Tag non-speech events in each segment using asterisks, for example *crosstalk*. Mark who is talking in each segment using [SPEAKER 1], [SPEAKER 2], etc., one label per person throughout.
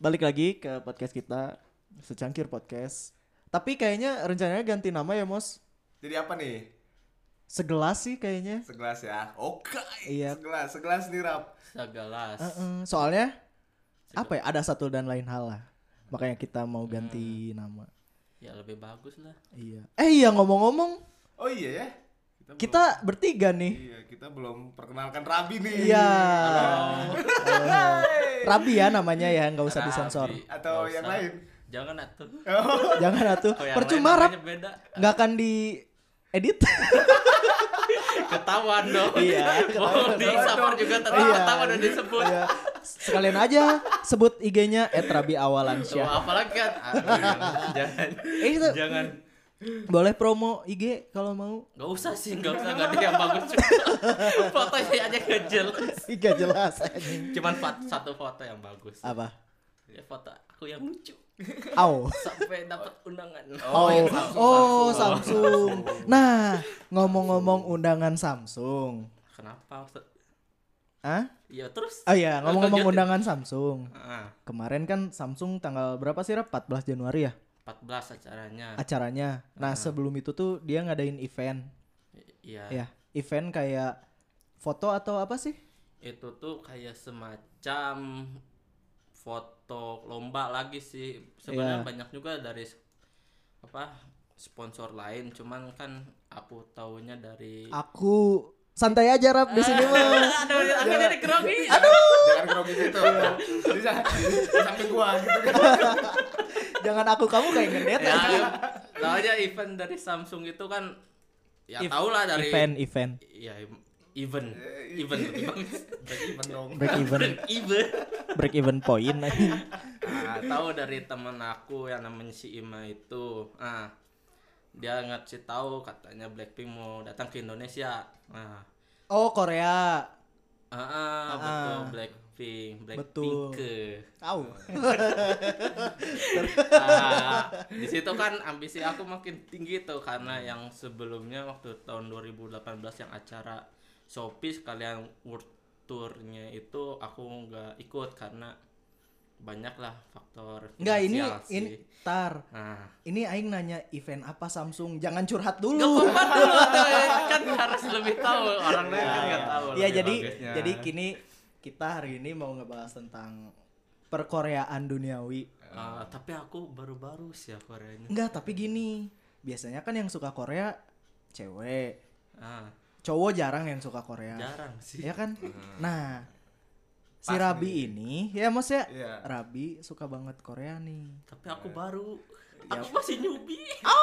[SPEAKER 1] Balik lagi ke podcast kita, secangkir podcast. Tapi kayaknya rencananya ganti nama ya, Mos.
[SPEAKER 2] Jadi apa nih?
[SPEAKER 1] Segelas sih kayaknya.
[SPEAKER 2] Segelas ya. Oke.
[SPEAKER 1] Iya.
[SPEAKER 2] Segelas, segelas nih rap.
[SPEAKER 3] segelas
[SPEAKER 1] Heeh, Soalnya apa ya? Ada satu dan lain hal lah. Makanya kita mau
[SPEAKER 3] Hmm.
[SPEAKER 1] ganti nama.
[SPEAKER 3] ya lebih bagus lah
[SPEAKER 1] Iya. Eh iya ngomong-ngomong,
[SPEAKER 2] Oh iya ya. Kita,
[SPEAKER 1] kita bertiga
[SPEAKER 2] belum,
[SPEAKER 1] nih.
[SPEAKER 2] iya, kita belum perkenalkan Rabi nih.
[SPEAKER 1] Iya. Eh, Rabi ya namanya ya, Ah, nggak usah disensor.
[SPEAKER 3] Rabi.
[SPEAKER 2] Atau
[SPEAKER 3] Nggak
[SPEAKER 2] yang
[SPEAKER 3] usah.
[SPEAKER 2] lain.
[SPEAKER 3] jangan atuh
[SPEAKER 1] Jangan atuh.
[SPEAKER 3] Kalau Oh, yang
[SPEAKER 1] Percuma
[SPEAKER 3] lain
[SPEAKER 1] Rab
[SPEAKER 3] namanya beda
[SPEAKER 1] nggak akan di edit.
[SPEAKER 3] ketahuan dong
[SPEAKER 1] Iya,
[SPEAKER 3] *laughs* mau
[SPEAKER 1] ketahuan.
[SPEAKER 3] disapar juga tapi
[SPEAKER 1] Iya.
[SPEAKER 3] ketahuan dan disebut
[SPEAKER 1] Iya. Sekalian aja sebut IG-nya eh, @rabiawalansyah.
[SPEAKER 3] Tuh, apalagi kan Ah, jangan
[SPEAKER 1] Eh, itu
[SPEAKER 3] jangan
[SPEAKER 1] boleh promo IG kalau mau.
[SPEAKER 3] nggak usah sih nggak usah nggak ada yang bagus juga *laughs* fotonya aja nggak jelas
[SPEAKER 1] Gak Iya, jelas anjing.
[SPEAKER 3] cuman fat- satu foto yang bagus
[SPEAKER 1] Apa?
[SPEAKER 3] ya foto aku yang lucu
[SPEAKER 1] Au.
[SPEAKER 3] sampai dapat undangan
[SPEAKER 1] Oh,
[SPEAKER 2] iya,
[SPEAKER 1] oh,
[SPEAKER 2] Samsung, Samsung.
[SPEAKER 1] Samsung. Nah, ngomong-ngomong undangan Samsung.
[SPEAKER 3] kenapa Ustaz?
[SPEAKER 1] Hah?
[SPEAKER 3] ya terus
[SPEAKER 1] Oh iya, ngomong-ngomong
[SPEAKER 3] Lanjutin.
[SPEAKER 1] undangan Samsung.
[SPEAKER 3] Ah,
[SPEAKER 1] Kemarin kan Samsung tanggal berapa sih? Rap? 14 Januari ya
[SPEAKER 3] Nah. 14 acaranya
[SPEAKER 1] acaranya. Nah, sebelum itu tuh dia ngadain event.
[SPEAKER 3] I- iya
[SPEAKER 1] Ya, event kayak foto atau apa sih?
[SPEAKER 3] itu tuh kayak semacam foto lomba lagi sih sebenarnya
[SPEAKER 1] Iya.
[SPEAKER 3] banyak juga dari s- apa sponsor lain cuman kan aku taunya dari
[SPEAKER 1] Aku santai aja Rap di sini mah.
[SPEAKER 3] *laughs*
[SPEAKER 1] *laughs*
[SPEAKER 3] aduh aku jadi grogi
[SPEAKER 2] Jangan grogi gitu. Di sa- di samping gua gitu kan.
[SPEAKER 1] Jangan aku kamu kayak ngedet.
[SPEAKER 3] ya taunya event dari Samsung itu kan ya
[SPEAKER 1] If-
[SPEAKER 3] tau lah dari
[SPEAKER 1] Event, event.
[SPEAKER 3] ya em- event event lebih *laughs* bagus.
[SPEAKER 2] Even dong.
[SPEAKER 1] Break even,
[SPEAKER 3] event
[SPEAKER 1] break even point. anjing.
[SPEAKER 3] Nah, tahu dari temen aku yang namanya si Ima itu. Nah, dia ngasih tahu katanya Blackpink mau datang ke Indonesia. Nah,
[SPEAKER 1] Oh, Korea.
[SPEAKER 3] ah, ah, betul
[SPEAKER 1] Ah.
[SPEAKER 3] Blackpink, Blackpink
[SPEAKER 1] Betul.
[SPEAKER 3] ke.
[SPEAKER 1] Tahu.
[SPEAKER 3] Ah, di situ kan ambisi aku makin tinggi tuh karena yang sebelumnya waktu tahun 2018 yang acara Shopee sekalian world tournya itu aku nggak ikut karena banyaklah faktor
[SPEAKER 1] Enggak ini
[SPEAKER 3] finansial sih.
[SPEAKER 1] ini tar.
[SPEAKER 3] Nah,
[SPEAKER 1] Ini aing nanya event apa Samsung. Jangan curhat
[SPEAKER 3] Gak
[SPEAKER 1] dulu.
[SPEAKER 3] kompak dulu tuh, kan harus lebih tahu orang lain
[SPEAKER 1] *laughs*
[SPEAKER 3] kan nggak tahu.
[SPEAKER 1] Iya,
[SPEAKER 3] lebih
[SPEAKER 1] jadi
[SPEAKER 3] bagusnya.
[SPEAKER 1] jadi kini kita hari ini mau ngebahas tentang perkoreaan duniawi.
[SPEAKER 3] Ah, tapi aku baru-baru sih ya Koreanya.
[SPEAKER 1] Enggak, tapi gini. Biasanya kan yang suka Korea cewek.
[SPEAKER 3] Ah,
[SPEAKER 1] Cowok jarang yang suka Korea.
[SPEAKER 3] jarang sih.
[SPEAKER 1] ya kan? Nah, si Rabi ini, ya Mas ya,
[SPEAKER 2] Iya.
[SPEAKER 1] Rabi suka banget Korea nih.
[SPEAKER 3] Tapi aku baru. Aku masih nyubi.
[SPEAKER 1] Ah.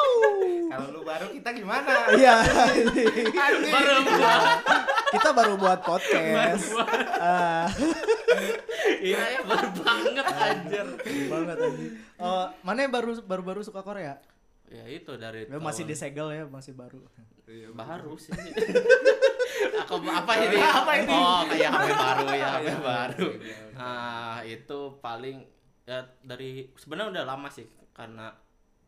[SPEAKER 2] Kalau lu baru kita gimana?
[SPEAKER 1] Iya, *laughs*
[SPEAKER 2] Anjing.
[SPEAKER 3] Baru gua.
[SPEAKER 1] kita baru buat podcast. Ah,
[SPEAKER 3] Iya ya baru banget anjir.
[SPEAKER 1] banget anjing. Eh, mana yang baru baru baru suka Korea?
[SPEAKER 3] Ya itu dari
[SPEAKER 1] Ya, masih
[SPEAKER 3] tahun-
[SPEAKER 1] disegel ya, masih baru.
[SPEAKER 2] Iya,
[SPEAKER 3] baru sih. *laughs* Aku apa ini? Apa ini? Oh, kayak HP baru ya, HP baru. Nah, itu paling ya, dari sebenarnya udah lama sih karena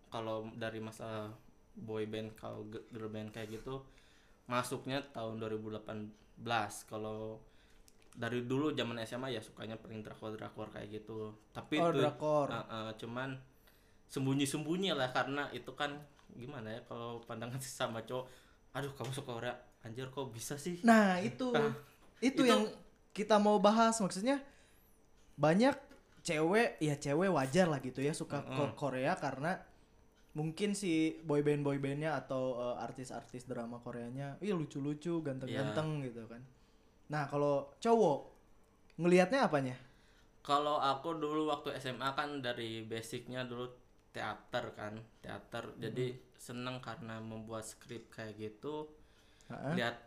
[SPEAKER 3] kalau dari masa boy band kalau ge- girl band kayak gitu masuknya tahun 2018 kalau dari dulu zaman SMA ya sukanya paling drakor drakor kayak gitu tapi
[SPEAKER 1] Oh,
[SPEAKER 3] itu
[SPEAKER 1] drakor.
[SPEAKER 3] Ah, ah, cuman sembunyi-sembunyi lah karena itu kan gimana ya kalau pandangan *laughs* sama cowok aduh kamu suka Korea anjir kok bisa sih
[SPEAKER 1] Nah, itu
[SPEAKER 3] Ah,
[SPEAKER 1] itu
[SPEAKER 3] itu-
[SPEAKER 1] yang kita mau bahas maksudnya banyak cewek ya cewek wajar lah gitu ya suka ko- Korea karena mungkin si boyband boybandnya atau eh, artis-artis drama Koreanya iya lucu-lucu ganteng-ganteng gitu kan nah kalau cowok ngelihatnya
[SPEAKER 3] *laughs*
[SPEAKER 1] apanya
[SPEAKER 3] Kalau aku dulu waktu SMA kan dari basicnya dulu teater kan, teater. Jadi seneng karena membuat skrip kayak gitu.
[SPEAKER 1] Heeh.
[SPEAKER 3] Lihat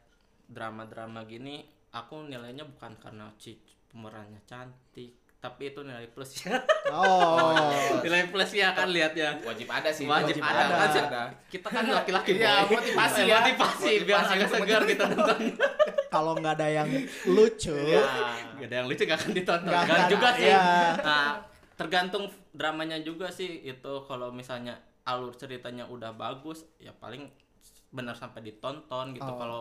[SPEAKER 3] drama-drama gini, aku nilainya bukan karena ci pemerannya cantik, tapi itu nilai plusnya.
[SPEAKER 1] oh
[SPEAKER 3] nilai plusnya kan lihatnya.
[SPEAKER 2] Wajib ada sih.
[SPEAKER 3] Wajib, ada. Kan
[SPEAKER 2] Wajib
[SPEAKER 3] se- Kita kan laki-laki
[SPEAKER 2] Iya,
[SPEAKER 3] boy.
[SPEAKER 2] motivasi
[SPEAKER 3] Eh,
[SPEAKER 2] ya.
[SPEAKER 3] Motivasi, biar
[SPEAKER 2] Motivasi
[SPEAKER 3] agak
[SPEAKER 2] untuk
[SPEAKER 3] segar kita nonton.
[SPEAKER 1] kalau nggak ada yang lucu
[SPEAKER 2] Iya.
[SPEAKER 3] Ya, gak ada yang lucu gak akan ditonton.
[SPEAKER 1] Nggak
[SPEAKER 3] Gak
[SPEAKER 1] akan,
[SPEAKER 3] juga sih.
[SPEAKER 1] ya.
[SPEAKER 3] Nah, tergantung dramanya juga sih itu kalau misalnya alur ceritanya udah bagus ya paling benar sampai ditonton gitu.
[SPEAKER 1] Oh.
[SPEAKER 3] Kalau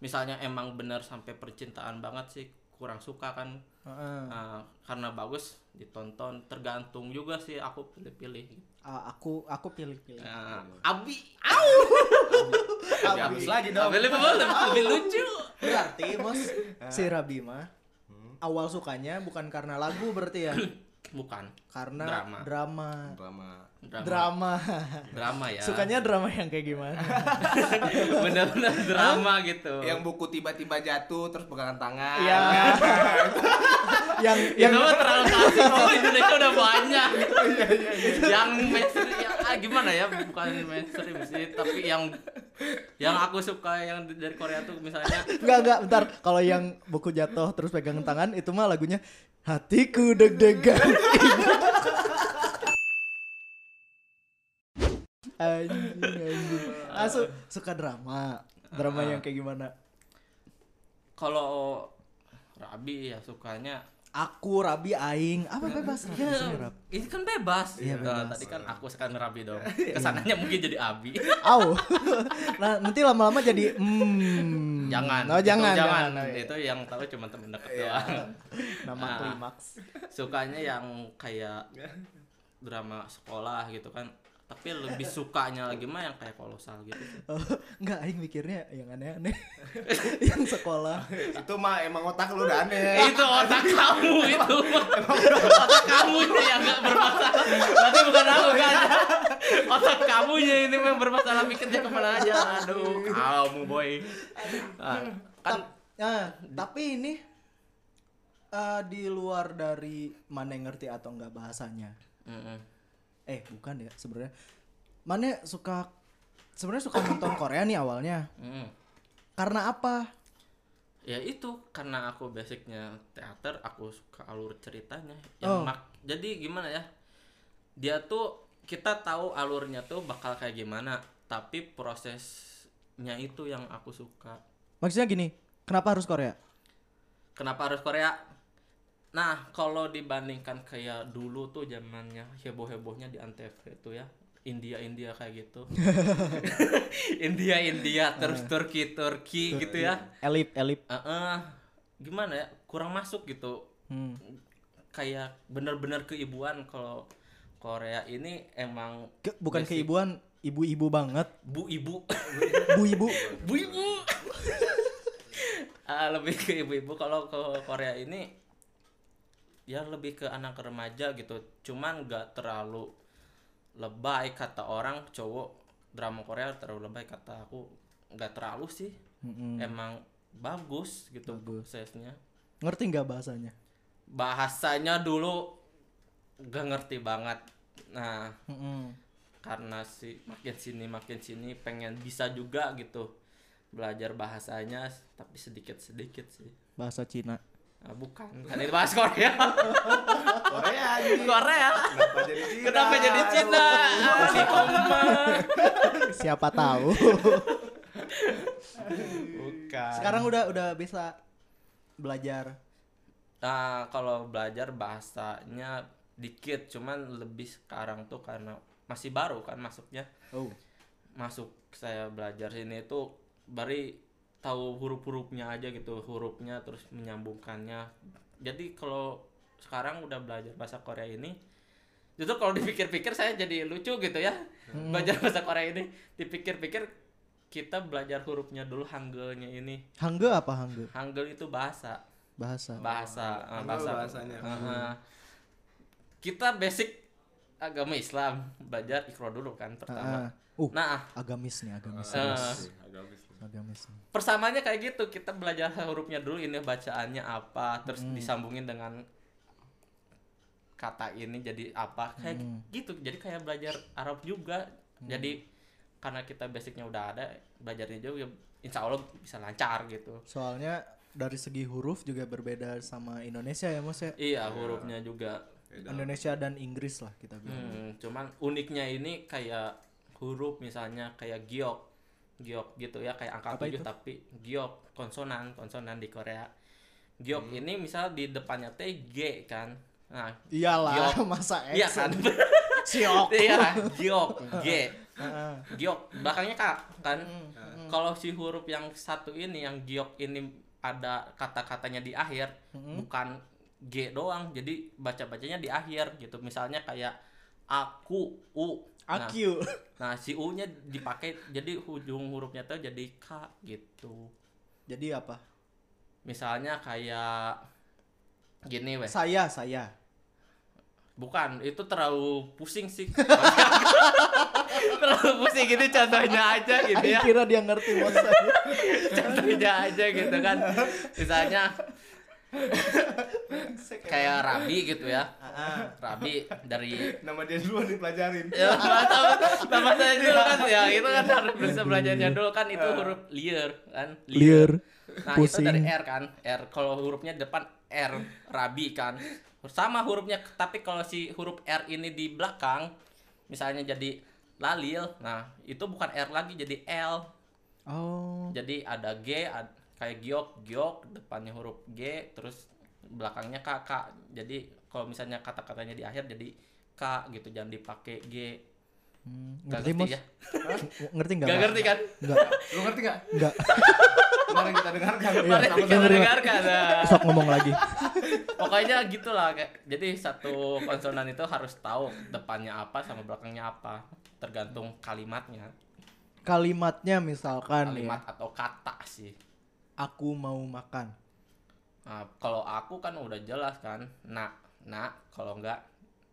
[SPEAKER 3] misalnya emang benar sampai percintaan banget sih kurang suka kan
[SPEAKER 1] *laughs* Heeh.
[SPEAKER 2] Hmm.
[SPEAKER 3] Nah, karena bagus ditonton tergantung juga sih aku
[SPEAKER 2] Iya.
[SPEAKER 3] pilih-pilih
[SPEAKER 1] Ah, aku aku pilih-pilih.
[SPEAKER 3] Nah, Abi au
[SPEAKER 2] Abi habis lagi dong.
[SPEAKER 3] Abi lebih, lebih, lebih lucu
[SPEAKER 1] Berarti bos
[SPEAKER 3] *laughs*
[SPEAKER 1] si Rabi mah awal sukanya bukan karena lagu berarti
[SPEAKER 3] *coughs*
[SPEAKER 1] ya,
[SPEAKER 3] bukan
[SPEAKER 1] karena
[SPEAKER 3] Drama.
[SPEAKER 1] drama.
[SPEAKER 2] Drama.
[SPEAKER 3] drama
[SPEAKER 1] Drama.
[SPEAKER 3] drama ya *laughs*
[SPEAKER 1] Sukanya drama yang kayak gimana?
[SPEAKER 3] bener-bener drama gitu
[SPEAKER 2] Yang buku tiba-tiba jatuh terus pegangan tangan.
[SPEAKER 1] Iya.
[SPEAKER 3] *laughs*
[SPEAKER 1] yang yang Oh, iya,
[SPEAKER 3] yang itu mah terlalu klasik oh Indonesia udah
[SPEAKER 1] *laughs*
[SPEAKER 3] banyak yang mainstream yang ah, gimana ya bukan mainstream sih tapi yang yang aku suka yang di- dari Korea tuh misalnya
[SPEAKER 1] Enggak, enggak, bentar. Kalau yang buku jatuh terus pegang tangan itu mah lagunya Hatiku deg-degan. *laughs* anjing, anjing. Ah, su- suka drama. Drama
[SPEAKER 3] Ah.
[SPEAKER 1] yang kayak gimana?
[SPEAKER 3] kalau Rabi ya sukanya
[SPEAKER 1] Aku Rabi Aing. Apa bebas Rabi?
[SPEAKER 3] ya
[SPEAKER 1] Sini, Rab.
[SPEAKER 3] ini kan bebas,
[SPEAKER 1] Iya,
[SPEAKER 3] Eh,
[SPEAKER 1] bebas.
[SPEAKER 3] tadi kan aku sekarang Rabi
[SPEAKER 1] *laughs*
[SPEAKER 3] dong kesananya mungkin jadi Abi
[SPEAKER 1] Au. *laughs* nah, nanti lama-lama jadi mm.
[SPEAKER 3] jangan
[SPEAKER 1] Oh,
[SPEAKER 3] itu
[SPEAKER 1] jangan, jangan.
[SPEAKER 3] jangan,
[SPEAKER 1] Oh, iya.
[SPEAKER 3] itu yang tahu cuma temen deket doang
[SPEAKER 1] Nama
[SPEAKER 3] Ah.
[SPEAKER 1] klimaks.
[SPEAKER 3] sukanya yang kayak drama sekolah gitu kan tapi lebih sukanya lagi mah yang kayak kolosal gitu sih.
[SPEAKER 1] Oh, *laughs* enggak Aing mikirnya yang aneh-aneh. *laughs* yang sekolah.
[SPEAKER 2] Itu mah emang otak lu udah
[SPEAKER 3] *laughs*
[SPEAKER 2] aneh.
[SPEAKER 3] Eh, itu otak kamu itu *laughs* otak kamu yang nggak bermasalah berarti bukan aku kan otak kamunya ini yang bermasalah mikirnya kemana aja aduh kamu boy Ah, kan
[SPEAKER 1] Tap- ah, tapi ini eh, di luar dari mana yang ngerti atau enggak bahasanya.
[SPEAKER 3] Mm-mm.
[SPEAKER 1] Eh, bukan ya sebenarnya. Mana suka sebenarnya suka nonton Korea nih awalnya.
[SPEAKER 3] Mm-mm.
[SPEAKER 1] Karena apa?
[SPEAKER 3] ya itu karena aku basicnya teater aku suka alur ceritanya
[SPEAKER 1] Oh.
[SPEAKER 3] yang mak jadi gimana ya dia tuh kita tahu alurnya tuh bakal kayak gimana tapi prosesnya itu yang aku suka
[SPEAKER 1] Maksudnya gini, kenapa harus Korea?
[SPEAKER 3] kenapa harus Korea nah kalau dibandingkan kayak dulu tuh zamannya heboh hebohnya di antv itu ya India India kayak gitu *laughs* India India terus Turki Turki gitu ya
[SPEAKER 1] Elip, elip.
[SPEAKER 3] Eh, eh, gimana ya kurang masuk gitu
[SPEAKER 1] Hmm.
[SPEAKER 3] kayak bener-bener keibuan kalau Korea ini emang
[SPEAKER 1] Ke- bukan
[SPEAKER 3] Basic.
[SPEAKER 1] keibuan, ibu-ibu banget.
[SPEAKER 3] bu ibu *coughs*
[SPEAKER 1] Bu-ibu.
[SPEAKER 3] bu ibu Ah, lebih ke ibu-ibu kalau ke Korea ini ya lebih ke anak remaja gitu cuman nggak terlalu lebay kata orang cowok drama Korea terlalu lebay kata aku nggak terlalu sih
[SPEAKER 1] Mm-mm.
[SPEAKER 3] emang bagus gitu
[SPEAKER 1] Hmm. Bagus.
[SPEAKER 3] prosesnya
[SPEAKER 1] Ngerti nggak bahasanya?
[SPEAKER 3] bahasanya dulu gak ngerti banget nah
[SPEAKER 1] Mm-mm.
[SPEAKER 3] karena si makin sini makin sini pengen bisa juga gitu belajar bahasanya tapi sedikit sedikit sih
[SPEAKER 1] Bahasa Cina.
[SPEAKER 3] Nah, bukan kan ini bahas Korea
[SPEAKER 2] Korea Nah, anjing.
[SPEAKER 3] Korea
[SPEAKER 2] Kenapa jadi Cina?
[SPEAKER 3] kenapa jadi
[SPEAKER 2] Aduh.
[SPEAKER 3] Cina Ah, si Oma.
[SPEAKER 1] Siapa tahu.
[SPEAKER 3] bukan
[SPEAKER 1] Sekarang udah udah bisa belajar
[SPEAKER 3] *laughs* nah kalau belajar bahasanya dikit cuman lebih sekarang tuh karena masih baru kan masuknya
[SPEAKER 1] Oh.
[SPEAKER 3] masuk saya belajar sini itu bari tahu huruf-hurufnya aja gitu hurufnya terus menyambungkannya jadi kalau sekarang udah belajar bahasa Korea ini justru kalau dipikir-pikir saya jadi lucu gitu ya
[SPEAKER 1] Hmm.
[SPEAKER 3] belajar bahasa Korea ini dipikir-pikir kita belajar hurufnya dulu hanggelnya ini
[SPEAKER 1] Hangge apa hangge?
[SPEAKER 3] hanggel itu bahasa
[SPEAKER 1] Bahasa.
[SPEAKER 3] bahasa eh,
[SPEAKER 2] Hangul
[SPEAKER 3] bahasa
[SPEAKER 2] bahasanya.
[SPEAKER 1] Hmm.
[SPEAKER 3] Heeh. kita basic agama Islam belajar ikro dulu
[SPEAKER 1] Ah,
[SPEAKER 3] kan
[SPEAKER 1] ah.
[SPEAKER 3] pertama
[SPEAKER 1] Uh,
[SPEAKER 3] nah
[SPEAKER 1] agamis nih, agamis.
[SPEAKER 3] Eh.
[SPEAKER 1] agamis.
[SPEAKER 2] Agak habis.
[SPEAKER 1] Agamis nih.
[SPEAKER 3] persamanya kayak gitu kita belajar hurufnya dulu ini bacaannya apa terus disambungin dengan kata ini jadi apa kayak gitu jadi kayak belajar Arab juga jadi karena kita basicnya udah ada belajarnya juga ya insya Allah bisa lancar gitu
[SPEAKER 1] Soalnya dari segi huruf juga berbeda sama Indonesia ya, Mas ya.
[SPEAKER 3] iya hurufnya juga
[SPEAKER 1] Indonesia dan Inggris lah kita bilang.
[SPEAKER 3] Hmm, cuman uniknya ini kayak huruf misalnya kayak giok giok gitu ya kayak angka
[SPEAKER 1] Apa
[SPEAKER 3] tujuh
[SPEAKER 1] itu?
[SPEAKER 3] tapi giok konsonan konsonan di Korea giok ini misal di depannya T G kan nah
[SPEAKER 1] Iyalah,
[SPEAKER 3] Giok.
[SPEAKER 1] masa X.
[SPEAKER 3] iya kan
[SPEAKER 1] *laughs* Siok.
[SPEAKER 3] iya giok G
[SPEAKER 1] Heeh. Hmm,
[SPEAKER 3] giok belakangnya K kan kalau si huruf yang satu ini yang giok ini ada kata-katanya di akhir bukan G doang jadi baca-bacanya di akhir gitu misalnya kayak aku u Nah,
[SPEAKER 1] Akyu.
[SPEAKER 3] Nah, si U-nya dipakai jadi ujung hurufnya tuh jadi K gitu.
[SPEAKER 1] Jadi apa?
[SPEAKER 3] Misalnya kayak gini weh.
[SPEAKER 1] Saya, saya.
[SPEAKER 3] Bukan, itu terlalu pusing sih. *laughs* terlalu pusing gitu contohnya aja gitu
[SPEAKER 1] Aku
[SPEAKER 3] ya.
[SPEAKER 1] kira dia ngerti bos saya.
[SPEAKER 3] Iya. Contohnya aja gitu kan. Misalnya kayak Rabi gitu ya. Rabi dari
[SPEAKER 2] Nama dia duluan dipelajarin.
[SPEAKER 3] ya sama sama saya dulu kan ya itu kan harus bisa belajarnya dulu kan itu huruf liar kan nah
[SPEAKER 1] Pusing.
[SPEAKER 3] itu dari R kan R kalau hurufnya depan R rabi kan sama hurufnya tapi kalau si huruf R ini di belakang misalnya jadi lalil nah itu bukan R lagi jadi L
[SPEAKER 1] Oh.
[SPEAKER 3] jadi ada G ad- kayak giok giok depannya huruf G terus belakangnya kakak jadi kalau misalnya kata-katanya di akhir jadi K gitu jangan dipakai G
[SPEAKER 1] Hmm,
[SPEAKER 3] Gak
[SPEAKER 1] ngerti,
[SPEAKER 3] ngerti
[SPEAKER 1] Mos?
[SPEAKER 3] ya?
[SPEAKER 1] Ngerti Iya, enggak?
[SPEAKER 3] Gak ngerti kan?
[SPEAKER 1] Enggak.
[SPEAKER 2] Lu ngerti gak?
[SPEAKER 1] Enggak.
[SPEAKER 2] Kemarin kita dengarkan.
[SPEAKER 3] Mari
[SPEAKER 1] Iya,
[SPEAKER 3] kita
[SPEAKER 1] ngerti.
[SPEAKER 3] dengarkan. Nah,
[SPEAKER 1] Sok ngomong lagi.
[SPEAKER 3] Pokoknya gitulah kayak jadi satu konsonan itu harus tahu depannya apa sama belakangnya apa tergantung kalimatnya.
[SPEAKER 1] Kalimatnya misalkan nih,
[SPEAKER 3] Kalimat atau kata sih.
[SPEAKER 1] aku mau makan.
[SPEAKER 3] Nah, kalau aku kan udah jelas kan. Nah, nah kalau enggak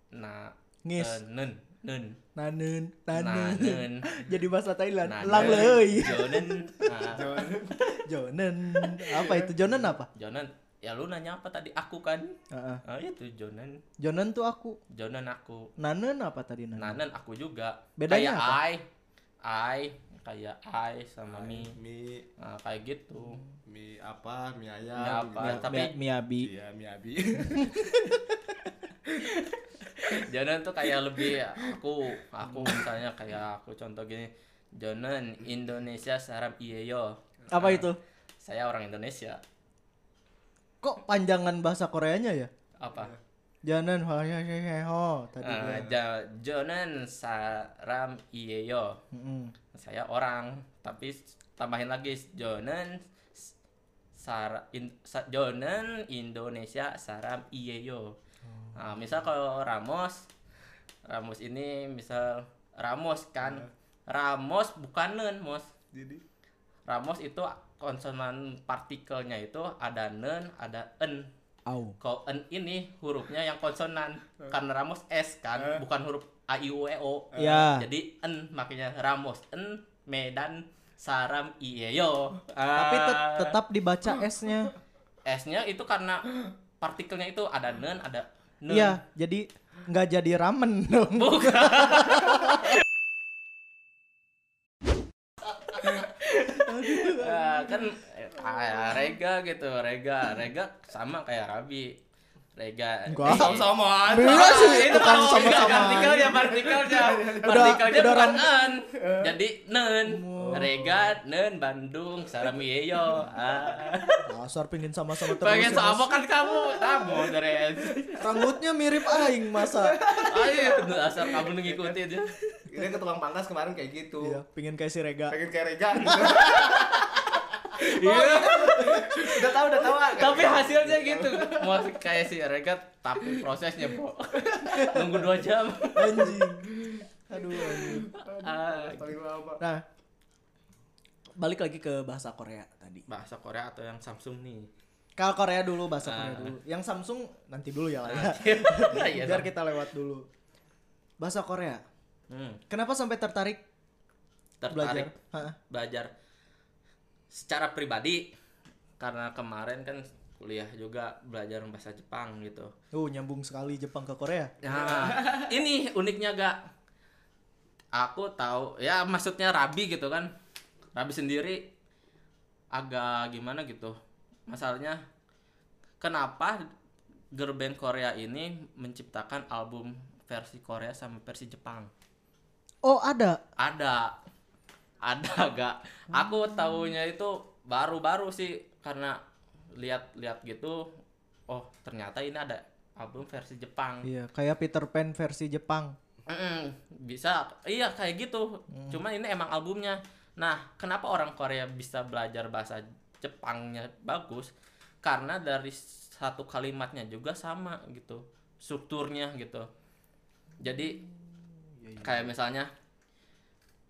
[SPEAKER 3] nah
[SPEAKER 1] Ngis.
[SPEAKER 3] eh, nen nen
[SPEAKER 1] Nanen,
[SPEAKER 3] nah
[SPEAKER 1] nanen.
[SPEAKER 3] nen
[SPEAKER 1] *laughs* Jadi bahasa Thailand.
[SPEAKER 3] nah,
[SPEAKER 1] Lang
[SPEAKER 3] nen,
[SPEAKER 1] leuy.
[SPEAKER 3] jonen nah,
[SPEAKER 1] Jonen. Apa itu jonen apa?
[SPEAKER 3] jonen ya lu nanya apa tadi aku kan
[SPEAKER 1] Heeh.
[SPEAKER 3] ah itu jonen
[SPEAKER 1] Jonen tuh aku.
[SPEAKER 3] jonen aku
[SPEAKER 1] Nanen apa tadi nanen?
[SPEAKER 3] Nanen aku juga.
[SPEAKER 1] Bedanya
[SPEAKER 3] kayak
[SPEAKER 1] apa?
[SPEAKER 3] I, I, kayak I sama Mi.
[SPEAKER 2] Mi,
[SPEAKER 3] Nah, kayak gitu.
[SPEAKER 2] mi apa? Mi ayam.
[SPEAKER 3] Mie apa?
[SPEAKER 2] gitu.
[SPEAKER 3] Tapi
[SPEAKER 1] Mi- Miyabi.
[SPEAKER 2] Iya, mi abi.
[SPEAKER 3] Jonen tuh kayak lebih aku, aku misalnya kayak aku contoh gini. Jonen Indonesia sarap iya yo.
[SPEAKER 1] Apa
[SPEAKER 3] Nah,
[SPEAKER 1] itu?
[SPEAKER 3] Saya orang Indonesia.
[SPEAKER 1] Kok panjangan bahasa Koreanya ya?
[SPEAKER 3] Apa?
[SPEAKER 1] Jonen ho Iya, tadi. ya.
[SPEAKER 3] Eh,
[SPEAKER 1] gua.
[SPEAKER 3] ja- Jonen sarap iya yo.
[SPEAKER 1] Mm-mm.
[SPEAKER 3] Saya orang, tapi s- tambahin lagi Jonen s- sar in, sa- Jonen Indonesia sarap iya yo. Nah, misal kalau Ramos, Ramos ini misal Ramos kan, Ramos bukan nen mos.
[SPEAKER 2] *laughs* Jadi
[SPEAKER 3] Ramos itu konsonan partikelnya itu ada nen, ada en.
[SPEAKER 1] Au.
[SPEAKER 3] Kalau en ini hurufnya yang konsonan karena Ramos S kan, bukan huruf A I U E O.
[SPEAKER 1] Ya.
[SPEAKER 3] Jadi en makanya Ramos en Medan Saram Ieyo.
[SPEAKER 1] Tapi
[SPEAKER 3] Ah,
[SPEAKER 1] tet- tetap dibaca S-nya.
[SPEAKER 3] S-nya itu karena partikelnya itu ada nen, ada nen.
[SPEAKER 1] Iya, jadi nggak jadi ramen dong.
[SPEAKER 3] Bukan. Ah, kan eh, kayak Rega gitu, Rega, Rega sama kayak Rabi. Rega.
[SPEAKER 1] Enggak.
[SPEAKER 3] Eh, sama-sama aja.
[SPEAKER 1] Beda Iya sih, bukan
[SPEAKER 3] Itu kan kalau
[SPEAKER 1] sama-sama. Iya,
[SPEAKER 3] enggak, Partikelnya, partikelnya.
[SPEAKER 1] Udah-
[SPEAKER 3] Partikelnya
[SPEAKER 1] udah
[SPEAKER 3] bukan
[SPEAKER 1] orang- Eh.
[SPEAKER 3] en. Jadi nen. Rega, nen, Bandung, Saramiyeyo. Ah.
[SPEAKER 1] Dasar pingin sama-sama terus. ya,
[SPEAKER 3] Pengen
[SPEAKER 1] Mas.
[SPEAKER 3] sama kan kamu? Kamu, Deres.
[SPEAKER 1] Rambutnya mirip aing masa.
[SPEAKER 3] Ayo, asal kamu ngikutin ya.
[SPEAKER 2] ini ke tukang pangkas kemarin kayak gitu.
[SPEAKER 1] Iya, pingin kayak si Rega.
[SPEAKER 2] Pengen kayak Rega gitu.
[SPEAKER 3] Iya.
[SPEAKER 2] *laughs* udah tahu, udah tahu. kan?
[SPEAKER 3] tapi hasilnya gitu mau kayak si Regat tapi prosesnya bro nunggu dua jam
[SPEAKER 1] Anjing. Aduh, anjing.
[SPEAKER 3] Ah,
[SPEAKER 2] Paling lama.
[SPEAKER 1] Nah, balik lagi ke bahasa Korea tadi.
[SPEAKER 3] bahasa Korea atau yang Samsung nih
[SPEAKER 1] Kalau Korea dulu, bahasa
[SPEAKER 3] Ah.
[SPEAKER 1] Korea dulu. Yang Samsung nanti dulu ya lah ya.
[SPEAKER 3] *laughs* iya
[SPEAKER 1] Biar
[SPEAKER 3] Sam.
[SPEAKER 1] kita lewat dulu. Bahasa Korea.
[SPEAKER 3] Hmm,
[SPEAKER 1] Kenapa sampai tertarik, belajar?
[SPEAKER 3] tertarik
[SPEAKER 1] Hah?
[SPEAKER 3] belajar secara pribadi karena kemarin kan kuliah juga belajar bahasa Jepang gitu
[SPEAKER 1] Oh, nyambung sekali Jepang ke Korea.
[SPEAKER 3] Nah, ini uniknya gak aku tahu ya maksudnya Rabi gitu kan. Rabi sendiri agak gimana gitu. Masalahnya kenapa gerben Korea ini menciptakan album versi Korea sama versi Jepang?
[SPEAKER 1] Oh, ada.
[SPEAKER 3] Ada ada gak? Aku tahunya itu baru-baru sih karena lihat-lihat gitu oh ternyata ini ada album versi Jepang.
[SPEAKER 1] Iya, kayak Peter Pan versi Jepang.
[SPEAKER 3] Mm-mm, bisa iya kayak gitu cuman ini emang albumnya nah kenapa orang Korea bisa belajar bahasa Jepangnya bagus karena dari satu kalimatnya juga sama gitu strukturnya gitu jadi
[SPEAKER 2] Iya,
[SPEAKER 3] kayak misalnya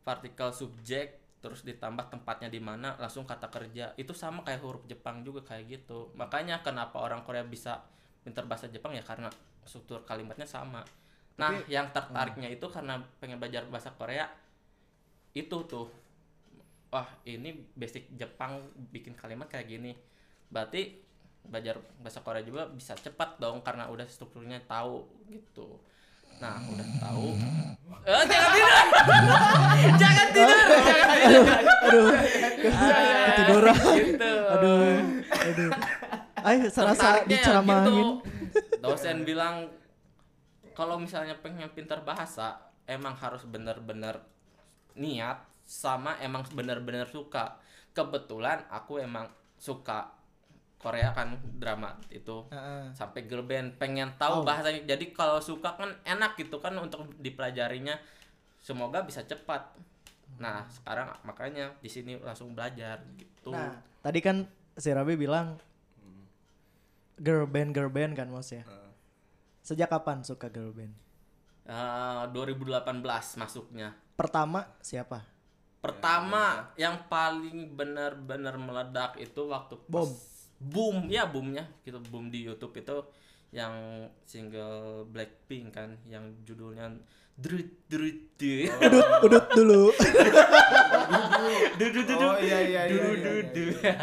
[SPEAKER 3] partikel subjek terus ditambah tempatnya di mana langsung kata kerja itu sama kayak huruf Jepang juga kayak gitu makanya kenapa orang Korea bisa pinter bahasa Jepang ya karena struktur kalimatnya sama nah
[SPEAKER 1] Tapi-
[SPEAKER 3] yang tertariknya itu karena pengen belajar bahasa Korea itu tuh wah ini basic Jepang bikin kalimat kayak gini berarti belajar bahasa Korea juga bisa cepat dong karena udah strukturnya tahu gitu nah udah tahu eh, jangan tidur *laughs* jangan tidur jangan tidur
[SPEAKER 1] aduh
[SPEAKER 3] Ah,
[SPEAKER 1] ketiduran
[SPEAKER 3] *laughs* gitu.
[SPEAKER 1] aduh aduh ayo sarasa
[SPEAKER 3] Tertariknya ya
[SPEAKER 1] diceramahin
[SPEAKER 3] gitu. dosen bilang kalau misalnya pengen pintar bahasa emang harus bener-bener niat sama emang bener-bener suka kebetulan aku emang suka Korea kan drama itu
[SPEAKER 1] Heeh.
[SPEAKER 3] sampai girl band pengen
[SPEAKER 1] Oh.
[SPEAKER 3] tahu bahasanya jadi kalau suka kan enak gitu kan untuk dipelajarinya semoga bisa cepat nah sekarang makanya di sini langsung belajar gitu
[SPEAKER 1] Nah, tadi kan si Rabi bilang girl band girl band kan Mas ya.
[SPEAKER 2] Heeh.
[SPEAKER 1] Sejak kapan suka girl band?
[SPEAKER 3] Eh, 2018 masuknya
[SPEAKER 1] Pertama siapa?
[SPEAKER 3] pertama yang paling benar-benar meledak itu waktu pas-
[SPEAKER 1] Bom.
[SPEAKER 3] boom ya boomnya gitu boom di YouTube itu yang single Blackpink kan yang judulnya Drut Drut Drut *laughs*
[SPEAKER 1] Udut, udut dulu.
[SPEAKER 3] Drut, Drut, Drut.
[SPEAKER 2] Oh iya iya iya.
[SPEAKER 3] Dudu
[SPEAKER 2] iya,
[SPEAKER 3] dudu.
[SPEAKER 2] iya.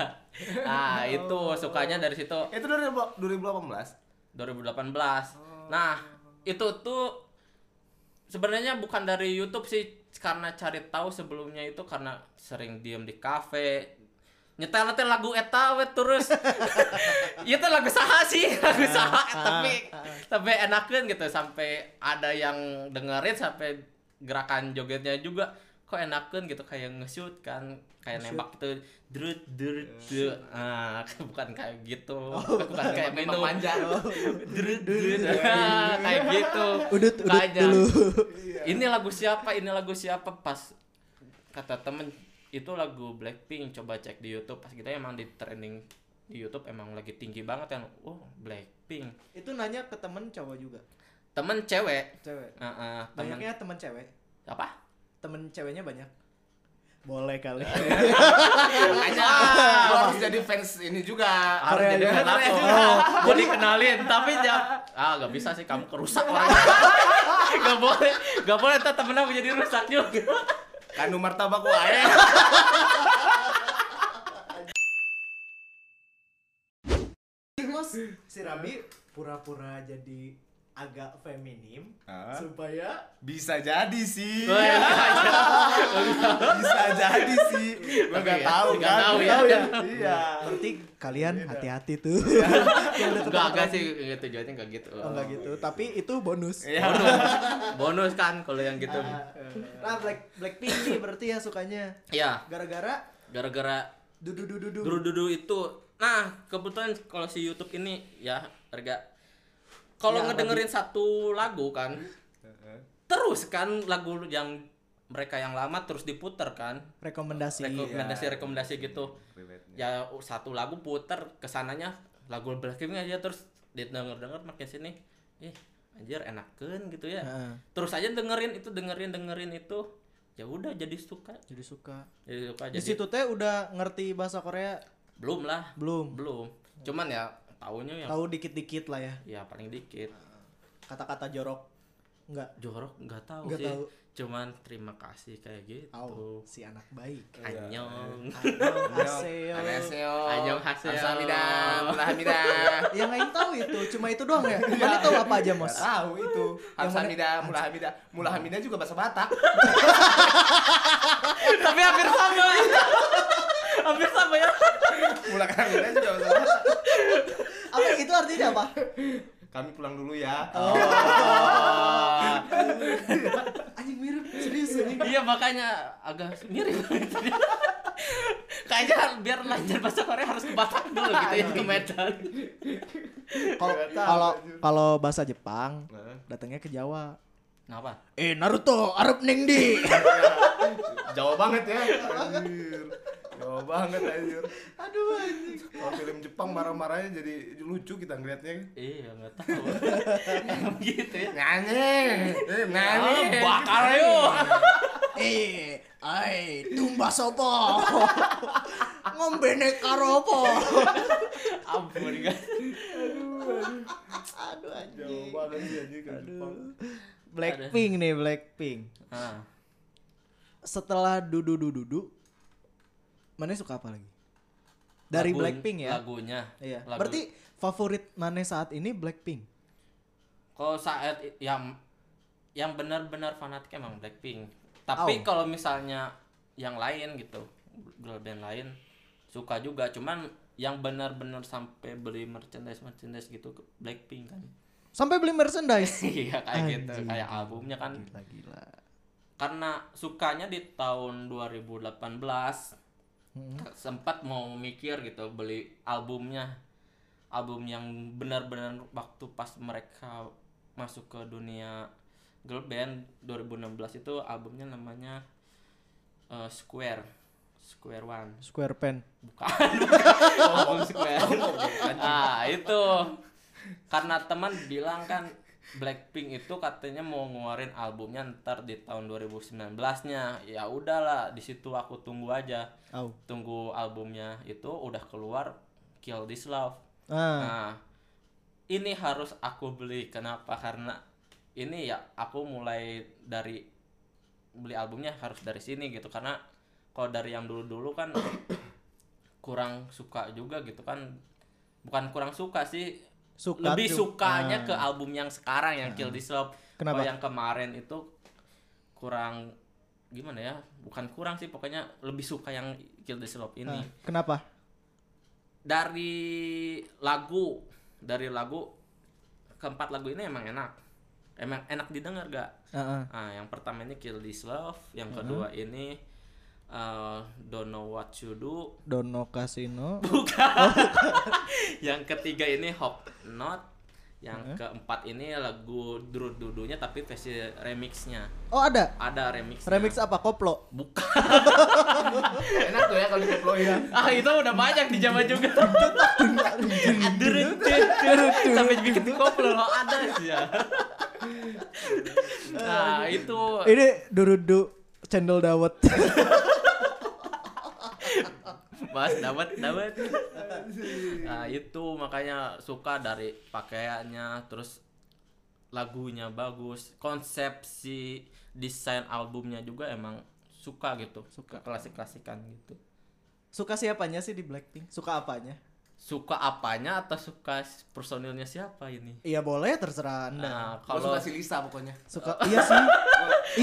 [SPEAKER 3] ya, *laughs* Ah, itu sukanya dari situ
[SPEAKER 2] Itu 2000 2018.
[SPEAKER 3] 2018. Nah, itu tuh sebenarnya bukan dari YouTube sih karena cari tahu sebelumnya itu karena sering diem di kafe nyetel nyetel lagu eta we terus *laughs* itu lagu saha sih lagu saha tapi tapi enakan gitu sampai ada yang dengerin sampai gerakan jogetnya juga kok enakan gitu kayak nge-shoot kan kayak nembak gitu drut drut drut ah *laughs* bukan kayak gitu bukan kayak
[SPEAKER 2] Memang
[SPEAKER 3] minum *laughs*
[SPEAKER 2] panjang.
[SPEAKER 3] Drut, drut. Ah, kayak gitu
[SPEAKER 1] Udut, udut
[SPEAKER 3] Makanya,
[SPEAKER 1] dulu.
[SPEAKER 3] ini lagu siapa ini lagu siapa pas kata temen itu lagu Blackpink coba cek di YouTube pas kita emang di trending di YouTube emang lagi tinggi banget kan oh Blackpink
[SPEAKER 1] *laughs* Itu nanya ke temen cowok juga,
[SPEAKER 3] temen cewek
[SPEAKER 1] cewek.
[SPEAKER 3] Ah, ah, temen
[SPEAKER 1] Banyaknya temen cewek.
[SPEAKER 3] apa
[SPEAKER 1] Temen ceweknya banyak. Boleh kali.
[SPEAKER 3] *laughs*
[SPEAKER 2] Makanya
[SPEAKER 3] Wah.
[SPEAKER 2] lo harus jadi fans ini juga.
[SPEAKER 3] harus
[SPEAKER 1] Korea
[SPEAKER 3] jadi
[SPEAKER 1] juga.
[SPEAKER 3] fan aku
[SPEAKER 1] Korea juga.
[SPEAKER 3] mau dikenalin tapi jangan ah gak bisa sih kamu kerusak
[SPEAKER 1] *laughs*
[SPEAKER 3] orang gak boleh gak boleh ntar temen aku jadi rusak juga
[SPEAKER 2] Kandung martabak ya. *laughs* wae.
[SPEAKER 1] Mas, si Rabi pura-pura jadi agak feminim
[SPEAKER 2] Ah.
[SPEAKER 1] supaya
[SPEAKER 2] Bisa jadi sih.
[SPEAKER 3] Wah,
[SPEAKER 2] Bisa jadi sih. Lo
[SPEAKER 3] Tapi
[SPEAKER 2] gak
[SPEAKER 3] ya,
[SPEAKER 2] tahu
[SPEAKER 3] nggak
[SPEAKER 2] kan?
[SPEAKER 3] tahu ya.
[SPEAKER 2] Iya.
[SPEAKER 1] berarti kalian hati-hati *laughs* tuh.
[SPEAKER 3] enggak enggak sih gitu tujuannya enggak gitu
[SPEAKER 1] Iya. Oh, enggak gitu, tapi itu bonus.
[SPEAKER 2] Iya.
[SPEAKER 3] bonus bonus kan kalau yang gitu
[SPEAKER 1] Ah, Nah, Black Blackpink nih berarti ya sukanya
[SPEAKER 3] ya
[SPEAKER 1] gara-gara
[SPEAKER 3] gara-gara
[SPEAKER 1] dudu dudu dudu.
[SPEAKER 3] Dududu itu. Nah, kebetulan kalau si YouTube ini ya harga kalau
[SPEAKER 1] Ya,
[SPEAKER 3] ngedengerin satu lagu kan, terus kan lagu yang mereka yang lama terus diputer kan.
[SPEAKER 1] rekomendasi.
[SPEAKER 3] Rekomendasi-rekomendasi gitu. Ya satu lagu puter kesananya lagu Blackpink aja terus didengar-dengar makin sini. Ih, anjir enakan gitu ya.
[SPEAKER 1] Heeh.
[SPEAKER 3] Terus aja dengerin itu dengerin dengerin itu. Ya udah jadi suka.
[SPEAKER 1] Jadi suka.
[SPEAKER 3] Jadi suka
[SPEAKER 1] Di
[SPEAKER 3] jadi.
[SPEAKER 1] situ teh udah ngerti bahasa Korea
[SPEAKER 3] Belum lah.
[SPEAKER 1] belum?
[SPEAKER 3] Belum. Cuman ya taunya ya
[SPEAKER 1] Tahu dikit-dikit lah ya.
[SPEAKER 3] ya paling dikit
[SPEAKER 1] Kata-kata jorok. Enggak.
[SPEAKER 3] jorok nggak tahu
[SPEAKER 1] Nggak
[SPEAKER 3] sih
[SPEAKER 1] tahu.
[SPEAKER 3] cuman terima kasih kayak gitu
[SPEAKER 1] Au, Iya. si anak baik.
[SPEAKER 3] anyong
[SPEAKER 1] Aseo.
[SPEAKER 2] Annyeonghaseyo.
[SPEAKER 3] Annyeonghaseyo.
[SPEAKER 2] Kamsahamnida. Mulhamida.
[SPEAKER 1] Yang lain tahu itu cuma itu doang ya. Kemarin tahu apa aja, Mos?
[SPEAKER 2] Gak tahu itu.
[SPEAKER 1] Yang mana-
[SPEAKER 2] Kamsahamnida, Mulhamida. Mulhamida juga bahasa
[SPEAKER 3] *laughs*
[SPEAKER 2] Batak.
[SPEAKER 3] *laughs* tapi hampir sama *laughs* hampir sama ya
[SPEAKER 2] Mulhamida juga bahasa Batak.
[SPEAKER 1] Apa itu artinya apa?
[SPEAKER 2] Kami pulang dulu ya.
[SPEAKER 1] Anjing mirip serius anjing.
[SPEAKER 3] iya makanya agak mirip kayaknya biar lancar bahasa Korea harus ke Batak dulu gitu ya ke Medan
[SPEAKER 1] Kalau kalau kalau bahasa Jepang
[SPEAKER 2] Nah,
[SPEAKER 1] datangnya ke Jawa.
[SPEAKER 3] kenapa
[SPEAKER 1] Eh Naruto, Arab Neng di.
[SPEAKER 2] Jauh banget ya. Anjir. Jauh banget anjir.
[SPEAKER 1] Aduh anjing.
[SPEAKER 2] Kalau film Jepang marah-marahnya jadi lucu kita ngeliatnya.
[SPEAKER 3] Iya nggak tahu. Emang gitu ya.
[SPEAKER 2] Nyanyi, eh, nyanyi.
[SPEAKER 3] Ah, bakar yo.
[SPEAKER 1] Eh, ai, tumbas opo? Ngombene karo opo?
[SPEAKER 3] Ampun kan.
[SPEAKER 1] Aduh
[SPEAKER 2] Jauh
[SPEAKER 1] anjing.
[SPEAKER 2] banget sih anjir ke Jepang.
[SPEAKER 1] Blackpink nih, Blackpink.
[SPEAKER 3] Ah,
[SPEAKER 1] Setelah dudu dudu dudu Mane suka apa lagi? Dari
[SPEAKER 3] lagu-
[SPEAKER 1] Blackpink ya.
[SPEAKER 3] Lagunya.
[SPEAKER 1] Iya.
[SPEAKER 3] Lagu-
[SPEAKER 1] Berarti favorit Mane saat ini Blackpink.
[SPEAKER 3] kalau saat i- yang yang benar-benar fanatik emang Blackpink.
[SPEAKER 1] Oh.
[SPEAKER 3] Tapi kalau misalnya yang lain gitu, girl band lain suka juga, cuman yang benar-benar sampai beli merchandise merchandise gitu ke Blackpink kan.
[SPEAKER 1] Sampai beli merchandise. *laughs*
[SPEAKER 3] Iya *laughs* kayak gitu,
[SPEAKER 1] Anjing.
[SPEAKER 3] kayak albumnya kan
[SPEAKER 1] Gila gila.
[SPEAKER 3] karena sukanya di tahun 2018
[SPEAKER 1] Hmm.
[SPEAKER 3] sempat mau mikir gitu beli albumnya album yang benar-benar waktu pas mereka masuk ke dunia girl band 2016 itu albumnya namanya eh, Square Square One
[SPEAKER 1] Square pen.
[SPEAKER 3] bukan album Square ah itu karena teman bilang kan Blackpink itu katanya mau ngeluarin albumnya ntar di tahun 2019-nya ya udahlah di situ aku tunggu aja
[SPEAKER 1] Au.
[SPEAKER 3] tunggu albumnya itu udah keluar Kill This Love
[SPEAKER 1] Ah,
[SPEAKER 3] nah ini harus aku beli kenapa karena ini ya aku mulai dari beli albumnya harus dari sini gitu karena kalau dari yang dulu-dulu kan *coughs* kurang suka juga gitu kan bukan kurang suka sih
[SPEAKER 1] suka
[SPEAKER 3] lebih
[SPEAKER 1] tuh.
[SPEAKER 3] sukanya
[SPEAKER 1] Ah.
[SPEAKER 3] ke album yang sekarang yang Kill This Love
[SPEAKER 1] Kenapa?
[SPEAKER 3] kalau yang kemarin itu kurang gimana ya bukan kurang sih pokoknya lebih suka yang Kill This Love ini
[SPEAKER 1] Ah, Kenapa?
[SPEAKER 3] dari lagu dari lagu keempat lagu ini emang enak emang enak didengar gak
[SPEAKER 1] Ah, ah.
[SPEAKER 3] ah yang pertama ini Kill This Love yang kedua ini eh, Don't Know What You Do
[SPEAKER 1] Dono
[SPEAKER 3] *laughs*
[SPEAKER 1] Casino.
[SPEAKER 3] yang ketiga ini Hop Not yang keempat ini lagu Drew Dudunya tapi versi remixnya
[SPEAKER 1] Oh ada.
[SPEAKER 3] ada remixnya
[SPEAKER 1] Remix apa koplo?
[SPEAKER 3] bukan
[SPEAKER 2] Enak tuh ya kalau diploin ya.
[SPEAKER 3] ah itu udah banyak di Jawa juga Aduh, sampai bikin koplo loh ada sih ya nah itu
[SPEAKER 1] Ini durudu cendol dawet. *laughs*
[SPEAKER 3] mas dapat dapat nah itu makanya suka dari pakaiannya terus lagunya bagus konsepsi desain albumnya juga emang suka gitu suka klasik klasikan gitu
[SPEAKER 1] suka siapanya sih di Blackpink? Suka apanya?
[SPEAKER 3] suka apanya atau suka personilnya siapa ini
[SPEAKER 1] Iya boleh terserah Anda.
[SPEAKER 3] nah
[SPEAKER 2] Kalau
[SPEAKER 3] kalau
[SPEAKER 2] suka si Lisa pokoknya.
[SPEAKER 1] Suka iya
[SPEAKER 3] *laughs*
[SPEAKER 1] sih.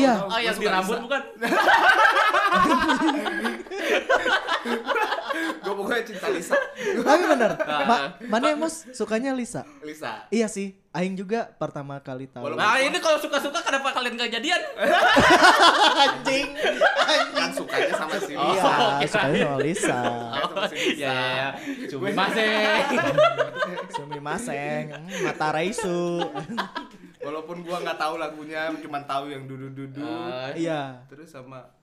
[SPEAKER 1] iya.
[SPEAKER 3] oh yang di
[SPEAKER 2] suka
[SPEAKER 3] rambut
[SPEAKER 2] Lisa.
[SPEAKER 3] bukan
[SPEAKER 2] Gue pokoknya cinta Lisa.
[SPEAKER 1] Tapi bener.
[SPEAKER 3] Ah.
[SPEAKER 1] Ma- mana yang mus sukanya Lisa?
[SPEAKER 2] Lisa.
[SPEAKER 1] Iya sih. Aing juga pertama kali tahu.
[SPEAKER 2] Walaupun-
[SPEAKER 3] nah ini kalau Iya, suka suka kenapa kalian gak jadian *laughs*
[SPEAKER 1] Anjing.
[SPEAKER 2] Kan sukanya sama si
[SPEAKER 3] Oh,
[SPEAKER 1] Iya,
[SPEAKER 2] Lisa.
[SPEAKER 3] kira-
[SPEAKER 1] sukanya sama Lisa.
[SPEAKER 2] Sama si Lisa.
[SPEAKER 3] ya ya ya cumi *laughs* masih
[SPEAKER 1] Sumi Maseng, Mata Raisu.
[SPEAKER 2] Walaupun gua nggak tahu lagunya, cuma tahu yang dudu-dudu.
[SPEAKER 1] Iya.
[SPEAKER 2] Terus sama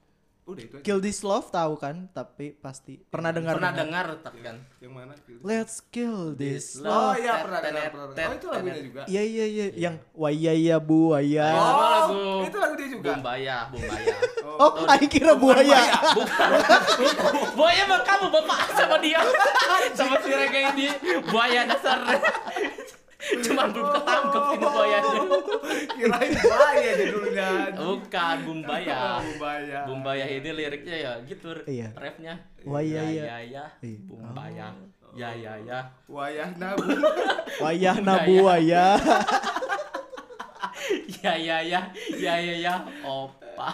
[SPEAKER 2] udah itu aja.
[SPEAKER 1] Kill This Love tahu kan? Tapi pasti pernah dengar.
[SPEAKER 3] pernah
[SPEAKER 1] dengar.
[SPEAKER 3] dengar tapi kan
[SPEAKER 2] Yang mana? Kill This-
[SPEAKER 1] Let's kill this
[SPEAKER 3] This
[SPEAKER 1] love.
[SPEAKER 2] Oh iya pernah dengar,
[SPEAKER 3] Tenet,
[SPEAKER 2] pernah dengar. Oh itu lagunya
[SPEAKER 3] tenet.
[SPEAKER 2] juga.
[SPEAKER 1] Iya iya iya yang waya ya bu waya.
[SPEAKER 3] Oh, lagu.
[SPEAKER 2] itu lagu dia juga.
[SPEAKER 3] Bumbaya, Bumbaya.
[SPEAKER 1] Oh, Aing kira buaya.
[SPEAKER 3] *laughs* buaya mah kamu bapak sama *laughs* dia. sama si Rega ini buaya *laughs* dasar. Cuma belum ketangkep ini buayanya.
[SPEAKER 2] *laughs* Kirain bahaya judulnya.
[SPEAKER 3] *laughs* Bukan Bumbaya.
[SPEAKER 2] Bumbaya.
[SPEAKER 3] Bumbaya ini liriknya ya gitu
[SPEAKER 1] Iya.
[SPEAKER 3] refnya.
[SPEAKER 1] Buaya, ya.
[SPEAKER 3] ya ya ya
[SPEAKER 1] Iya.
[SPEAKER 3] Bumbaya. Ya ya ya. *laughs*
[SPEAKER 2] Wayah nabu.
[SPEAKER 1] Wayah nabu waya.
[SPEAKER 3] Ya ya ya. Ya ya ya. Opa.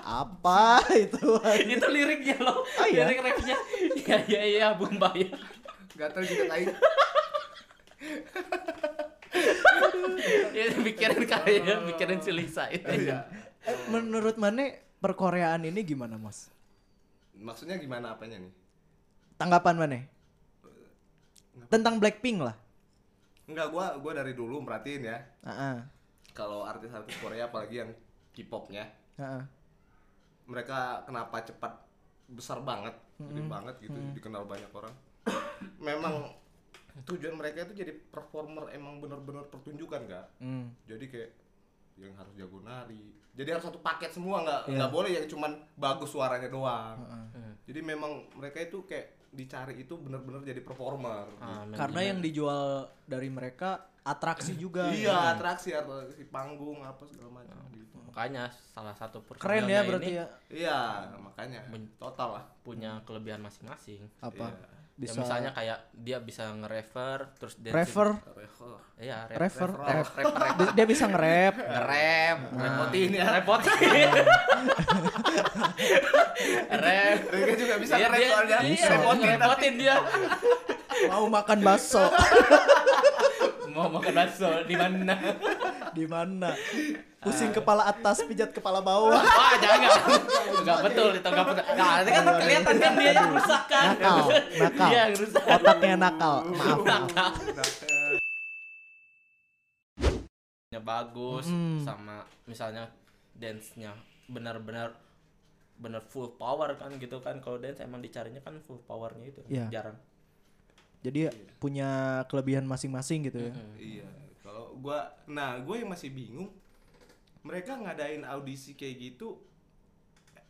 [SPEAKER 1] Apa itu?
[SPEAKER 3] itu liriknya loh.
[SPEAKER 1] Oh, iya?
[SPEAKER 3] Lirik refnya. Ya ya ya Bumbaya.
[SPEAKER 2] Gatel gitu, juga kain.
[SPEAKER 3] Ya mikirin kalian, mikirin si Lisa itu.
[SPEAKER 2] Iya.
[SPEAKER 1] Eh, Menurut Mane perkoreaan ini gimana, Mas?
[SPEAKER 2] Maksudnya gimana apanya nih?
[SPEAKER 1] Tanggapan Mane? Tentang Blackpink lah.
[SPEAKER 2] Enggak, gua gua dari dulu merhatiin ya.
[SPEAKER 1] Heeh.
[SPEAKER 2] Kalau artis-artis Korea apalagi yang K-popnya,
[SPEAKER 1] Heeh.
[SPEAKER 2] mereka kenapa cepat besar banget gede banget gitu dikenal banyak orang *coughs* memang tujuan mereka itu jadi performer emang bener-bener pertunjukan kak
[SPEAKER 1] Hmm.
[SPEAKER 2] jadi kayak yang harus jago nari jadi harus satu paket semua nggak nggak boleh yang cuman bagus suaranya doang jadi memang mereka itu kayak dicari itu bener-bener jadi performer
[SPEAKER 3] Ah,
[SPEAKER 1] Karena yang dijual dari mereka atraksi juga. ya.
[SPEAKER 2] iya atraksi atraksi panggung apa segala macam
[SPEAKER 3] Hmm.
[SPEAKER 2] gitu
[SPEAKER 3] makanya salah satu
[SPEAKER 1] Keren
[SPEAKER 3] personilnya
[SPEAKER 1] ya berarti
[SPEAKER 3] ini
[SPEAKER 1] ya.
[SPEAKER 2] iya makanya total
[SPEAKER 3] *laughs*
[SPEAKER 2] lah
[SPEAKER 3] punya kelebihan masing-masing.
[SPEAKER 1] Apa?
[SPEAKER 2] Iya.
[SPEAKER 3] Ya,
[SPEAKER 1] Bisa
[SPEAKER 3] misalnya kayak dia bisa nge-refer terus dia
[SPEAKER 1] refer,
[SPEAKER 3] Iya, rap,
[SPEAKER 1] refer, Ah.
[SPEAKER 3] rap, rap, rap,
[SPEAKER 1] *laughs* Dia- dia bisa nge-rap.
[SPEAKER 3] nge-rap, repotin
[SPEAKER 1] *laughs*
[SPEAKER 3] ya, repotin. rap.
[SPEAKER 2] Mereka juga bisa
[SPEAKER 3] Iya,
[SPEAKER 2] keren
[SPEAKER 3] dia-
[SPEAKER 2] soalnya
[SPEAKER 3] Iya, repotin, repotin dia.
[SPEAKER 1] Mau makan bakso
[SPEAKER 3] Mau makan bakso di mana?
[SPEAKER 1] di mana? Pusing kepala atas, pijat kepala bawah.
[SPEAKER 3] Wah, jangan. Enggak betul itu enggak betul. Nah,
[SPEAKER 1] Iya,
[SPEAKER 3] itu kan kelihatan kan dia yang rusak kan. Iya,
[SPEAKER 1] Nakal, nakal.
[SPEAKER 3] Dia yang rusak.
[SPEAKER 1] Otaknya nakal. Maaf.
[SPEAKER 3] nya bagus
[SPEAKER 1] Mm.
[SPEAKER 3] sama misalnya dance-nya benar-benar benar full power kan gitu kan kalau dance emang dicarinya kan full powernya itu
[SPEAKER 1] Iya.
[SPEAKER 3] jarang
[SPEAKER 1] Jadi punya kelebihan masing-masing gitu ya.
[SPEAKER 2] *laughs* Iya, kalau gua nah, gue yang masih bingung mereka ngadain audisi kayak gitu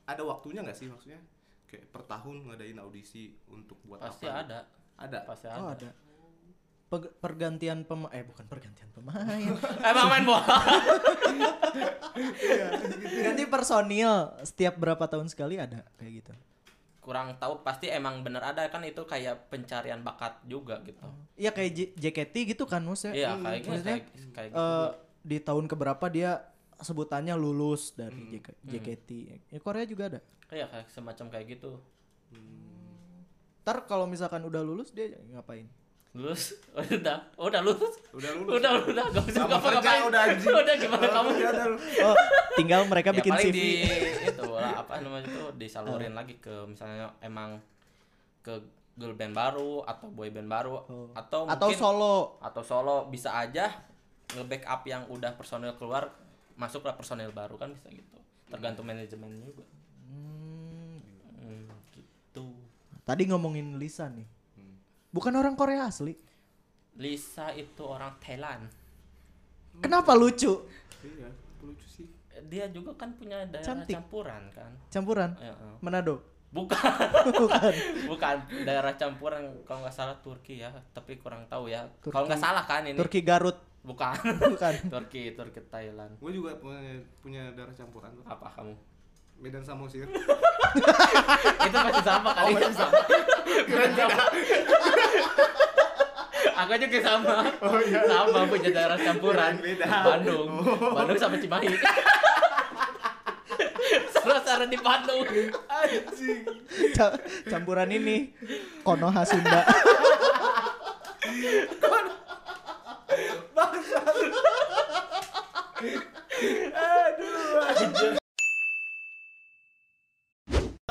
[SPEAKER 2] ada waktunya nggak sih maksudnya? Kayak per tahun ngadain audisi untuk buat
[SPEAKER 3] pasti
[SPEAKER 2] apa?
[SPEAKER 3] ada
[SPEAKER 2] Ada.
[SPEAKER 3] pasti
[SPEAKER 1] Oh
[SPEAKER 3] ada
[SPEAKER 1] ada. Pe- pergantian pemain eh bukan pergantian pemain.
[SPEAKER 3] *laughs* emang main bola
[SPEAKER 1] Ganti personil setiap berapa tahun sekali ada kayak gitu.
[SPEAKER 3] kurang tahu pasti emang bener ada kan itu kayak pencarian bakat juga gitu
[SPEAKER 1] Iya kayak J- JKT gitu kan maksudnya.
[SPEAKER 3] iya kayak gitu
[SPEAKER 1] maksudnya,
[SPEAKER 3] kayak, kayak gitu
[SPEAKER 1] Eh,
[SPEAKER 3] juga.
[SPEAKER 1] di tahun keberapa dia sebutannya lulus dari JK- JKT. Ya, Korea juga ada.
[SPEAKER 3] Iya, kayak semacam kayak gitu
[SPEAKER 1] Ntar kalau misalkan udah lulus dia ngapain?
[SPEAKER 3] lulus *laughs* udah udah lulus
[SPEAKER 2] Udah lulus.
[SPEAKER 3] udah udah gak usah
[SPEAKER 2] Sama
[SPEAKER 3] ngapa
[SPEAKER 2] kerja
[SPEAKER 3] ngapain
[SPEAKER 2] udah anjing.
[SPEAKER 3] udah gimana kamu
[SPEAKER 2] Iya, ada lu.
[SPEAKER 1] Oh, tinggal mereka bikin
[SPEAKER 3] ya, paling
[SPEAKER 1] CV.
[SPEAKER 3] di itu lah, apa namanya itu disalurin lagi ke misalnya emang ke girl band baru atau boy band baru
[SPEAKER 1] Oh.
[SPEAKER 3] atau
[SPEAKER 1] Atau
[SPEAKER 3] mungkin
[SPEAKER 1] solo.
[SPEAKER 3] atau solo bisa aja nge-backup yang udah personil keluar masuklah personil baru kan bisa gitu tergantung manajemen juga
[SPEAKER 1] Hmm,
[SPEAKER 3] Hmm, gitu
[SPEAKER 1] Tadi ngomongin Lisa nih.
[SPEAKER 3] Hmm.
[SPEAKER 1] Bukan orang Korea asli.
[SPEAKER 3] Lisa itu orang Thailand
[SPEAKER 1] Kenapa lucu?
[SPEAKER 2] Iya, lucu sih.
[SPEAKER 3] dia juga kan punya daerah
[SPEAKER 1] Cantik.
[SPEAKER 3] campuran kan
[SPEAKER 1] Campuran.
[SPEAKER 3] Ya, eh. *laughs*
[SPEAKER 1] Manado.
[SPEAKER 3] bukan
[SPEAKER 1] Bukan.
[SPEAKER 3] bukan daerah campuran kalau nggak salah Turki ya tapi kurang tahu ya kalau nggak salah kan ini
[SPEAKER 1] Turki Garut.
[SPEAKER 3] bukan *laughs*
[SPEAKER 1] Bukan.
[SPEAKER 3] Turki Turki Thailand
[SPEAKER 2] Gue juga punya, punya darah campuran tuh.
[SPEAKER 3] apa
[SPEAKER 2] *laughs*
[SPEAKER 3] kamu
[SPEAKER 2] Medan
[SPEAKER 3] *laughs*
[SPEAKER 2] Samosir.
[SPEAKER 3] itu masih sama kali
[SPEAKER 2] masih Oh, sama.
[SPEAKER 3] Keren sama *laughs* aku juga sama sama punya daerah campuran
[SPEAKER 2] Oh, iya. Beda. Oh.
[SPEAKER 3] Bandung Bandung sama Cimahi *laughs* Salah-salah di Bandung
[SPEAKER 2] Anjing.
[SPEAKER 1] Ca- campuran ini Konoha Sunda.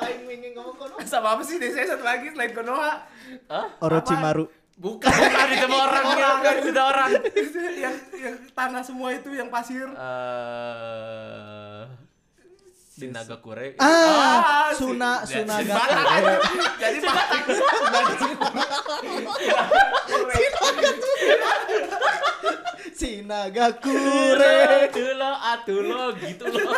[SPEAKER 2] Aing ingin ngomong Konoha. Sama apa sih desanya satu lagi selain Konoha?
[SPEAKER 3] Hah?
[SPEAKER 1] Orochimaru.
[SPEAKER 3] bukan bukan itu mah orang ya bukan itu mah orang
[SPEAKER 2] Iya, yang yang tanah semua itu yang pasir.
[SPEAKER 3] eh Sinaga Kure
[SPEAKER 1] Ah,
[SPEAKER 2] Ah, si-
[SPEAKER 1] Suna
[SPEAKER 3] si- *laughs*
[SPEAKER 1] Sunagata.
[SPEAKER 2] Jadi Batang.
[SPEAKER 1] Shinagakure.
[SPEAKER 3] Kure dulu atuh lo gitu lo *laughs*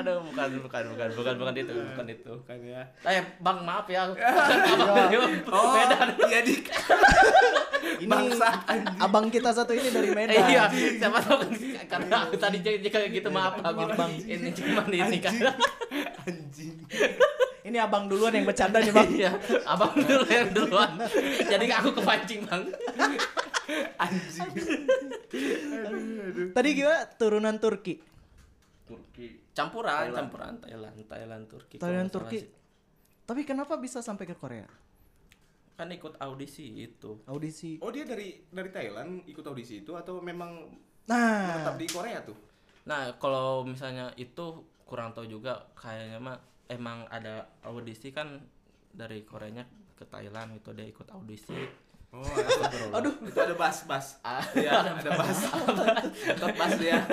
[SPEAKER 3] Aduh bukan bukan bukan bukan bukan itu bukan itu
[SPEAKER 2] Bukan ya.
[SPEAKER 3] Eh bang maaf ya Abang dari
[SPEAKER 2] Oh,
[SPEAKER 3] beda
[SPEAKER 2] jadi
[SPEAKER 1] Ini
[SPEAKER 2] Bangsa,
[SPEAKER 1] abang kita satu ini dari
[SPEAKER 3] Eh,
[SPEAKER 1] Medan.
[SPEAKER 3] iya, siapa tahu kan karena aku tadi jadi kayak
[SPEAKER 2] Iya,
[SPEAKER 3] gitu maaf bang, bang. ini cuma ini kan.
[SPEAKER 2] anjing.
[SPEAKER 1] Ini abang duluan yang bercanda nih, Bang.
[SPEAKER 3] Iya, abang dulu yang duluan. Jadi aku kepancing bang.
[SPEAKER 2] Anjing.
[SPEAKER 1] Tadi gimana? Turunan Turki.
[SPEAKER 2] Turki.
[SPEAKER 3] Campuran, campuran Thailand, Thailand Turki. kalau
[SPEAKER 1] Thailand
[SPEAKER 3] nggak salah
[SPEAKER 1] Turki.
[SPEAKER 3] sih.
[SPEAKER 1] Tapi kenapa bisa sampai ke Korea?
[SPEAKER 3] Kan ikut audisi itu.
[SPEAKER 1] Audisi.
[SPEAKER 2] Oh, dia dari dari Thailand ikut audisi itu atau memang tetap
[SPEAKER 1] Nah,
[SPEAKER 2] di Korea tuh?
[SPEAKER 3] Nah, kalau misalnya itu kurang tahu juga kayaknya mah emang ada audisi kan dari Koreanya ke Thailand itu dia gitu, ikut audisi
[SPEAKER 2] Oh, astagfirullah.
[SPEAKER 3] Aduh.
[SPEAKER 2] itu ada bass bass.
[SPEAKER 3] Ah,
[SPEAKER 2] Iya, *laughs*
[SPEAKER 3] ada
[SPEAKER 2] ada bass. Tetap bass dia.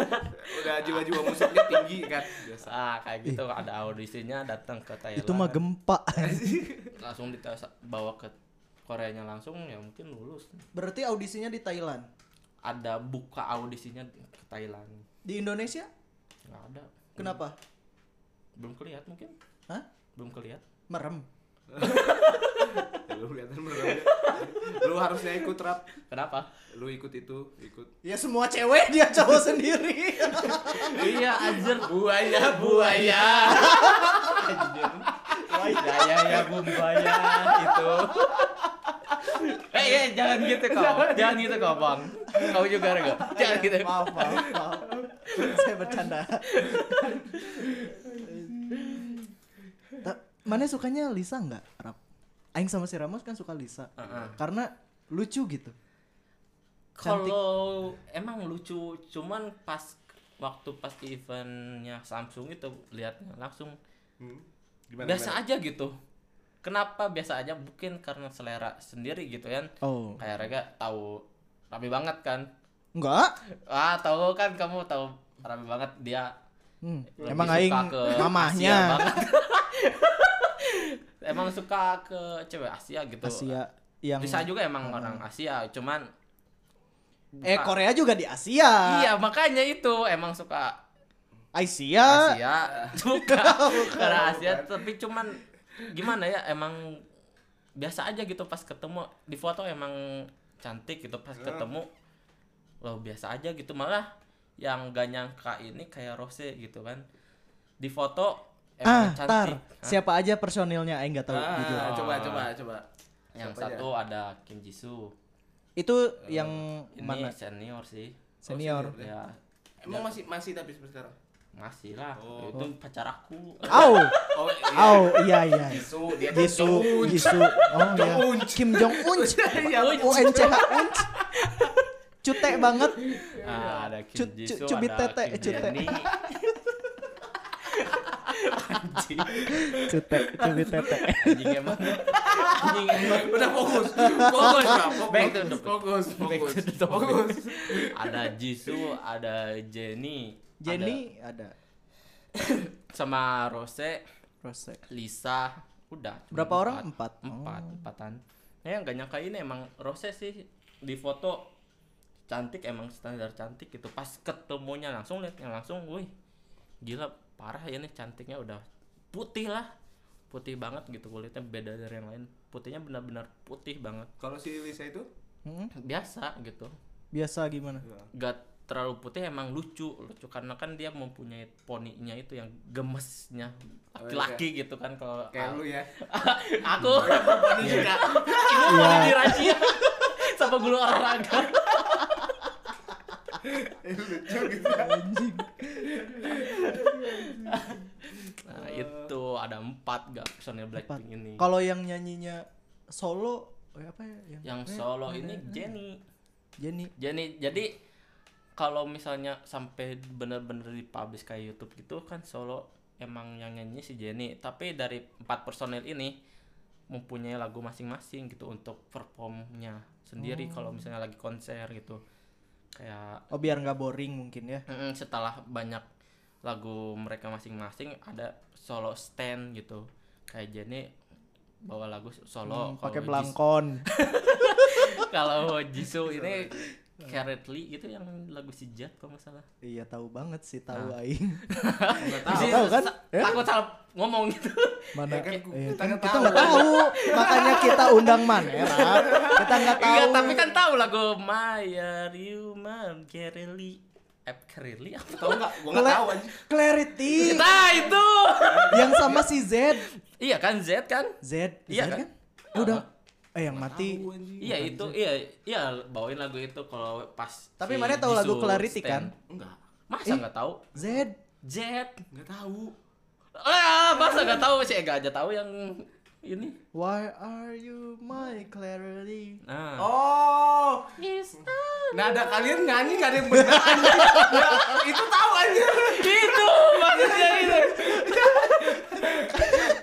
[SPEAKER 2] Udah jiwa-jiwa musiknya tinggi kan. *laughs* Biasa.
[SPEAKER 3] ah kayak gitu ada audisinya datang ke Thailand
[SPEAKER 1] Nah, Itu mah gempa. *laughs*
[SPEAKER 3] langsung dites bawa ke Koreanya langsung ya mungkin lulus
[SPEAKER 1] Berarti audisinya di Thailand.
[SPEAKER 3] ada buka audisinya ke Thailand
[SPEAKER 1] Di Indonesia
[SPEAKER 3] nggak ada
[SPEAKER 1] kenapa?
[SPEAKER 3] belum kelihat mungkin
[SPEAKER 1] Hah?
[SPEAKER 3] belum kelihat
[SPEAKER 1] Merem.
[SPEAKER 2] Ya, lu kelihatan merem. Lu harusnya ikut rap.
[SPEAKER 3] kenapa
[SPEAKER 2] Lu ikut itu, ikut.
[SPEAKER 1] Ya semua cewek dia cowok sendiri.
[SPEAKER 3] *laughs* iya anjir buaya buaya anjir buaya ya buaya gitu *laughs* eh eh, jangan gitu kau jangan gitu kau bang kau juga enggak jangan gitu
[SPEAKER 1] maaf, maaf, maaf. Saya bercanda. Ta- Mana sukanya Lisa nggak, Rap? Aing sama si Ramos kan suka Lisa.
[SPEAKER 3] Heeh.
[SPEAKER 1] Karena lucu gitu. Cantik.
[SPEAKER 3] Kalau emang lucu, cuman pas waktu pas eventnya Samsung itu lihatnya langsung
[SPEAKER 2] Hmm.
[SPEAKER 3] biasa aja gitu. Kenapa biasa aja? Mungkin karena selera sendiri gitu kan.
[SPEAKER 1] Oh.
[SPEAKER 3] Kayak Rega tahu rame banget kan.
[SPEAKER 1] Enggak?
[SPEAKER 3] Ah, tahu kan kamu tahu rame banget dia
[SPEAKER 1] Hmm.
[SPEAKER 3] lebih
[SPEAKER 1] Emang
[SPEAKER 3] suka
[SPEAKER 1] Aing
[SPEAKER 3] ke
[SPEAKER 1] mamahnya.
[SPEAKER 3] Asia banget. *laughs* emang suka ke cewek Asia gitu.
[SPEAKER 1] Asia yang
[SPEAKER 3] Bisa juga emang orang Asia, cuman
[SPEAKER 1] Eh
[SPEAKER 3] Bukan.
[SPEAKER 1] Korea juga di Asia.
[SPEAKER 3] iya makanya itu emang suka
[SPEAKER 1] Asia. *laughs*
[SPEAKER 3] Asia suka karena Asia tapi cuman gimana ya emang biasa aja gitu pas ketemu di foto emang cantik gitu pas
[SPEAKER 1] Hmm.
[SPEAKER 3] ketemu loh biasa aja gitu malah yang gak nyangka ini kayak Rose gitu kan di foto
[SPEAKER 1] Ah,
[SPEAKER 3] emang
[SPEAKER 1] tar.
[SPEAKER 3] Eh, cantik Hah?
[SPEAKER 1] Siapa aja personilnya Aing nggak tahu
[SPEAKER 2] Ah,
[SPEAKER 1] jujur.
[SPEAKER 2] coba coba coba.
[SPEAKER 3] yang
[SPEAKER 2] Siapa aja?
[SPEAKER 3] satu ada Kim Jisoo
[SPEAKER 1] Itu yang
[SPEAKER 3] ini
[SPEAKER 1] mana?
[SPEAKER 3] senior sih
[SPEAKER 1] Senior.
[SPEAKER 2] senior.
[SPEAKER 3] ya
[SPEAKER 2] Emang masih masih tapi seperti sekarang.
[SPEAKER 3] masih lah
[SPEAKER 2] Oh.
[SPEAKER 3] itu pacar aku
[SPEAKER 1] Au,
[SPEAKER 2] Oh, iya.
[SPEAKER 1] au, iya iya.
[SPEAKER 2] Jisoo, dia kan
[SPEAKER 1] Jisoo,
[SPEAKER 2] Jisoo.
[SPEAKER 1] Jisoo. Oh iya. Kim Jong *laughs* Un. U N C H Un. Cute banget.
[SPEAKER 3] Ah, ada Kim
[SPEAKER 1] Cut-
[SPEAKER 3] Jisoo,
[SPEAKER 1] cut- cubit
[SPEAKER 3] ada
[SPEAKER 1] tete,
[SPEAKER 3] Kim
[SPEAKER 1] cute.
[SPEAKER 3] Jennie.
[SPEAKER 1] Cute, cubit *laughs* tete.
[SPEAKER 3] Anjing emang. Anjing emang.
[SPEAKER 2] Udah fokus. Fokus, Bang.
[SPEAKER 3] Back to the-
[SPEAKER 2] Fokus,
[SPEAKER 3] back
[SPEAKER 2] fokus.
[SPEAKER 3] to the topic.
[SPEAKER 2] Fokus.
[SPEAKER 3] Ada Jisoo, ada Jenny,
[SPEAKER 1] Jenny ada.
[SPEAKER 3] ada- sama Rose,
[SPEAKER 1] Rose.
[SPEAKER 3] Lisa, udah. cuma
[SPEAKER 1] Berapa orang? Oh. Empat.
[SPEAKER 3] Empat, empatan. Nah, yang gak nyangka ini emang Rose sih di foto cantik emang standar cantik gitu. Pas ketemunya langsung liatnya langsung, wih gila parah ya nih cantiknya udah putih lah putih banget gitu kulitnya beda dari yang lain putihnya benar-benar putih banget
[SPEAKER 2] Kalau si Lisa itu?
[SPEAKER 1] Mm-mm.
[SPEAKER 3] biasa gitu
[SPEAKER 1] Oh. Hmm. Biasa gimana?
[SPEAKER 3] gak terlalu putih emang lucu lucu karena kan dia mempunyai poninya itu yang gemesnya laki-laki gitu kan kalau
[SPEAKER 2] Kayak lu ya. Iya.
[SPEAKER 3] aku poni *laughs* juga ibu poni dirajia *laughs* sama guru olahraga
[SPEAKER 2] Lucu gitu.
[SPEAKER 3] nah itu ada empat gak personil Blackpink ini
[SPEAKER 1] Kalau yang nyanyinya solo eh, apa ya?
[SPEAKER 3] yang
[SPEAKER 1] eh,
[SPEAKER 3] solo ini Jenny
[SPEAKER 1] Jenny.
[SPEAKER 3] Jenny jadi kalau misalnya sampai bener-bener dipublish kayak YouTube gitu kan solo emang yang nyanyi si Jenny tapi dari empat personel ini mempunyai lagu masing-masing gitu untuk performnya sendiri kalau misalnya lagi konser gitu kayak
[SPEAKER 1] Oh biar nggak boring mungkin ya.
[SPEAKER 3] mm, setelah banyak lagu mereka masing-masing ada solo stand gitu kayak Jenny bawa lagu
[SPEAKER 1] Hmm,
[SPEAKER 3] solo
[SPEAKER 1] pakai
[SPEAKER 3] kalau Jis-
[SPEAKER 1] belangkon.
[SPEAKER 3] *laughs*
[SPEAKER 1] *laughs*
[SPEAKER 3] kalau Jisoo ini Carrotly itu yang lagu si Jad kalau nggak salah
[SPEAKER 1] Iya tahu banget sih tahu *laughs* aing.
[SPEAKER 2] Enggak
[SPEAKER 1] Tahu.
[SPEAKER 3] Jisoo
[SPEAKER 1] Tahu kan?
[SPEAKER 3] sa-
[SPEAKER 1] Ya?
[SPEAKER 3] takut salah ngomong gitu
[SPEAKER 1] Mana
[SPEAKER 2] Ya kan,
[SPEAKER 1] eh,
[SPEAKER 2] kita
[SPEAKER 1] kan
[SPEAKER 2] nggak
[SPEAKER 1] kita
[SPEAKER 2] tahu.
[SPEAKER 1] nggak tahu. Makanya kita undang *laughs* Manera. Kita nggak tahu.
[SPEAKER 3] Iya, tapi kan tahu lagu Maya Ryuman Carrotly App Carrotly apa?
[SPEAKER 2] Tahu enggak? Gua enggak
[SPEAKER 1] Cla-
[SPEAKER 2] tahu anjing.
[SPEAKER 1] Clarity
[SPEAKER 3] nah itu
[SPEAKER 1] yang sama si Z.
[SPEAKER 3] iya kan Z kan
[SPEAKER 1] Z,
[SPEAKER 3] Iya
[SPEAKER 1] Z
[SPEAKER 3] kan?
[SPEAKER 1] kan? Udah. Eh yang mati.
[SPEAKER 2] Tahu, anjing.
[SPEAKER 3] iya itu iya iya bawain lagu itu kalau pas
[SPEAKER 1] Tapi
[SPEAKER 3] si
[SPEAKER 1] mana tahu lagu
[SPEAKER 3] Jisoo
[SPEAKER 1] Clarity
[SPEAKER 3] stand.
[SPEAKER 1] kan?
[SPEAKER 2] Enggak.
[SPEAKER 3] masa
[SPEAKER 1] Eh.
[SPEAKER 3] nggak tahu
[SPEAKER 1] Z.
[SPEAKER 3] Jet
[SPEAKER 2] Enggak tahu.
[SPEAKER 3] ah masa nggak tahu sih Ega aja tahu yang ini
[SPEAKER 1] Why are you my clarity?
[SPEAKER 3] nah Gitu,
[SPEAKER 2] Oh. Nah, ada kalian nyanyi enggak ada yang benar anjing. Ya, itu tahu anjing.
[SPEAKER 3] gitu.
[SPEAKER 1] Eh.
[SPEAKER 3] itu maksudnya itu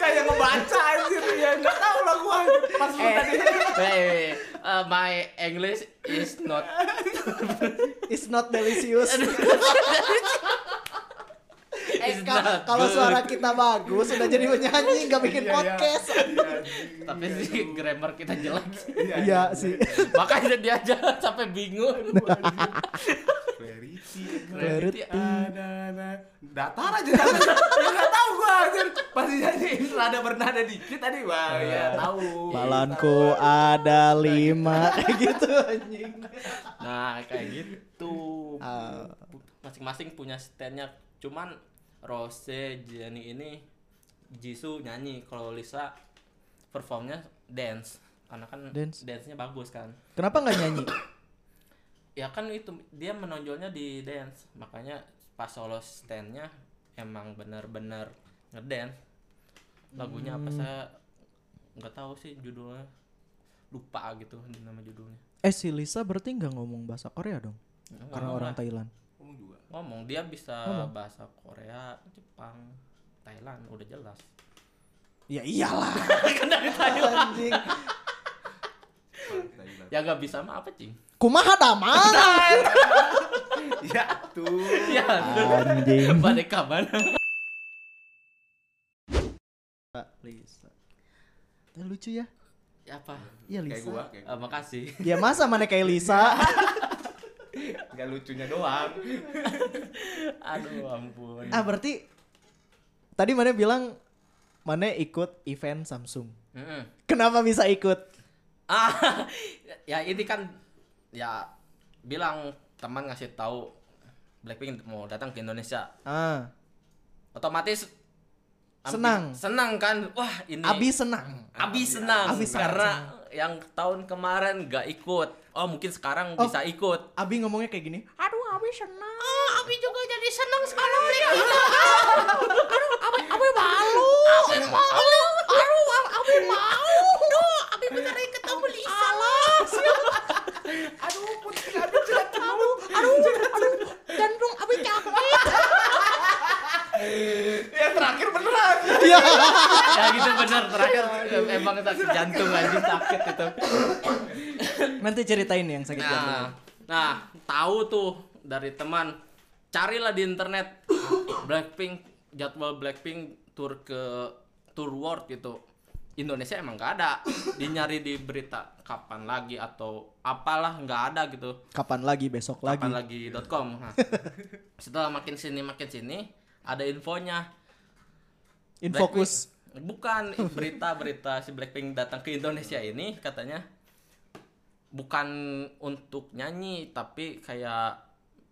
[SPEAKER 2] kayak ngebaca anjir ya nggak tahu lah gua pas lu
[SPEAKER 3] Eh,
[SPEAKER 2] tadi
[SPEAKER 3] eh, eh, eh, my English is not
[SPEAKER 1] It's not delicious. eh,
[SPEAKER 3] It's
[SPEAKER 1] ka-
[SPEAKER 3] not
[SPEAKER 1] kalau
[SPEAKER 3] good.
[SPEAKER 1] suara kita bagus udah jadi penyanyi nggak bikin
[SPEAKER 2] *laughs* Iya, iya.
[SPEAKER 1] podcast.
[SPEAKER 2] Iya, anjing.
[SPEAKER 3] tapi
[SPEAKER 2] Iya,
[SPEAKER 3] sih
[SPEAKER 2] aduh.
[SPEAKER 3] grammar kita jelek
[SPEAKER 1] Iya sih.
[SPEAKER 3] makanya dia aja sampai bingung
[SPEAKER 2] Clarity
[SPEAKER 1] Clarity.
[SPEAKER 3] Hmm.
[SPEAKER 2] Ada datar aja datar. ya nggak tahu gua anjir pasti jadi *laughs* rada bernada dikit tadi wah
[SPEAKER 3] Iya.
[SPEAKER 2] ya tahu
[SPEAKER 1] Balanku ada lima *laughs* kayak gitu anjing.
[SPEAKER 3] nah kayak gitu
[SPEAKER 1] Ah.
[SPEAKER 3] masing-masing punya standnya cuman Rose Jenny ini Jisoo nyanyi kalau Lisa performnya dance karena kan
[SPEAKER 1] Dance.
[SPEAKER 3] dance-nya bagus kan
[SPEAKER 1] Kenapa nggak nyanyi?
[SPEAKER 3] ya kan itu dia menonjolnya di dance makanya pas solo standnya emang bener-bener ngedance lagunya
[SPEAKER 1] Hmm.
[SPEAKER 3] apa saya nggak tahu sih judulnya lupa gitu nama judulnya
[SPEAKER 1] *coughs* Eh si Lisa berarti nggak ngomong bahasa Korea dong? Karena
[SPEAKER 3] Ngomong
[SPEAKER 1] orang
[SPEAKER 3] lah.
[SPEAKER 1] Thailand.
[SPEAKER 2] Ngomong juga.
[SPEAKER 3] ngomong dia bisa
[SPEAKER 1] Ngomong.
[SPEAKER 3] bahasa Korea Jepang Thailand udah jelas
[SPEAKER 1] Ya iyalah. anjing.
[SPEAKER 2] Pantai banget.
[SPEAKER 3] ya nggak bisa mah apa cing *laughs*
[SPEAKER 1] Kumaha damang?
[SPEAKER 2] ya tuh
[SPEAKER 3] ya
[SPEAKER 1] Ah. Anjing.
[SPEAKER 3] *laughs* balik kabar *laughs*
[SPEAKER 1] Lisa. Eh, lucu ya?
[SPEAKER 3] apa
[SPEAKER 1] Iya
[SPEAKER 2] kayak
[SPEAKER 1] Lisa.
[SPEAKER 2] gua kayak gitu.
[SPEAKER 3] Eh, makasih
[SPEAKER 1] Ya masa mana kayak Lisa?
[SPEAKER 2] nggak lucunya doang
[SPEAKER 3] *laughs* aduh ampun
[SPEAKER 1] ah berarti tadi mana bilang mana ikut event Samsung.
[SPEAKER 3] Mm-mm.
[SPEAKER 1] Kenapa bisa ikut?
[SPEAKER 3] ah *laughs* ya ini kan ya bilang teman ngasih tahu Blackpink mau datang ke Indonesia
[SPEAKER 1] Ah,
[SPEAKER 3] otomatis ambi-
[SPEAKER 1] Senang.
[SPEAKER 3] senang kan wah ini
[SPEAKER 1] Abi senang.
[SPEAKER 3] Abi senang
[SPEAKER 1] Abi senang.
[SPEAKER 3] karena yang tahun kemarin gak ikut oh mungkin sekarang
[SPEAKER 1] Oh.
[SPEAKER 3] bisa
[SPEAKER 1] *laughs*
[SPEAKER 3] ikut
[SPEAKER 1] Abi ngomongnya kayak gini.
[SPEAKER 4] Aduh, Abi senang.
[SPEAKER 3] Abi juga jadi senang sekali
[SPEAKER 4] Abi, Abi malu. Abi malu. Aduh, Ab- Abi mau. Duh, Abi bentar lagi ketemu Lisa. Alah,
[SPEAKER 2] aduh putih aduh jelek kamu
[SPEAKER 4] aduh, aduh. Jantung Abi capek.
[SPEAKER 2] yang terakhir beneran
[SPEAKER 1] Iya.
[SPEAKER 3] ya gitu bener terakhir emang sakit jantung aja sakit itu
[SPEAKER 1] Nanti ceritain yang sakit jantung.
[SPEAKER 3] nah nah tahu tuh dari teman carilah di internet Blackpink jadwal Blackpink tour ke tour world gitu Indonesia emang nggak ada dinyari di berita kapan lagi atau apalah nggak ada gitu
[SPEAKER 1] Kapan lagi? Besok lagi.
[SPEAKER 3] kapan lagi.com. Nah, setelah makin sini makin sini ada infonya
[SPEAKER 1] Infokus.
[SPEAKER 3] Blackpink- bukan berita-berita si Blackpink datang ke Indonesia ini katanya bukan untuk nyanyi tapi kayak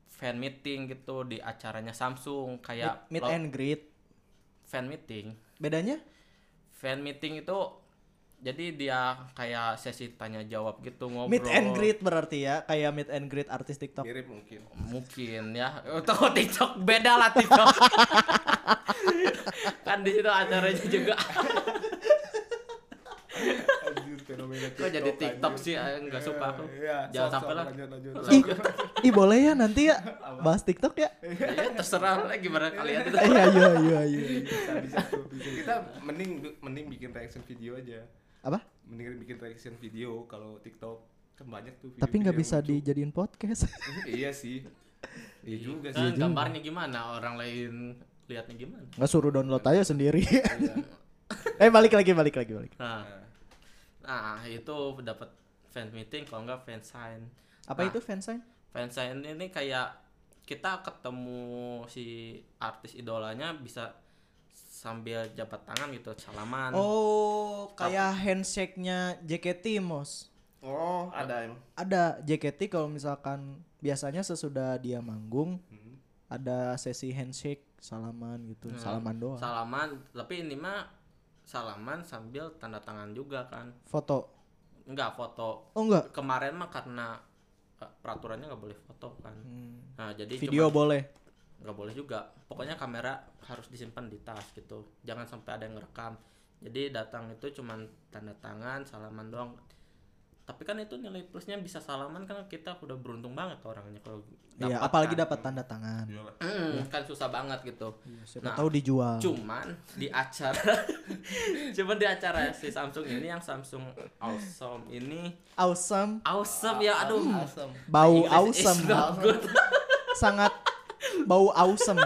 [SPEAKER 3] fan meeting gitu di acaranya Samsung
[SPEAKER 1] Meet,
[SPEAKER 3] kayak
[SPEAKER 1] meet
[SPEAKER 3] Ya, lo-
[SPEAKER 1] and greet.
[SPEAKER 3] fan meeting.
[SPEAKER 1] Bedanya?
[SPEAKER 3] Fan meeting itu jadi dia kayak sesi tanya jawab gitu ngobrol.
[SPEAKER 1] Meet and greet berarti ya, kayak meet and greet artis TikTok.
[SPEAKER 2] mirip mungkin
[SPEAKER 3] mungkin ya untuk TikTok beda lah TikTok
[SPEAKER 1] *laughs*
[SPEAKER 3] kan di situ acaranya juga
[SPEAKER 2] anjir fenomena Iya,
[SPEAKER 3] kok jadi TikTok sih eh, nggak suka aku jangan sampai lah
[SPEAKER 1] Ih, ih boleh ya nanti ya bahas TikTok ya?
[SPEAKER 3] ya terserah lah gimana kalian itu
[SPEAKER 1] Iya iya iya iya.
[SPEAKER 2] kita mending mending bikin reaction video aja
[SPEAKER 1] Apa?
[SPEAKER 2] mending bikin reaction video kalau TikTok kan banyak tuh video
[SPEAKER 1] Tapi nggak bisa dijadiin podcast.
[SPEAKER 2] iya sih iya juga
[SPEAKER 3] Eh,
[SPEAKER 2] sih
[SPEAKER 3] gambarnya gimana orang lain lihatnya gimana
[SPEAKER 1] *laughs* Nggak suruh download aja sendiri. *laughs* eh balik lagi balik lagi balik.
[SPEAKER 3] nah
[SPEAKER 2] Nah,
[SPEAKER 3] nah itu dapat fan meeting kalau nggak fan sign
[SPEAKER 1] Apa
[SPEAKER 3] Nah,
[SPEAKER 1] itu fansign?
[SPEAKER 3] fan sign ini kayak kita ketemu si artis idolanya bisa sambil jabat tangan gitu salaman
[SPEAKER 1] Oh, kayak handshake-nya JKT, Mos.
[SPEAKER 2] oh ada emang
[SPEAKER 1] Ada JKT kalau misalkan biasanya sesudah dia manggung
[SPEAKER 2] Hmm.
[SPEAKER 1] ada sesi handshake, salaman gitu, salaman doang.
[SPEAKER 3] salaman tapi ini mah salaman sambil tanda tangan juga kan
[SPEAKER 1] Foto.
[SPEAKER 3] nggak foto
[SPEAKER 1] Oh enggak.
[SPEAKER 3] kemarin mah karena eh, peraturannya nggak boleh foto kan nah jadi
[SPEAKER 1] Hmm. Video
[SPEAKER 3] cuman
[SPEAKER 1] boleh.
[SPEAKER 3] nggak boleh juga pokoknya kamera harus disimpan di tas gitu jangan sampai ada yang ngerekam jadi datang itu cuman tanda tangan salaman doang tapi kan itu nilai plusnya bisa salaman kan kita udah beruntung banget orangnya kalau
[SPEAKER 1] Iya,
[SPEAKER 3] dapat
[SPEAKER 1] apalagi Iya.
[SPEAKER 3] kan.
[SPEAKER 1] dapat tanda tangan.
[SPEAKER 2] Iyalah.
[SPEAKER 3] Hmm, kan susah banget gitu
[SPEAKER 1] Iya, Siapa
[SPEAKER 3] Nah,
[SPEAKER 1] tahu dijual.
[SPEAKER 3] cuman di acara *laughs* cuman di acara si Samsung ini yang Samsung Awesome ini
[SPEAKER 1] Awesome,
[SPEAKER 3] awesome ya aduh
[SPEAKER 2] Hmm.
[SPEAKER 4] Awesome.
[SPEAKER 1] Ah. bau
[SPEAKER 3] English Nah, iya, is
[SPEAKER 1] awesome,
[SPEAKER 3] not good.
[SPEAKER 1] sangat bau awesome,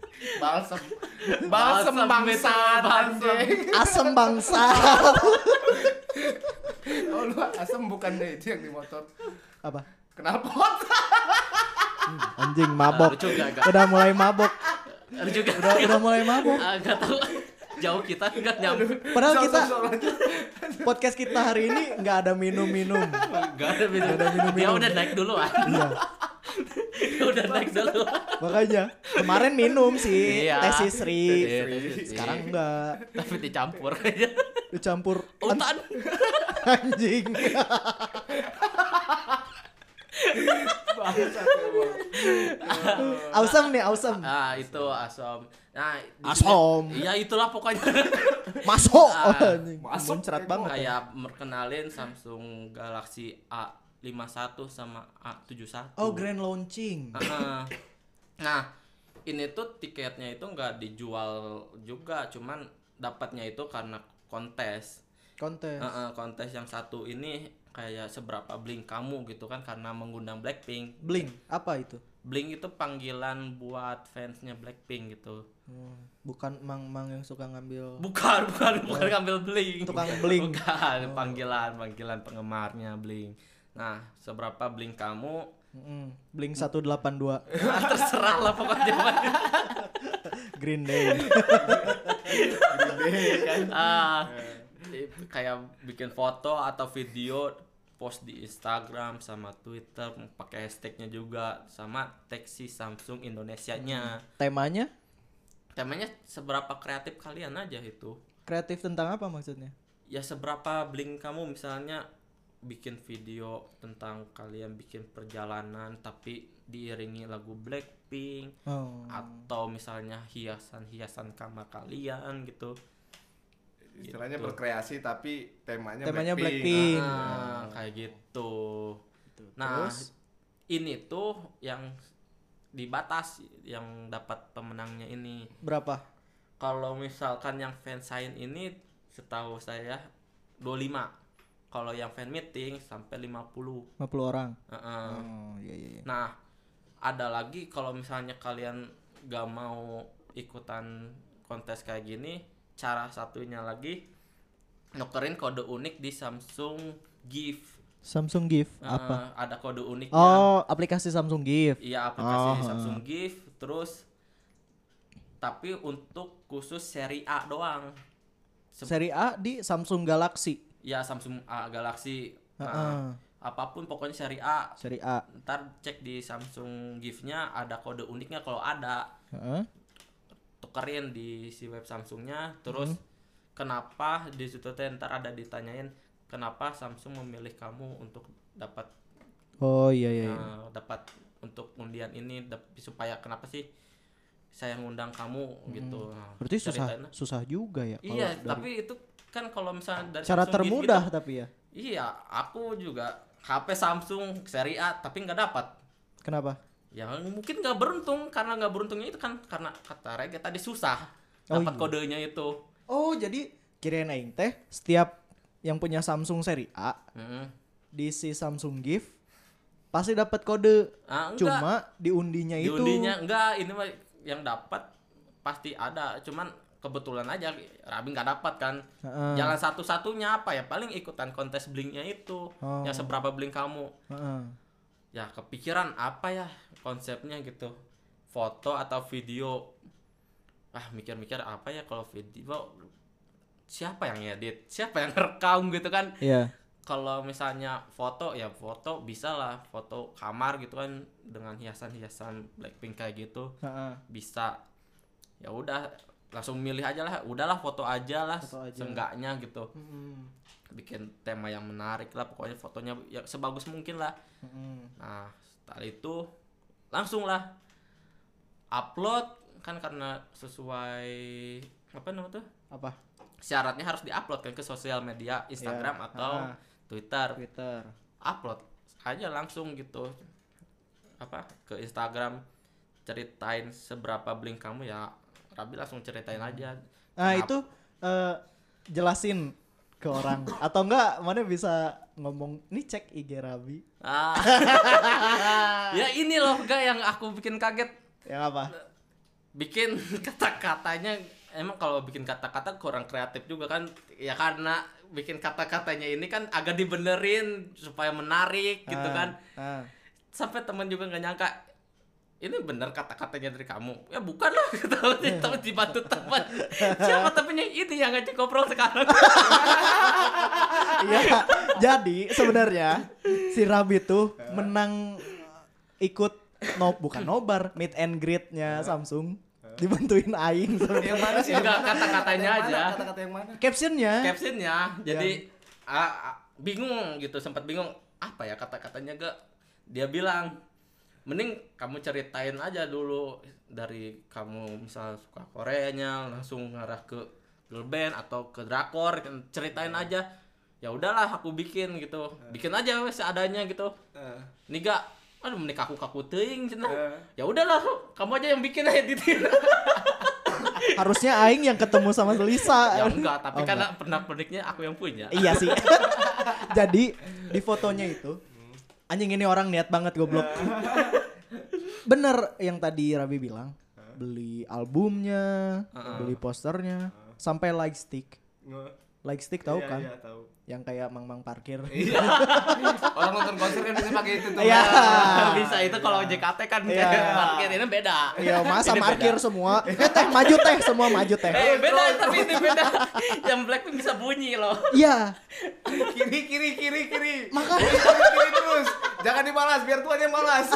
[SPEAKER 2] *laughs*
[SPEAKER 4] Balsam.
[SPEAKER 3] Balsam,
[SPEAKER 4] Balsam bangsa.
[SPEAKER 3] betul, balsam.
[SPEAKER 4] anjing.
[SPEAKER 1] asem bangsa.
[SPEAKER 4] Oh lu asem bukan deh itu yang di motor.
[SPEAKER 1] Apa?
[SPEAKER 4] Kenapa?
[SPEAKER 1] *laughs* Anjing mabok.
[SPEAKER 3] lucu gak gak
[SPEAKER 1] Udah mulai mabok.
[SPEAKER 3] Ada juga
[SPEAKER 1] Udah, udah mulai mabok.
[SPEAKER 3] Ah, gak tahu jauh kita nggak nyambung
[SPEAKER 1] Padahal Nah,
[SPEAKER 4] Sok,
[SPEAKER 1] kita
[SPEAKER 4] sok, sok,
[SPEAKER 2] *laughs*
[SPEAKER 4] lanjut.
[SPEAKER 1] podcast kita hari ini nggak ada minum-minum.
[SPEAKER 3] nggak ada minum
[SPEAKER 1] ada minum-minum.
[SPEAKER 3] dia udah naik duluan *laughs*
[SPEAKER 1] Iya.
[SPEAKER 3] dia udah naik duluan
[SPEAKER 1] Makanya kemarin minum sih
[SPEAKER 3] Iya.
[SPEAKER 1] teh Sisri.
[SPEAKER 3] Iya, teh Sisri.
[SPEAKER 1] Sekarang enggak
[SPEAKER 3] *laughs* tapi
[SPEAKER 1] *laughs*
[SPEAKER 3] dicampur aja
[SPEAKER 1] dicampur an-
[SPEAKER 3] utan
[SPEAKER 1] *laughs* anjing.
[SPEAKER 4] Bangsat emang.
[SPEAKER 1] Awesome nih, awesome.
[SPEAKER 3] ah itu asom nah di
[SPEAKER 1] Asom.
[SPEAKER 3] sini- iya itulah pokoknya *laughs*
[SPEAKER 1] Masuk. Oh,
[SPEAKER 3] Ah,
[SPEAKER 1] Anjing.
[SPEAKER 4] masuk,
[SPEAKER 1] Muncrat
[SPEAKER 4] ego.
[SPEAKER 1] banget.
[SPEAKER 3] kayak merkenalin Samsung Galaxy A51 sama A71
[SPEAKER 1] Oh, grand launching.
[SPEAKER 3] Heeh. nah ini tuh tiketnya itu nggak dijual juga cuman dapatnya itu karena kontes
[SPEAKER 1] Kontes.
[SPEAKER 3] Heeh, kontes yang satu ini kayak seberapa bling kamu gitu kan karena mengundang Blackpink
[SPEAKER 1] Bling, apa itu?
[SPEAKER 3] Blink itu panggilan buat fansnya Blackpink gitu
[SPEAKER 1] Hmm, Bukan mang-mang yang suka ngambil
[SPEAKER 3] bukan bukan bukan ngambil Blink
[SPEAKER 1] Tukang Blink.
[SPEAKER 3] bukan panggilan panggilan penggemarnya Blink nah seberapa Blink kamu
[SPEAKER 1] Mm-mm. Bling
[SPEAKER 3] *laughs*
[SPEAKER 1] 182
[SPEAKER 3] Nah, terserah lah pokoknya
[SPEAKER 1] Green Day.
[SPEAKER 3] Ah, eh, kayak bikin foto atau video post di Instagram sama Twitter pakai hashtagnya juga sama tag si Samsung Indonesianya
[SPEAKER 1] Temanya
[SPEAKER 3] temanya seberapa kreatif kalian aja itu
[SPEAKER 1] kreatif tentang apa maksudnya?
[SPEAKER 3] ya seberapa bling kamu misalnya bikin video tentang kalian bikin perjalanan tapi diiringi lagu Blackpink
[SPEAKER 1] Oh.
[SPEAKER 3] atau misalnya hiasan-hiasan kamar kalian gitu
[SPEAKER 2] Istilahnya
[SPEAKER 3] Gitu.
[SPEAKER 2] berkreasi tapi temanya,
[SPEAKER 1] Temanya Blackpink.
[SPEAKER 2] Blackpink.
[SPEAKER 3] Ah, kayak gitu. Nah, ini tuh yang dibatas yang dapat pemenangnya ini.
[SPEAKER 1] Berapa?
[SPEAKER 3] Kalau misalkan yang fansign ini setahu saya 25. Kalau yang fan meeting sampai 50.
[SPEAKER 1] 50 orang.
[SPEAKER 3] Heeh.
[SPEAKER 1] Oh, iya iya iya.
[SPEAKER 3] Nah, ada lagi kalau misalnya kalian gak mau ikutan kontes kayak gini, cara satunya lagi nukerin kode unik di Samsung Gift.
[SPEAKER 1] Samsung Gift
[SPEAKER 3] Nah,
[SPEAKER 1] apa?
[SPEAKER 3] Ada kode uniknya.
[SPEAKER 1] Oh, aplikasi Samsung Gift.
[SPEAKER 3] Iya, aplikasi
[SPEAKER 1] Oh,
[SPEAKER 3] Samsung Gift terus tapi untuk khusus seri A doang. Se-
[SPEAKER 1] Seri A di Samsung Galaxy.
[SPEAKER 3] Ya Samsung A Galaxy.
[SPEAKER 1] Heeh.
[SPEAKER 3] Nah, apapun pokoknya seri A.
[SPEAKER 1] Seri A.
[SPEAKER 3] Ntar cek di Samsung Gift-nya ada kode uniknya kalau ada.
[SPEAKER 1] Heeh.
[SPEAKER 3] tukerin di si web
[SPEAKER 1] Mhm.
[SPEAKER 3] Samsungnya terus kenapa di situ teh ntar ada ditanyain kenapa Samsung memilih kamu untuk dapat
[SPEAKER 1] Oh iya iya. iya.
[SPEAKER 3] eh, dapat untuk undian ini dap- supaya kenapa sih saya ngundang kamu gitu
[SPEAKER 1] Mhm.
[SPEAKER 3] Nah,
[SPEAKER 1] Berarti susah
[SPEAKER 3] ceritain lah.
[SPEAKER 1] susah juga ya kalau
[SPEAKER 3] iya
[SPEAKER 1] dari-
[SPEAKER 3] tapi itu kan kalau misalnya dari
[SPEAKER 1] cara
[SPEAKER 3] Samsung gitu-
[SPEAKER 1] termudah tapi ya.
[SPEAKER 3] gitu, iya aku juga HP Samsung seri A tapi nggak dapat
[SPEAKER 1] Kenapa?
[SPEAKER 3] ya mungkin nggak beruntung karena nggak beruntungnya itu kan karena kata Rega tadi susah
[SPEAKER 1] Oh,
[SPEAKER 3] dapat
[SPEAKER 1] iya.
[SPEAKER 3] kodenya itu
[SPEAKER 1] Oh, jadi kirain aing teh setiap yang punya Samsung seri A
[SPEAKER 3] Mm-mm.
[SPEAKER 1] di si Samsung Gift pasti dapat kode.
[SPEAKER 3] Ah, enggak.
[SPEAKER 1] Cuma diundinya itu.
[SPEAKER 3] diundinya enggak ini mah yang dapat pasti ada cuman kebetulan aja Rabi nggak dapat kan
[SPEAKER 1] Heeh.
[SPEAKER 3] jalan satu-satunya apa ya paling ikutan kontes blinknya itu
[SPEAKER 1] Oh.
[SPEAKER 3] yang seberapa blink kamu
[SPEAKER 1] Heeh.
[SPEAKER 3] ya kepikiran apa ya konsepnya gitu foto atau video ah mikir-mikir apa ya kalau video siapa yang edit siapa yang *laughs* rekam gitu kan
[SPEAKER 1] Iya.
[SPEAKER 3] kalau misalnya foto ya foto bisa lah foto kamar gitu kan dengan hiasan-hiasan Blackpink kayak gitu
[SPEAKER 1] Heeh.
[SPEAKER 3] bisa ya udah langsung milih aja lah udahlah foto aja lah
[SPEAKER 1] Foto aja.
[SPEAKER 3] seenggaknya gitu
[SPEAKER 1] Mm-mm.
[SPEAKER 3] bikin tema yang menarik lah pokoknya fotonya ya sebagus mungkin lah
[SPEAKER 1] Mm-mm.
[SPEAKER 3] nah setelah itu langsung lah upload kan karena sesuai apa namanya tuh
[SPEAKER 1] Apa?
[SPEAKER 3] syaratnya harus diupload kan ke sosial media Instagram
[SPEAKER 1] Iya.
[SPEAKER 3] atau
[SPEAKER 1] Ah.
[SPEAKER 3] Twitter
[SPEAKER 1] Twitter.
[SPEAKER 3] upload aja langsung gitu apa ke Instagram ceritain seberapa bling kamu ya Rabi langsung ceritain aja
[SPEAKER 1] Nah,
[SPEAKER 3] Kenapa-
[SPEAKER 1] itu eh, jelasin ke
[SPEAKER 3] *laughs*
[SPEAKER 1] orang atau enggak mana bisa ngomong nih cek IG Rabi
[SPEAKER 3] Ah. ya ini loh gak yang aku bikin kaget
[SPEAKER 1] yang Ya, apa?
[SPEAKER 3] bikin *laughs* kata-katanya emang kalau bikin kata-kata kurang kreatif juga kan ya karena bikin kata-katanya ini kan agak dibenerin supaya menarik gitu
[SPEAKER 1] Ah,
[SPEAKER 3] kan
[SPEAKER 1] ah.
[SPEAKER 3] sampai teman juga nggak nyangka ini bener kata-katanya dari kamu ya bukan lah *laughs* ketahuan teman dibantu teman siapa temennya ini yang ngajak ngobrol sekarang
[SPEAKER 1] Iya. Jadi sebenarnya si Rabi tuh menang ikut no bukan nobar meet and greet-nya Samsung dibantuin aing
[SPEAKER 2] yang Nah. mana sih
[SPEAKER 3] Enggak, kata-katanya
[SPEAKER 2] Yang mana?
[SPEAKER 3] aja.
[SPEAKER 2] kata-kata yang mana
[SPEAKER 1] captionnya
[SPEAKER 3] captionnya jadi ah, ah, bingung gitu sempat bingung apa ya kata-katanya gak dia bilang mending kamu ceritain aja dulu dari kamu misal suka Koreanya langsung ngarah ke girl band atau ke drakor ceritain aja ya udahlah aku bikin gitu bikin aja wes seadanya gitu
[SPEAKER 2] Eh,
[SPEAKER 3] nih gak aduh mending kaku kaku ting cenah.
[SPEAKER 2] Eh.
[SPEAKER 3] ya udahlah kamu aja yang bikin *laughs* "Ya aja editin
[SPEAKER 1] harusnya aing yang ketemu sama Lisa
[SPEAKER 3] ya enggak tapi
[SPEAKER 1] Oh,
[SPEAKER 3] karena pernah perniknya aku yang punya
[SPEAKER 1] Iya sih. *laughs* Jadi di fotonya itu anjing ini orang niat banget goblok. Bener yang tadi Rabi bilang, beli albumnya, beli posternya, sampai light stick.
[SPEAKER 2] nge-
[SPEAKER 1] Light stick tahu
[SPEAKER 2] iya,
[SPEAKER 1] kan?
[SPEAKER 2] iya, tahu.
[SPEAKER 1] Yang kayak mang-mang parkir.
[SPEAKER 2] Iya. Orang nonton konser kan bisa pakai itu tuh.
[SPEAKER 1] Iya.
[SPEAKER 3] Ah, *laughs* bisa itu kalau JKT kan
[SPEAKER 1] Iya.
[SPEAKER 3] parkir ini beda. *laughs*
[SPEAKER 1] Iya, masa
[SPEAKER 3] Ini beda.
[SPEAKER 1] parkir semua. Eh teh maju teh semua maju teh.
[SPEAKER 3] Eh beda tapi ini beda. Yang Blackpink bisa bunyi
[SPEAKER 1] *laughs*
[SPEAKER 3] loh.
[SPEAKER 1] Iya,
[SPEAKER 2] *laughs* Kiri kiri kiri kiri.
[SPEAKER 1] makanya
[SPEAKER 2] Kiri, kiri, kiri terus. Jangan dibalas, biar Tuhan yang balas.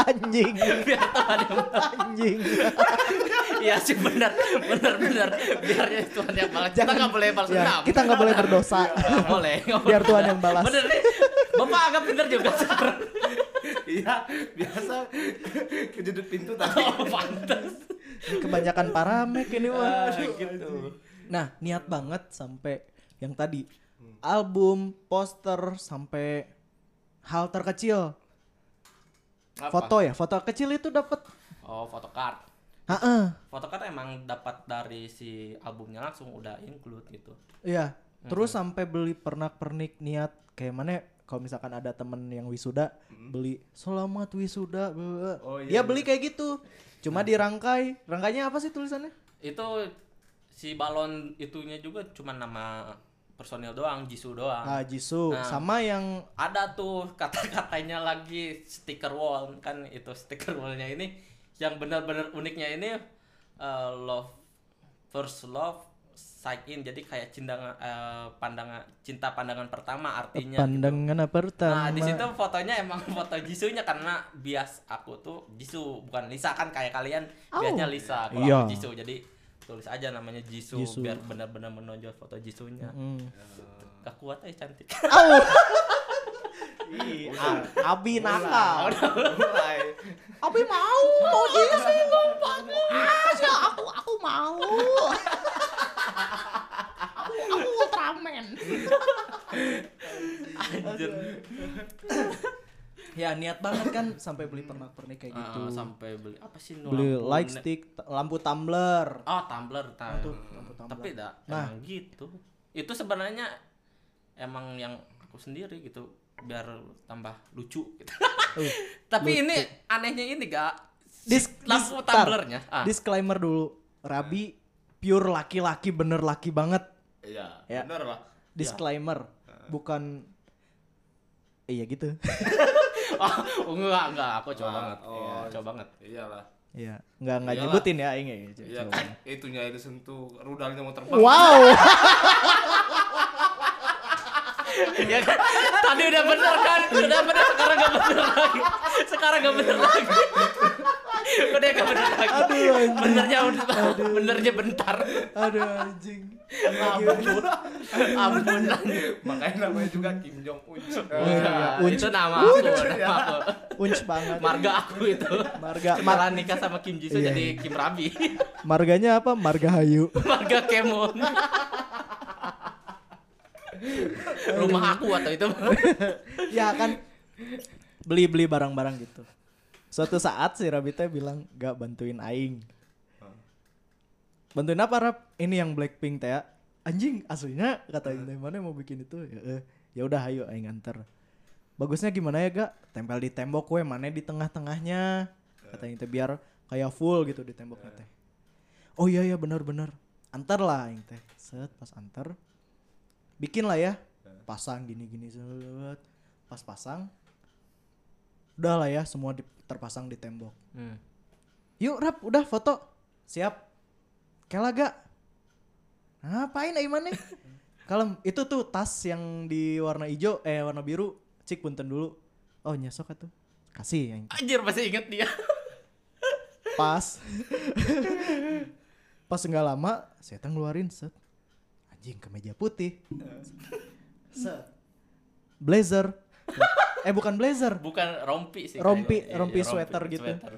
[SPEAKER 1] anjing,
[SPEAKER 3] Biar tahu ada yang
[SPEAKER 1] anjing.
[SPEAKER 3] Iya sih benar, benar benar. Biar ya Tuhan yang balas. Kita nggak boleh balas
[SPEAKER 1] Ya,
[SPEAKER 3] dendam.
[SPEAKER 1] kita nggak boleh berdosa. *laughs*
[SPEAKER 3] Nggak boleh. nggak
[SPEAKER 1] Biar
[SPEAKER 3] boleh.
[SPEAKER 1] Tuhan yang balas.
[SPEAKER 3] Bener nih. Bapak agak bener juga. *laughs* Sar.
[SPEAKER 2] *laughs* Iya, biasa *laughs* kejedut pintu tadi.
[SPEAKER 3] Oh, pantes.
[SPEAKER 1] Kebanyakan paramek ini mah.
[SPEAKER 3] Ah, gitu.
[SPEAKER 1] Nah, niat banget sampai yang tadi album, poster sampai hal terkecil.
[SPEAKER 2] Apa?
[SPEAKER 1] Foto ya, foto kecil itu dapat.
[SPEAKER 3] Oh, photocard.
[SPEAKER 1] Heeh.
[SPEAKER 3] Photocard emang dapat dari si albumnya langsung udah include gitu.
[SPEAKER 1] Iya. Terus sampai beli pernak-pernik niat kayak mana ya? kalau misalkan ada temen yang wisuda beli selamat wisuda. bla, bla, bla."
[SPEAKER 2] Oh, iya,
[SPEAKER 1] Dia beli kayak gitu.
[SPEAKER 3] Nah.
[SPEAKER 1] Cuma dirangkai. Rangkainya apa sih tulisannya?
[SPEAKER 3] itu si balon itunya juga cuma nama personil doang, Jisoo doang.
[SPEAKER 1] Ah, Jisoo
[SPEAKER 3] Nah.
[SPEAKER 1] sama yang
[SPEAKER 3] Ada tuh kata-katanya lagi stiker wall kan itu stiker wallnya ini yang benar-benar uniknya ini eh, love first love sight in jadi kayak cindangan eh, pandangan cinta pandangan pertama artinya gitu.
[SPEAKER 1] pandangan pertama.
[SPEAKER 3] Nah, di situ fotonya emang *laughs* foto Jisunya karena bias aku tuh Jisoo, bukan Lisa kan kayak kalian biasanya Lisa, kalau
[SPEAKER 1] Iya.
[SPEAKER 3] aku Jisoo. Jadi tulis aja namanya Jisoo,
[SPEAKER 1] Jisoo.
[SPEAKER 3] biar benar-benar menonjol foto Jisunya.
[SPEAKER 1] Hmm.
[SPEAKER 3] Gak kuat aja cantik. *laughs*
[SPEAKER 1] Au.
[SPEAKER 2] Iya.
[SPEAKER 1] Abi nakal.
[SPEAKER 2] Mulai.
[SPEAKER 4] Abi mau, mau jadi singgung banget. Ah, ya aku aku *laughs* mau. aku aku Ultraman.
[SPEAKER 3] Anjir.
[SPEAKER 1] Ya niat banget kan sampai beli pernak-pernik kayak gitu.
[SPEAKER 3] Ah, sampai beli apa sih no,
[SPEAKER 1] beli
[SPEAKER 3] lampu
[SPEAKER 1] light
[SPEAKER 3] ne-
[SPEAKER 1] stick, t- lampu tumbler.
[SPEAKER 3] Oh, tumbler tahu.
[SPEAKER 1] Tuh, lampu tumbler.
[SPEAKER 3] Tapi dah
[SPEAKER 1] Nah.
[SPEAKER 3] emang gitu. Itu sebenarnya emang yang aku sendiri gitu biar tambah lucu gitu. *laughs*
[SPEAKER 1] Uh,
[SPEAKER 3] Tapi ini anehnya ini gak
[SPEAKER 1] dis, dis-
[SPEAKER 3] lampu
[SPEAKER 1] tar.
[SPEAKER 3] tumblernya. Ah.
[SPEAKER 1] Disclaimer dulu. Rabi pure laki-laki bener laki banget.
[SPEAKER 2] Iya,
[SPEAKER 1] Ya.
[SPEAKER 2] benar lah.
[SPEAKER 1] Disclaimer. Bukan Iya gitu.
[SPEAKER 3] Oh, enggak, enggak, aku coba
[SPEAKER 2] Ah,
[SPEAKER 3] banget.
[SPEAKER 2] oh.
[SPEAKER 3] Iya, coba banget.
[SPEAKER 2] Iyalah.
[SPEAKER 1] Iya, nggak nggak
[SPEAKER 2] Iyalah.
[SPEAKER 1] nyebutin ya ini.
[SPEAKER 2] Iya, *laughs* itunya itu sentuh rudalnya mau terbang.
[SPEAKER 1] Wow.
[SPEAKER 3] ya kan? Tadi udah bener kan? Udah bener, sekarang gak bener lagi. Sekarang gak bener lagi. Udah gak bener lagi.
[SPEAKER 1] *laughs* Aduh, anjing.
[SPEAKER 3] Benernya udah, benernya bentar.
[SPEAKER 1] Aduh anjing.
[SPEAKER 3] Ampun. Ampun.
[SPEAKER 2] Makanya namanya juga Kim Eh, Jong Un.
[SPEAKER 1] iya. ya.
[SPEAKER 3] Nah, itu nama aku, nama aku.
[SPEAKER 1] Unch banget.
[SPEAKER 3] Marga aku itu.
[SPEAKER 1] Marga
[SPEAKER 3] Malah nikah sama Kim Jisoo
[SPEAKER 1] Iya,
[SPEAKER 3] jadi Kim Rabi.
[SPEAKER 1] marganya apa? Marga Hayu.
[SPEAKER 3] Marga Kemon. rumah aku atau itu
[SPEAKER 1] *laughs* ya kan beli beli barang-barang gitu suatu saat si Rabita bilang gak bantuin Aing bantuin apa Rab ini yang Blackpink teh ya. anjing aslinya kata Indah mana yang mau bikin itu ya eh, ya udah ayo Aing antar bagusnya gimana ya gak tempel di tembok we mana di tengah-tengahnya kata Aing teh biar kayak full gitu di temboknya teh oh iya iya benar-benar antar lah Aing teh set pas antar bikin lah ya pasang gini-gini set. pas pasang udah lah ya semua di- terpasang di tembok yuk rap udah foto siap Kela gak ngapain Aiman nih kalem itu tuh tas yang di warna hijau eh warna biru cik punten dulu oh nyesok atuh kasih yang
[SPEAKER 3] anjir masih inget dia
[SPEAKER 1] pas pas nggak lama saya ngeluarin set anjing kemeja putih set blazer eh bukan blazer
[SPEAKER 3] bukan rompi sih
[SPEAKER 1] Rompi-
[SPEAKER 3] kayaknya. Iya,
[SPEAKER 1] rompi sweater gitu.
[SPEAKER 3] sweater.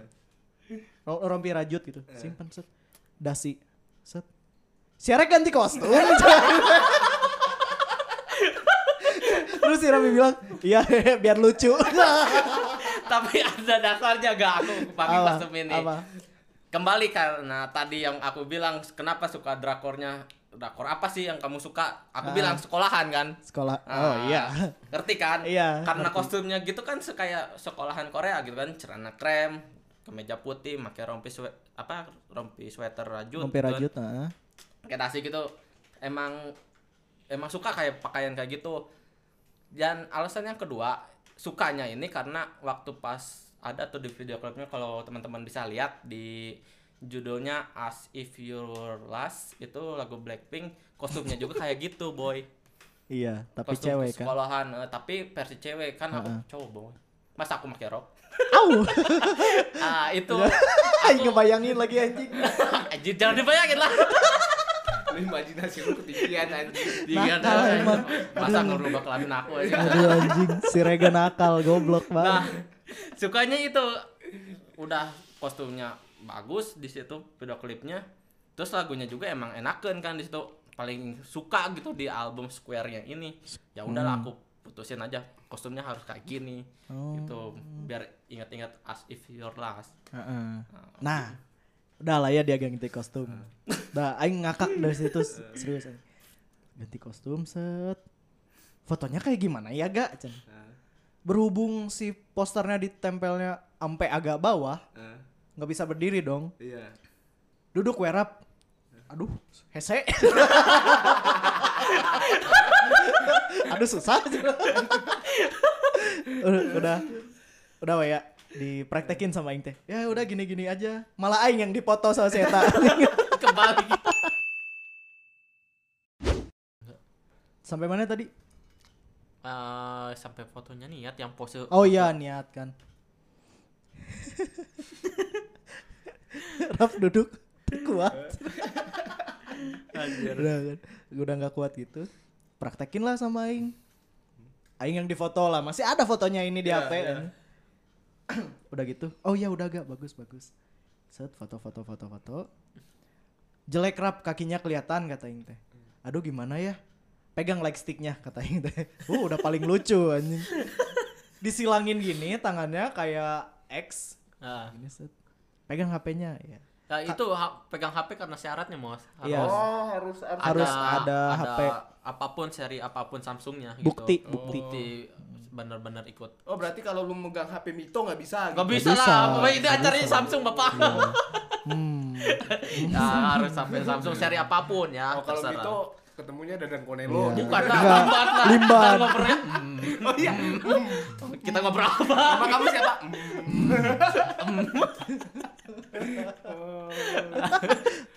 [SPEAKER 1] Ro- rompi rajut gitu simpen set dasi set siarek ganti kostum *laughs* terus si Rami bilang iya *laughs* biar lucu
[SPEAKER 3] tapi ada dasarnya gak aku pakai
[SPEAKER 1] *laughs* Apa?
[SPEAKER 3] kostum ini
[SPEAKER 1] Apa?
[SPEAKER 3] kembali karena tadi yang aku bilang kenapa suka drakornya drakor apa sih yang kamu suka aku
[SPEAKER 1] Ah.
[SPEAKER 3] bilang sekolahan kan
[SPEAKER 1] sekolah oh
[SPEAKER 3] Ah,
[SPEAKER 1] iya
[SPEAKER 3] ngerti kan
[SPEAKER 1] Iya,
[SPEAKER 3] karena
[SPEAKER 1] ngerti.
[SPEAKER 3] kostumnya gitu kan se- kayak sekolahan Korea gitu kan celana krem kemeja putih pakai rompi swe- apa rompi sweater rajut
[SPEAKER 1] rompi
[SPEAKER 3] gitu kan.
[SPEAKER 1] rajut nah. heeh.
[SPEAKER 3] pakai dasi gitu emang emang suka kayak pakaian kayak gitu dan alasan yang kedua sukanya ini karena waktu pas ada tuh di video klipnya kalau teman-teman bisa lihat di judulnya As If You Were Last itu lagu Blackpink kostumnya juga kayak gitu boy
[SPEAKER 1] iya *laughs* tapi
[SPEAKER 3] kostum
[SPEAKER 1] cewek kan
[SPEAKER 3] sekolahan eh, tapi versi cewek kan aku cowok boy mas aku pakai
[SPEAKER 1] *laughs*
[SPEAKER 3] rok
[SPEAKER 1] au
[SPEAKER 3] ah itu
[SPEAKER 1] *laughs* Ay, ngebayangin lagi anjing
[SPEAKER 3] *laughs* anjir jangan dibayangin lah
[SPEAKER 2] Lu imajinasi lu ketinggian anjing.
[SPEAKER 3] Tiga
[SPEAKER 1] Nakal
[SPEAKER 3] tahun.
[SPEAKER 1] emang.
[SPEAKER 3] masa ngerubah kelamin aku aja
[SPEAKER 1] *laughs* aduh anjing si Rega nakal goblok
[SPEAKER 3] Nah, *laughs*
[SPEAKER 1] banget
[SPEAKER 3] sukanya itu udah kostumnya bagus di situ video klipnya. Terus lagunya juga emang enakan kan di situ paling suka gitu di album Square yang ini. Ya udahlah aku putusin aja kostumnya harus kayak gini.
[SPEAKER 1] Hmm. Oh.
[SPEAKER 3] Gitu biar ingat-ingat as if your last. *laughs*
[SPEAKER 1] Heeh. nah udah lah ya dia ganti kostum nah aing ngakak dari situ s- serius aing. ganti kostum set fotonya kayak gimana ya gak Cen? berhubung si posternya ditempelnya ampe agak bawah
[SPEAKER 2] Eh,
[SPEAKER 1] nggak bisa berdiri dong
[SPEAKER 2] Iya.
[SPEAKER 1] duduk werap aduh hese aduh susah udah udah udah Wak, ya dipraktekin sama Aing teh ya udah gini gini aja malah Aing yang dipoto sama si Eta
[SPEAKER 3] Kembali.
[SPEAKER 1] sampai mana tadi
[SPEAKER 3] Eh, sampai fotonya niat yang pose
[SPEAKER 1] oh iya niat kan Raf duduk kuat
[SPEAKER 3] Anjir.
[SPEAKER 1] udah kan udah nggak kuat gitu praktekin lah sama Aing Aing yang difoto lah masih ada fotonya ini di
[SPEAKER 2] Iya,
[SPEAKER 1] HP
[SPEAKER 2] iya.
[SPEAKER 1] kan. *clears throat* udah gitu oh ya udah gak bagus bagus set foto foto foto foto jelek rap kakinya kelihatan kata Aing teh aduh gimana ya pegang leg sticknya kata Aing teh *laughs* uh udah paling lucu anjing disilangin gini tangannya kayak X
[SPEAKER 3] Ah.
[SPEAKER 1] gini set pegang HP-nya ya
[SPEAKER 3] Nah, itu ha- pegang HP karena syaratnya, Mos.
[SPEAKER 1] Iya.
[SPEAKER 3] Harus
[SPEAKER 2] Oh, harus ada.
[SPEAKER 1] Harus ada HP.
[SPEAKER 3] apapun seri apapun Samsungnya
[SPEAKER 1] Bukti,
[SPEAKER 3] gitu.
[SPEAKER 1] bukti.
[SPEAKER 3] bukti benar-benar ikut
[SPEAKER 2] Oh, berarti kalau lu megang HP Mito nggak bisa.
[SPEAKER 3] nggak
[SPEAKER 2] gitu.
[SPEAKER 3] bisa,
[SPEAKER 1] bisa,
[SPEAKER 3] lah pokoknya ini
[SPEAKER 1] nggak bisa.
[SPEAKER 3] acaranya
[SPEAKER 1] Iya.
[SPEAKER 3] Samsung bapak *laughs*
[SPEAKER 1] hmm
[SPEAKER 3] ya, harus sampai Samsung seri apapun ya
[SPEAKER 2] Oh, kalau
[SPEAKER 3] terserah. *laughs*
[SPEAKER 2] Mito ketemunya Dadang Konelo.
[SPEAKER 1] Iya.
[SPEAKER 3] bukan lah
[SPEAKER 1] Nggak.
[SPEAKER 3] limbat lah
[SPEAKER 1] Limbat.
[SPEAKER 3] Kita ngobrolnya, hmm,
[SPEAKER 2] Oh iya.
[SPEAKER 3] kita ngobrol apa
[SPEAKER 2] Nama kamu siapa?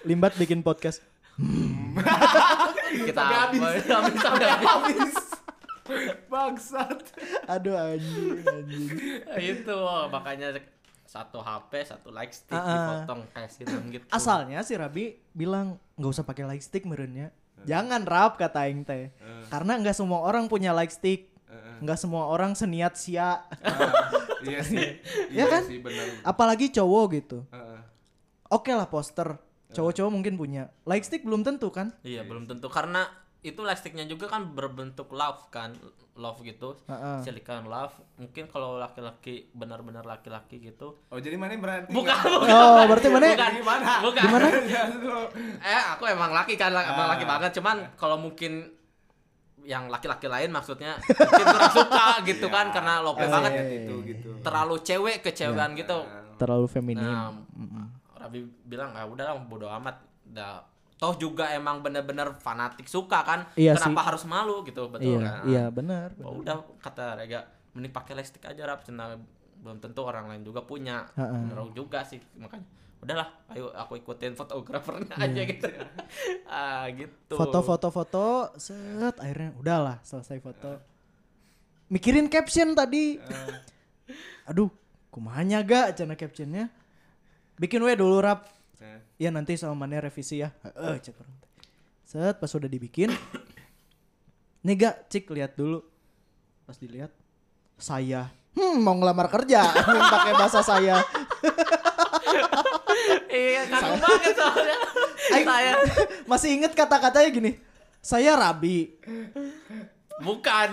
[SPEAKER 1] limbat bikin podcast
[SPEAKER 3] kita iya,
[SPEAKER 2] Sampai habis.
[SPEAKER 3] habis, sampai habis.
[SPEAKER 2] Habis. Bangsat.
[SPEAKER 1] aduh anjing anjing
[SPEAKER 3] itu makanya satu HP satu lightstick
[SPEAKER 1] Ah, ah.
[SPEAKER 3] dipotong kayak siram gitu
[SPEAKER 1] Asalnya si Rabi bilang nggak usah pakai lightstick merenya. ya." Jangan rap kata Aing
[SPEAKER 3] Eh.
[SPEAKER 1] teh. Karena nggak semua orang punya lightstick.
[SPEAKER 2] Heeh.
[SPEAKER 1] Nggak semua orang seniat sia.
[SPEAKER 2] Iya sih.
[SPEAKER 1] Iya kan?
[SPEAKER 2] sih benar.
[SPEAKER 1] Apalagi cowok gitu.
[SPEAKER 2] Heeh.
[SPEAKER 3] Eh.
[SPEAKER 1] Oke lah poster. Cowok-cowok mungkin punya. Lightstick belum tentu kan?
[SPEAKER 3] iya belum tentu karena itu lastiknya juga kan berbentuk love kan love gitu
[SPEAKER 1] Ha-ha.
[SPEAKER 3] silicon love mungkin kalau laki-laki benar-benar laki-laki gitu
[SPEAKER 2] Oh jadi mana berarti? *laughs*
[SPEAKER 3] bukan bukan
[SPEAKER 1] Oh, berarti mana?
[SPEAKER 3] bukan
[SPEAKER 2] Gimana?
[SPEAKER 3] bukan
[SPEAKER 2] Ya, lu-
[SPEAKER 3] eh aku emang laki kan la- emang
[SPEAKER 2] Ah.
[SPEAKER 3] laki banget cuman kalau mungkin yang laki-laki lain maksudnya mungkin kurang suka gitu kan karena lope
[SPEAKER 1] Eh.
[SPEAKER 2] Iya,
[SPEAKER 3] banget
[SPEAKER 2] itu gitu.
[SPEAKER 3] terlalu cewek kecewean gitu
[SPEAKER 1] Terlalu feminim.
[SPEAKER 3] Nah,
[SPEAKER 1] Mm-mm.
[SPEAKER 3] Rabi bilang ah udah lah bodo amat dah toh juga emang bener-bener fanatik suka kan
[SPEAKER 1] Iya
[SPEAKER 3] kenapa
[SPEAKER 1] sih.
[SPEAKER 3] harus malu gitu betul
[SPEAKER 1] Iya,
[SPEAKER 3] kan?
[SPEAKER 1] iya benar.
[SPEAKER 3] Oh, udah kata Rega mending pakai lipstick aja rap Cina belum tentu orang lain juga punya
[SPEAKER 1] Ha-ha.
[SPEAKER 3] Bener juga sih makanya udahlah ayo aku ikutin fotografernya aja gitu ah gitu
[SPEAKER 1] Iya. Foto-foto foto set akhirnya udahlah selesai foto. Mikirin caption tadi.
[SPEAKER 3] Eh.
[SPEAKER 1] Aduh, kumanya gak cana captionnya? Bikin we dulu rap.
[SPEAKER 2] Eh,
[SPEAKER 1] Ya nanti sama mana revisi ya. Heeh, cek orang teh. Set pas udah dibikin. *coughs* Nih gak cik lihat dulu. Pas dilihat saya Hmm, mau ngelamar kerja *laughs* pakai bahasa saya.
[SPEAKER 3] iya kagum banget soalnya
[SPEAKER 1] Aing-
[SPEAKER 3] saya
[SPEAKER 1] *laughs* Masih inget kata-katanya gini. Saya Rabi.
[SPEAKER 3] bukan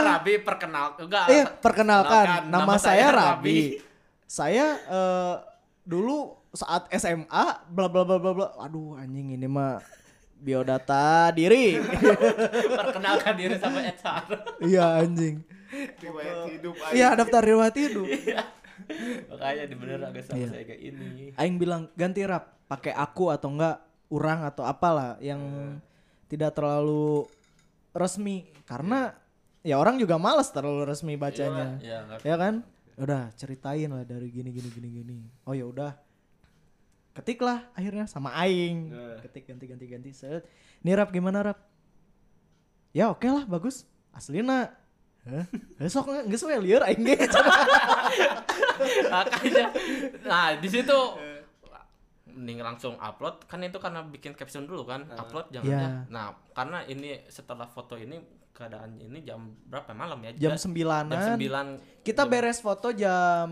[SPEAKER 1] Iya.
[SPEAKER 3] Rabi perkenal enggak
[SPEAKER 1] Eh, perkenalkan,
[SPEAKER 3] perkenalkan.
[SPEAKER 1] nama, saya Rabi. Saya eh, dulu saat SMA bla bla bla bla bla. Aduh anjing ini mah biodata diri. *laughs*
[SPEAKER 3] perkenalkan diri sama HR
[SPEAKER 1] Iya anjing.
[SPEAKER 2] Riwayat hidup
[SPEAKER 1] Iya daftar riwayat hidup.
[SPEAKER 3] Iya. makanya di bener agak sama
[SPEAKER 1] Iya.
[SPEAKER 3] saya kayak ini
[SPEAKER 1] Aing bilang ganti rap pakai aku atau enggak urang atau apalah yang tidak terlalu resmi karena ya orang juga males terlalu resmi bacanya.
[SPEAKER 3] ya nggak
[SPEAKER 1] ya kan udah ceritain lah dari gini gini gini gini oh ya udah ketiklah akhirnya sama aing
[SPEAKER 2] Eh.
[SPEAKER 3] Iya.
[SPEAKER 1] ketik ganti ganti ganti set ini rap gimana rap ya oke lah bagus aslina Hah? besok nggak nggak sesuai liar aing
[SPEAKER 3] *laughs*
[SPEAKER 1] ge.
[SPEAKER 3] makanya nah di situ mending langsung upload kan itu karena bikin caption dulu kan upload jangan
[SPEAKER 1] Iya.
[SPEAKER 3] ya. nah karena ini setelah foto ini keadaan ini jam berapa malam ya
[SPEAKER 1] jam
[SPEAKER 3] Jam- jam
[SPEAKER 1] sembilanan
[SPEAKER 3] sembilan
[SPEAKER 1] kita
[SPEAKER 3] Jam-
[SPEAKER 1] beres foto jam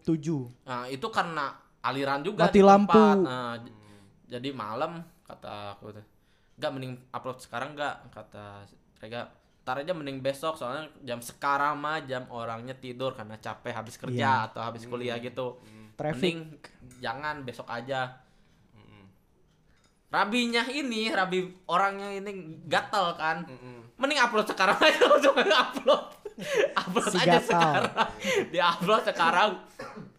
[SPEAKER 1] 7
[SPEAKER 3] Nah, itu karena aliran juga
[SPEAKER 1] Mati
[SPEAKER 3] di tempat.
[SPEAKER 1] lampu.
[SPEAKER 3] Nah, j-
[SPEAKER 2] Hmm,
[SPEAKER 3] jadi malam kata aku tuh nggak mending upload sekarang nggak kata Rega ntar aja mending besok soalnya jam sekarang mah jam orangnya tidur karena capek habis
[SPEAKER 1] Iya.
[SPEAKER 3] kerja atau habis kuliah gitu
[SPEAKER 2] hmm.
[SPEAKER 1] traffic
[SPEAKER 3] Mending jangan besok aja. Rabinya ini, rabi orangnya ini gatel kan. Mending upload sekarang aja *laughs* langsung upload. upload
[SPEAKER 1] Si gatal.
[SPEAKER 3] aja sekarang. Di upload sekarang.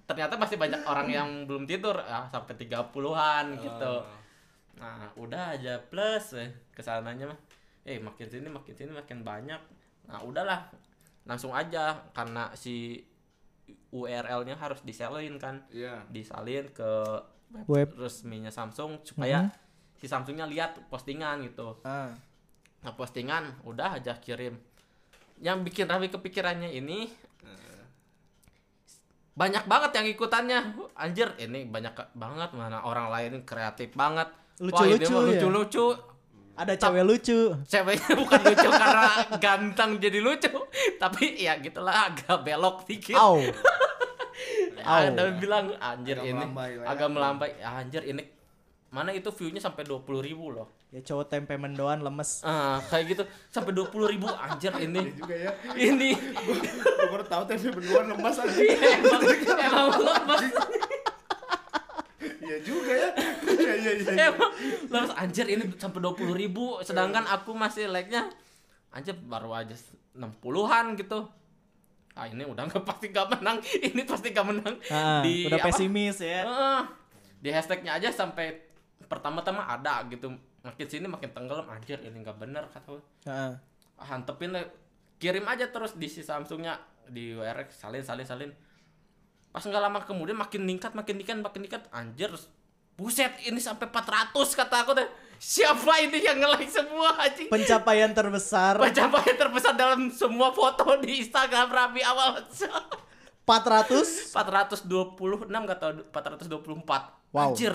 [SPEAKER 3] Ternyata masih banyak orang yang belum tidur ah, sampai 30-an
[SPEAKER 2] Eh,
[SPEAKER 3] gitu.
[SPEAKER 2] Ah.
[SPEAKER 3] Nah, udah aja plus eh, kesananya mah. Eh, makin sini makin sini makin banyak. Nah, udahlah. Langsung aja karena si URL-nya harus disalin kan
[SPEAKER 2] Iya.
[SPEAKER 3] disalin ke
[SPEAKER 1] web Mm-hmm.
[SPEAKER 3] resminya Samsung supaya si Samsungnya lihat postingan gitu.
[SPEAKER 1] ah.
[SPEAKER 3] Nah, postingan udah aja kirim. Yang bikin Raffi kepikirannya ini banyak banget yang ikutannya. Anjir, ini banyak ka- banget mana orang lain kreatif banget.
[SPEAKER 1] Lucu-lucu ya?
[SPEAKER 3] lucu-lucu. ah.
[SPEAKER 1] ada cewek lucu
[SPEAKER 3] Ceweknya bukan lucu karena ganteng jadi lucu, *laughs* tapi ya gitulah agak belok dikit. *laughs*
[SPEAKER 1] Au. Au.
[SPEAKER 3] ada yang bilang anjir
[SPEAKER 2] Agak
[SPEAKER 3] ini
[SPEAKER 2] melambai lah ya.
[SPEAKER 3] agak melambai anjir ini mana itu view-nya sampai 20.000 ribu loh
[SPEAKER 1] ya cowok tempe mendoan lemes
[SPEAKER 3] ah kayak gitu sampai 20.000 ribu anjir
[SPEAKER 2] Iya
[SPEAKER 3] ini
[SPEAKER 2] juga ya. *laughs*
[SPEAKER 3] ini
[SPEAKER 2] Gue baru tahu tapi berdua lemas aja.
[SPEAKER 3] emang emang lemes
[SPEAKER 2] Iya juga ya. Iya iya iya.
[SPEAKER 3] emang lemes anjir ini sampai 20.000 ribu sedangkan aku masih like-nya anjir baru aja 60-an gitu ah ini udah nggak pasti nggak menang ini pasti nggak menang
[SPEAKER 1] Ah,
[SPEAKER 3] di
[SPEAKER 1] udah
[SPEAKER 3] apa?
[SPEAKER 1] pesimis ya
[SPEAKER 3] Heeh. di hashtagnya aja sampai pertama-tama ada gitu makin sini makin tenggelam anjir ini nggak bener kata gue.
[SPEAKER 1] Ah.
[SPEAKER 3] Ah, hantepin lah kirim aja terus di si Samsungnya di WRX salin salin salin pas nggak lama kemudian makin ningkat makin ningkat makin ningkat anjir buset ini sampai 400 kata aku deh siapa ini yang nge-like semua anjing
[SPEAKER 1] pencapaian terbesar
[SPEAKER 3] pencapaian terbesar dalam semua foto di Instagram Rabi awal *laughs*
[SPEAKER 1] 400
[SPEAKER 3] 426 nggak tahu 424
[SPEAKER 1] Wow.
[SPEAKER 3] anjir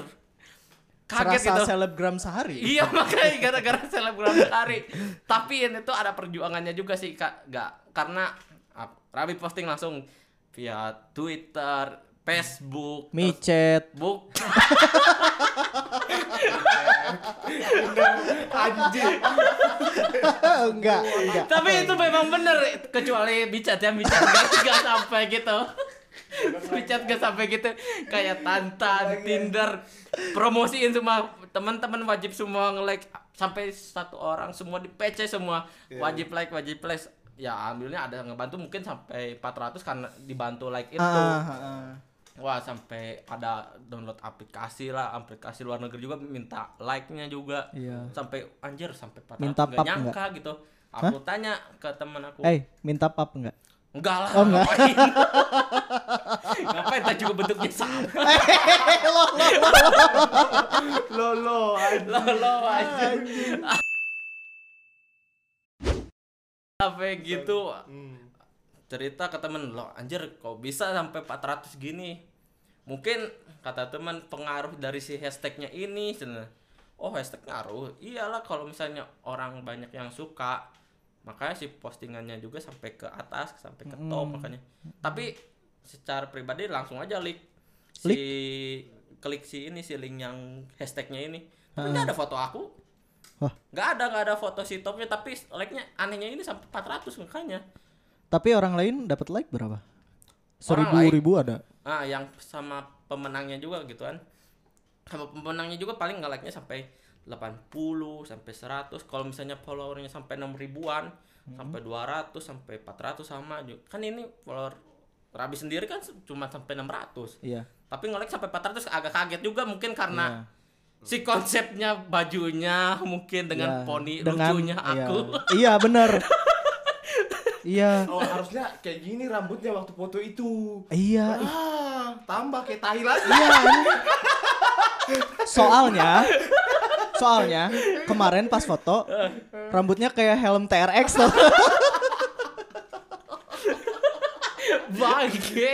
[SPEAKER 3] *laughs*
[SPEAKER 1] serasa
[SPEAKER 3] kaget gitu
[SPEAKER 1] selebgram sehari.
[SPEAKER 3] *laughs* iya makanya gara-gara selebgram sehari tapi ini tuh ada perjuangannya juga sih kak nggak karena ah, Rabi posting langsung via *laughs* Twitter Facebook terus-
[SPEAKER 1] Micet.
[SPEAKER 3] Buk
[SPEAKER 2] Anjing.
[SPEAKER 1] enggak, enggak.
[SPEAKER 3] Tapi itu memang bener kecuali bicat ya bicat *laughs* gak, gak sampai gitu. bicat gak sampai gitu kayak tantan, Tinder, promosiin semua teman-teman wajib semua nge-like sampai satu orang semua di PC semua wajib like wajib like ya ambilnya ada yang ngebantu mungkin sampai 400 karena dibantu like itu
[SPEAKER 1] Ah, ah, ah.
[SPEAKER 3] wah sampai ada download aplikasi lah aplikasi luar negeri juga minta like nya juga
[SPEAKER 1] Iya.
[SPEAKER 3] sampai anjir sampai 400
[SPEAKER 1] Minta
[SPEAKER 3] nggak
[SPEAKER 1] pap
[SPEAKER 3] nyangka gitu aku tanya ke temen aku
[SPEAKER 1] Eh, minta pap enggak?
[SPEAKER 3] *laughs* Enggak lah.
[SPEAKER 1] Oh, enggak. *laughs*
[SPEAKER 3] Ngapain? ngapain tak juga bentuknya sama.
[SPEAKER 2] Lolo. anjing.
[SPEAKER 3] Lo lo aja. Sampai gitu
[SPEAKER 2] Hmm.
[SPEAKER 3] cerita ke temen lo anjir kok bisa sampai 400 gini mungkin kata teman pengaruh dari si hashtagnya ini sebenarnya. oh hashtag ngaruh iyalah kalau misalnya orang banyak yang suka makanya si postingannya juga sampai ke atas sampai ke top makanya tapi secara pribadi langsung aja klik si klik si ini si link yang hashtagnya ini tapi nggak ada foto aku
[SPEAKER 1] Wah.
[SPEAKER 3] nggak ada nggak ada foto si topnya tapi like-nya anehnya ini sampai 400 makanya
[SPEAKER 1] Tapi orang lain dapat like berapa?
[SPEAKER 3] Orang
[SPEAKER 1] Seribu
[SPEAKER 3] lain?
[SPEAKER 1] ribu ada.
[SPEAKER 3] Ah, yang sama pemenangnya juga gitu kan. Sama pemenangnya juga paling nggak like-nya sampai 80 sampai 100. Kalau misalnya followernya sampai 6 ribuan,
[SPEAKER 1] Hmm.
[SPEAKER 3] sampai 200, sampai 400 sama juga. Kan ini follower Rabi sendiri kan se- cuma sampai 600.
[SPEAKER 1] Iya.
[SPEAKER 3] Tapi nge-like sampai 400 agak kaget juga mungkin karena si konsepnya bajunya mungkin
[SPEAKER 1] Iya.
[SPEAKER 3] dengan poni
[SPEAKER 1] Dengan-
[SPEAKER 3] lucunya
[SPEAKER 1] iya.
[SPEAKER 3] aku.
[SPEAKER 1] Iya,
[SPEAKER 3] *laughs*
[SPEAKER 1] benar. iya.
[SPEAKER 2] Oh, harusnya kayak gini rambutnya waktu foto itu.
[SPEAKER 1] Iya. ih,
[SPEAKER 2] Ah, tambah kayak tai lagi.
[SPEAKER 1] Iya. ini. Soalnya soalnya kemarin pas foto rambutnya kayak helm TRX loh. iya.
[SPEAKER 3] *laughs* Bangke.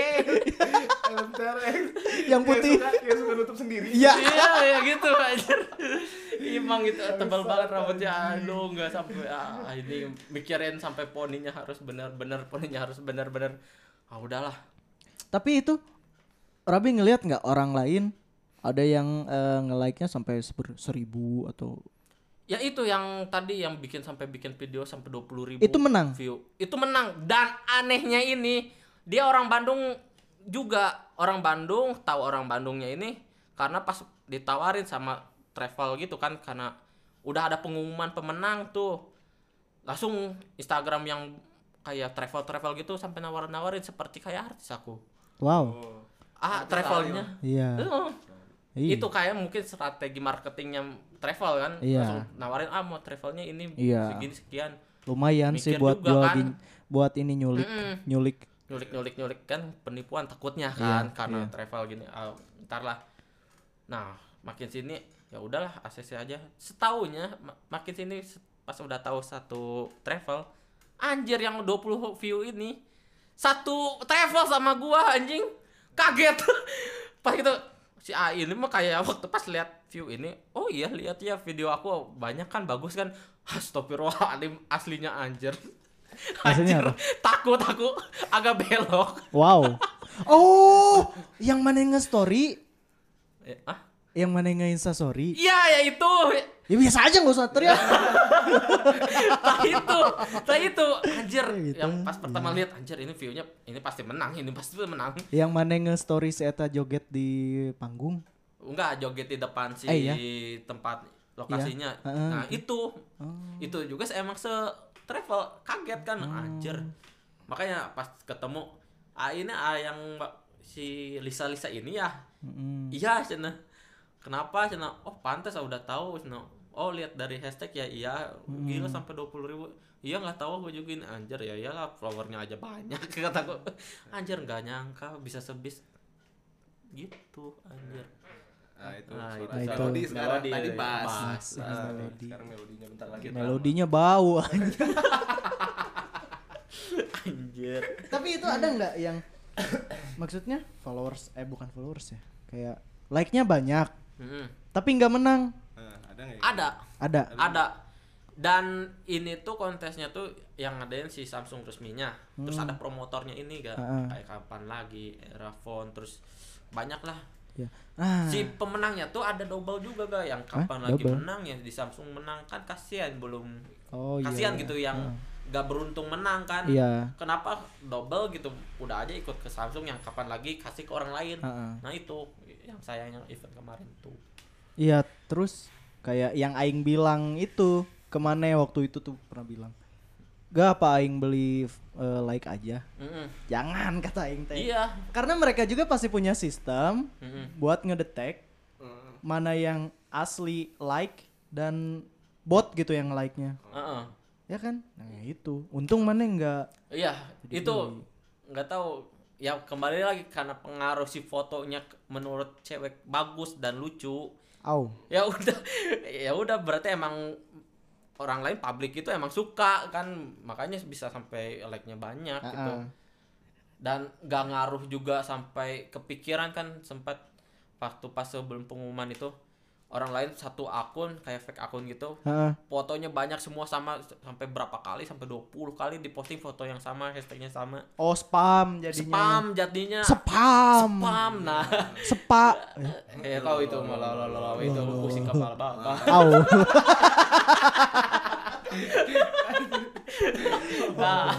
[SPEAKER 2] Helm TRX.
[SPEAKER 1] Yang putih.
[SPEAKER 2] eh. Kayak suka- Kayak suka nutup sendiri.
[SPEAKER 1] Iya.
[SPEAKER 3] iya ya gitu anjir emang gitu tebal banget rambutnya aduh nggak sampai ah, ini mikirin sampai poninya harus benar-benar poninya harus benar-benar ah udahlah
[SPEAKER 1] Tapi itu Rabi ngelihat nggak orang lain ada yang eh, nge-like-nya sampai seper- seribu atau
[SPEAKER 3] ya itu yang tadi yang bikin sampai bikin video sampai 20.000 ribu
[SPEAKER 1] Itu menang?
[SPEAKER 3] view itu menang dan anehnya ini dia orang Bandung juga orang Bandung tahu orang Bandungnya ini karena pas ditawarin sama travel gitu kan karena udah ada pengumuman pemenang tuh langsung Instagram yang kayak travel travel gitu sampai nawar nawarin seperti kayak artis aku
[SPEAKER 1] wow.
[SPEAKER 3] ah travelnya
[SPEAKER 1] Iya.
[SPEAKER 3] Heeh.
[SPEAKER 1] Iya.
[SPEAKER 3] Itu kayak mungkin strategi marketingnya travel kan.
[SPEAKER 1] Iya.
[SPEAKER 3] Langsung nawarin ah mau travelnya ini
[SPEAKER 1] Iya.
[SPEAKER 3] segini sekian.
[SPEAKER 1] Lumayan sih
[SPEAKER 3] Mikir
[SPEAKER 1] buat
[SPEAKER 3] juga
[SPEAKER 1] gua
[SPEAKER 3] kan.
[SPEAKER 1] gin- buat ini nyulik, nyulik.
[SPEAKER 3] Nyulik-nyulik nyulik kan penipuan takutnya
[SPEAKER 1] Iya,
[SPEAKER 3] kan karena
[SPEAKER 1] iya.
[SPEAKER 3] travel gini. Ah, ntar lah. Nah, makin sini ya udahlah ACC aja. Setahunya ma- makin sini se- pas udah tahu satu travel anjir yang 20 view ini satu travel sama gua anjing kaget *laughs* pas gitu si A ini mah kayak waktu pas lihat view ini oh iya lihat ya video aku banyak kan bagus kan astagfirullahaladzim aslinya anjir *laughs*
[SPEAKER 1] Aslinya
[SPEAKER 3] anjir
[SPEAKER 1] apa?
[SPEAKER 3] takut aku agak belok
[SPEAKER 1] Wow. Oh, yang mana yang nge-story?
[SPEAKER 3] Eh, ah
[SPEAKER 1] Yang mana yang nge-insta story?
[SPEAKER 3] iya ya itu
[SPEAKER 1] Ya biasa aja nggak usah teriak.
[SPEAKER 3] tak Nah, itu tak itu anjir
[SPEAKER 1] Gitu,
[SPEAKER 3] yang pas pertama lihat anjir ini viewnya ini pasti menang ini pasti menang
[SPEAKER 1] yang mana yang nge-story si Eta joget di panggung?
[SPEAKER 3] enggak joget di depan si
[SPEAKER 1] Eh, iya.
[SPEAKER 3] tempat lokasinya
[SPEAKER 1] Iya, heeh,
[SPEAKER 3] nah itu
[SPEAKER 1] Oh.
[SPEAKER 3] itu juga se- emang se travel kaget kan anjir makanya pas ketemu ah ini ah yang ma- si Lisa Lisa ini ya
[SPEAKER 1] Mm-mm.
[SPEAKER 3] iya cina kenapa cina oh pantas ah, udah tahu cina oh lihat dari hashtag ya iya gila sampai dua puluh ribu iya nggak tahu gue juga ini anjir ya iyalah flowernya aja banyak *laughs* kata gue anjir nggak nyangka bisa sebis gitu anjir
[SPEAKER 2] Nah, itu
[SPEAKER 3] Nah,
[SPEAKER 2] suara
[SPEAKER 3] itu.
[SPEAKER 1] Nah,
[SPEAKER 2] melodi
[SPEAKER 1] itu.
[SPEAKER 2] sekarang
[SPEAKER 3] Melodi,
[SPEAKER 2] tadi bass. Nah,
[SPEAKER 3] bass.
[SPEAKER 1] Bass,
[SPEAKER 2] nih,
[SPEAKER 1] melodi.
[SPEAKER 2] Sekarang melodinya bentar
[SPEAKER 3] Iya,
[SPEAKER 2] lagi.
[SPEAKER 3] gitu.
[SPEAKER 1] Melodinya bau.
[SPEAKER 3] anjir
[SPEAKER 1] *laughs* Tapi itu ada nggak yang *coughs* maksudnya followers eh bukan followers ya. Kayak like-nya banyak
[SPEAKER 3] Mm-mm.
[SPEAKER 1] tapi nggak menang.
[SPEAKER 2] Nah, ada enggak ya?
[SPEAKER 3] Hmm. ada
[SPEAKER 1] Ada.
[SPEAKER 3] ada dan ini tuh kontesnya tuh yang ngadain si Samsung resminya terus ada promotornya ini gak
[SPEAKER 1] Hmm. Heeh.
[SPEAKER 3] kayak kapan lagi Erafon terus banyak lah
[SPEAKER 1] Ya. Ah.
[SPEAKER 3] si pemenangnya tuh ada double juga ga yang
[SPEAKER 1] Hah?
[SPEAKER 3] kapan lagi
[SPEAKER 1] Double?
[SPEAKER 3] menang ya di Samsung menang kan kasihan belum
[SPEAKER 1] Oh iya.
[SPEAKER 3] kasihan
[SPEAKER 1] iya.
[SPEAKER 3] gitu yang
[SPEAKER 1] Ah.
[SPEAKER 3] gak beruntung menang kan
[SPEAKER 1] Iya.
[SPEAKER 3] kenapa double gitu udah aja ikut ke Samsung yang kapan lagi kasih ke orang lain
[SPEAKER 1] Heeh.
[SPEAKER 3] nah itu yang sayangnya event kemarin tuh
[SPEAKER 1] Iya, terus kayak yang aing bilang itu kemana ya waktu itu tuh pernah bilang. Gak apa aing beli eh, like aja.
[SPEAKER 3] Mm-mm.
[SPEAKER 1] Jangan kata aing teh.
[SPEAKER 3] iya
[SPEAKER 1] Karena mereka juga pasti punya sistem
[SPEAKER 3] Mm-mm.
[SPEAKER 1] buat ngedetek
[SPEAKER 2] Hmm.
[SPEAKER 1] mana yang asli like dan bot gitu yang like-nya.
[SPEAKER 3] Heeh.
[SPEAKER 1] Ya kan? Nah, itu. Untung mana enggak
[SPEAKER 3] iya
[SPEAKER 1] Jadi
[SPEAKER 3] itu
[SPEAKER 1] beli.
[SPEAKER 3] nggak tahu ya kembali lagi karena pengaruh si fotonya ke- menurut cewek bagus dan lucu
[SPEAKER 1] Au.
[SPEAKER 3] ya udah *laughs* ya udah berarti emang orang lain publik itu emang suka kan makanya bisa sampai like-nya banyak gitu
[SPEAKER 1] Ah, ah.
[SPEAKER 3] dan gak ngaruh juga sampai kepikiran kan sempat waktu pas sebelum pengumuman itu orang lain satu akun kayak fake akun gitu
[SPEAKER 1] Ah, ah.
[SPEAKER 3] fotonya banyak semua sama s- sampai berapa kali sampai 20 kali diposting foto yang sama hashtagnya sama
[SPEAKER 1] Oh, spam jadinya.
[SPEAKER 3] spam jadinya
[SPEAKER 1] Spam.
[SPEAKER 3] spam *laughs* nah
[SPEAKER 1] Sepa. Eh,
[SPEAKER 3] ya tahu itu malah lalu itu pusing kepala bapak
[SPEAKER 1] *laughs* Au.
[SPEAKER 3] Nah,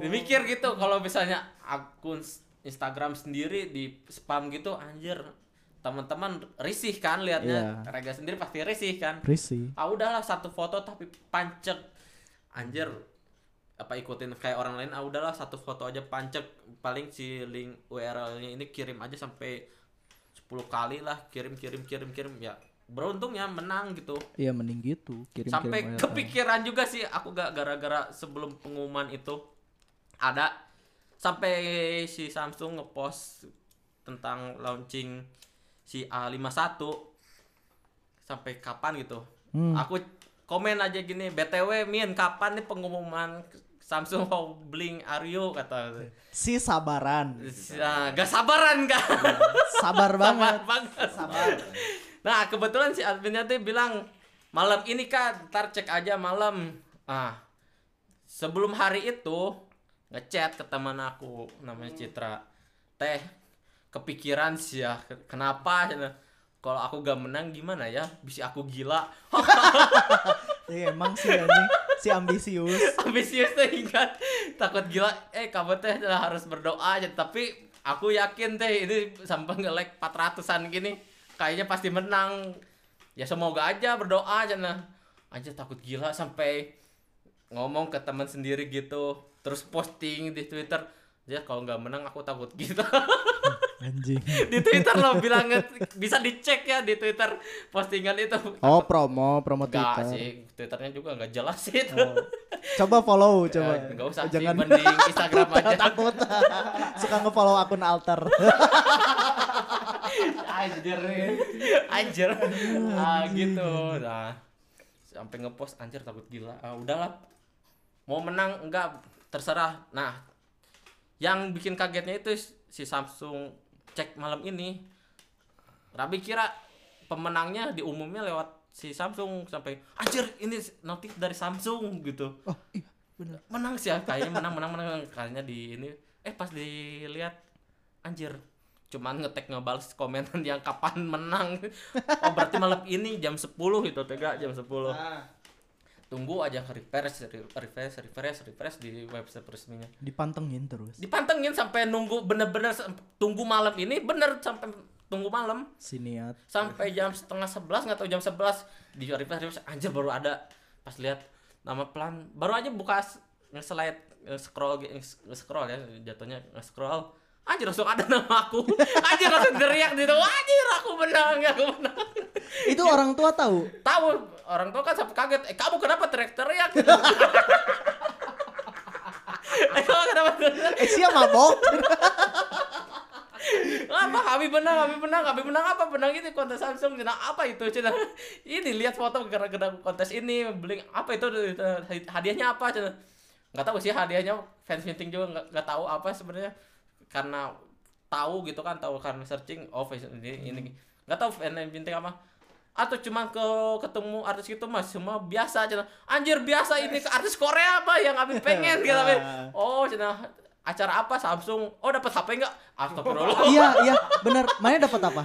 [SPEAKER 3] mikir gitu kalau misalnya akun s- Instagram sendiri di spam gitu anjir teman-teman risih kan liatnya
[SPEAKER 1] Iya.
[SPEAKER 3] Rega sendiri pasti risih kan
[SPEAKER 1] Risi.
[SPEAKER 3] ah udahlah satu foto tapi pancek anjir apa ikutin kayak orang lain ah udahlah satu foto aja pancek paling si link URL-nya ini kirim aja sampai 10 kali lah kirim kirim kirim kirim ya beruntungnya menang gitu
[SPEAKER 1] Iya mending gitu. Kirim
[SPEAKER 3] sampai kepikiran juga sih aku gak gara-gara sebelum pengumuman itu ada sampai si Samsung ngepost tentang launching si A51 sampai kapan gitu. Aku komen aja gini, BTW Min, kapan nih pengumuman Samsung mau bling are you kata.
[SPEAKER 1] Si sabaran.
[SPEAKER 3] Nah, gak sabaran kan.
[SPEAKER 1] Sabar banget.
[SPEAKER 3] Sabar banget. Nah, kebetulan si adminnya tuh bilang malam ini kan ntar cek aja malam. Ah, sebelum hari itu ngechat ke teman aku namanya
[SPEAKER 1] Hmm.
[SPEAKER 3] Citra. Teh, kepikiran sih ya. Kenapa? Kalau aku gak menang gimana ya? Bisa aku gila.
[SPEAKER 1] Iya emang sih anjing. Si ambisius.
[SPEAKER 3] ambisius tuh ingat takut gila eh kamu teh harus berdoa aja tapi aku yakin teh ini sampai nge-like 400-an gini kayaknya pasti menang ya semoga aja berdoa aja nah anjir takut gila sampai ngomong ke teman sendiri gitu terus posting di Twitter ya kalau nggak menang aku takut gitu
[SPEAKER 1] Anjing.
[SPEAKER 3] di Twitter lo bilang bisa dicek ya di Twitter postingan itu
[SPEAKER 1] Oh promo, promo
[SPEAKER 3] Enggak
[SPEAKER 1] Twitter.
[SPEAKER 3] sih, Twitternya juga nggak jelas itu.
[SPEAKER 1] Oh. Coba follow, coba.
[SPEAKER 3] Ya, nggak usah
[SPEAKER 1] Jangan
[SPEAKER 3] sih, mending Instagram aja.
[SPEAKER 1] takut. *laughs* Suka nge-follow akun alter.
[SPEAKER 3] anjir anjir ah gitu nah sampai ngepost anjir takut gila ah udahlah mau menang enggak terserah nah yang bikin kagetnya itu si Samsung cek malam ini Rabi kira pemenangnya diumumnya lewat si Samsung sampai anjir ini notif dari Samsung gitu
[SPEAKER 1] *laughs* Oh, iya, bener.
[SPEAKER 3] menang sih ya, kayaknya menang menang menang kayaknya di ini eh pas dilihat anjir cuman ngetek ngebales komenan yang kapan menang oh berarti malam ini jam 10 itu tega jam 10 tunggu aja refresh re- refresh refresh refresh di website resminya
[SPEAKER 1] Dipantengin terus.
[SPEAKER 3] dipantengin sampai nunggu bener-bener sam- tunggu malam ini bener sampai tunggu malam
[SPEAKER 1] Si niat.
[SPEAKER 3] sampai jam setengah sebelas nggak tahu jam sebelas di refresh refresh anjir baru ada pas lihat nama pelan baru aja buka s- nge-slide nge-scroll ge- nge- nge-scroll ya jatuhnya nge-scroll anjir langsung ada nama aku *laughs* anjir langsung teriak gitu anjir aku menang aku menang *laughs*
[SPEAKER 1] Itu orang tua tahu.
[SPEAKER 3] tahu orang tua kan sampai kaget eh kamu kenapa teriak-teriak *laughs* gitu eh kamu kenapa teriak
[SPEAKER 1] Eh siapa *laughs* mabok.
[SPEAKER 3] apa kami benang kami benang kami benang apa benang ini kontes Samsung cina apa itu cina ini lihat foto gara-gara kontes ini beli apa itu hadiahnya apa cina nggak tahu sih hadiahnya fans meeting juga nggak- nggak tahu apa sebenarnya karena tahu gitu kan tahu karena searching oh fans ini ini nggak tahu fans meeting apa atau cuma ke ketemu artis gitu mas cuma biasa cina anjir biasa ini ke artis Korea apa yang kami pengen gitu Abi. oh cina acara apa Samsung oh dapat HP enggak astagfirullah
[SPEAKER 1] iya, iya, bener. Mana dapat apa?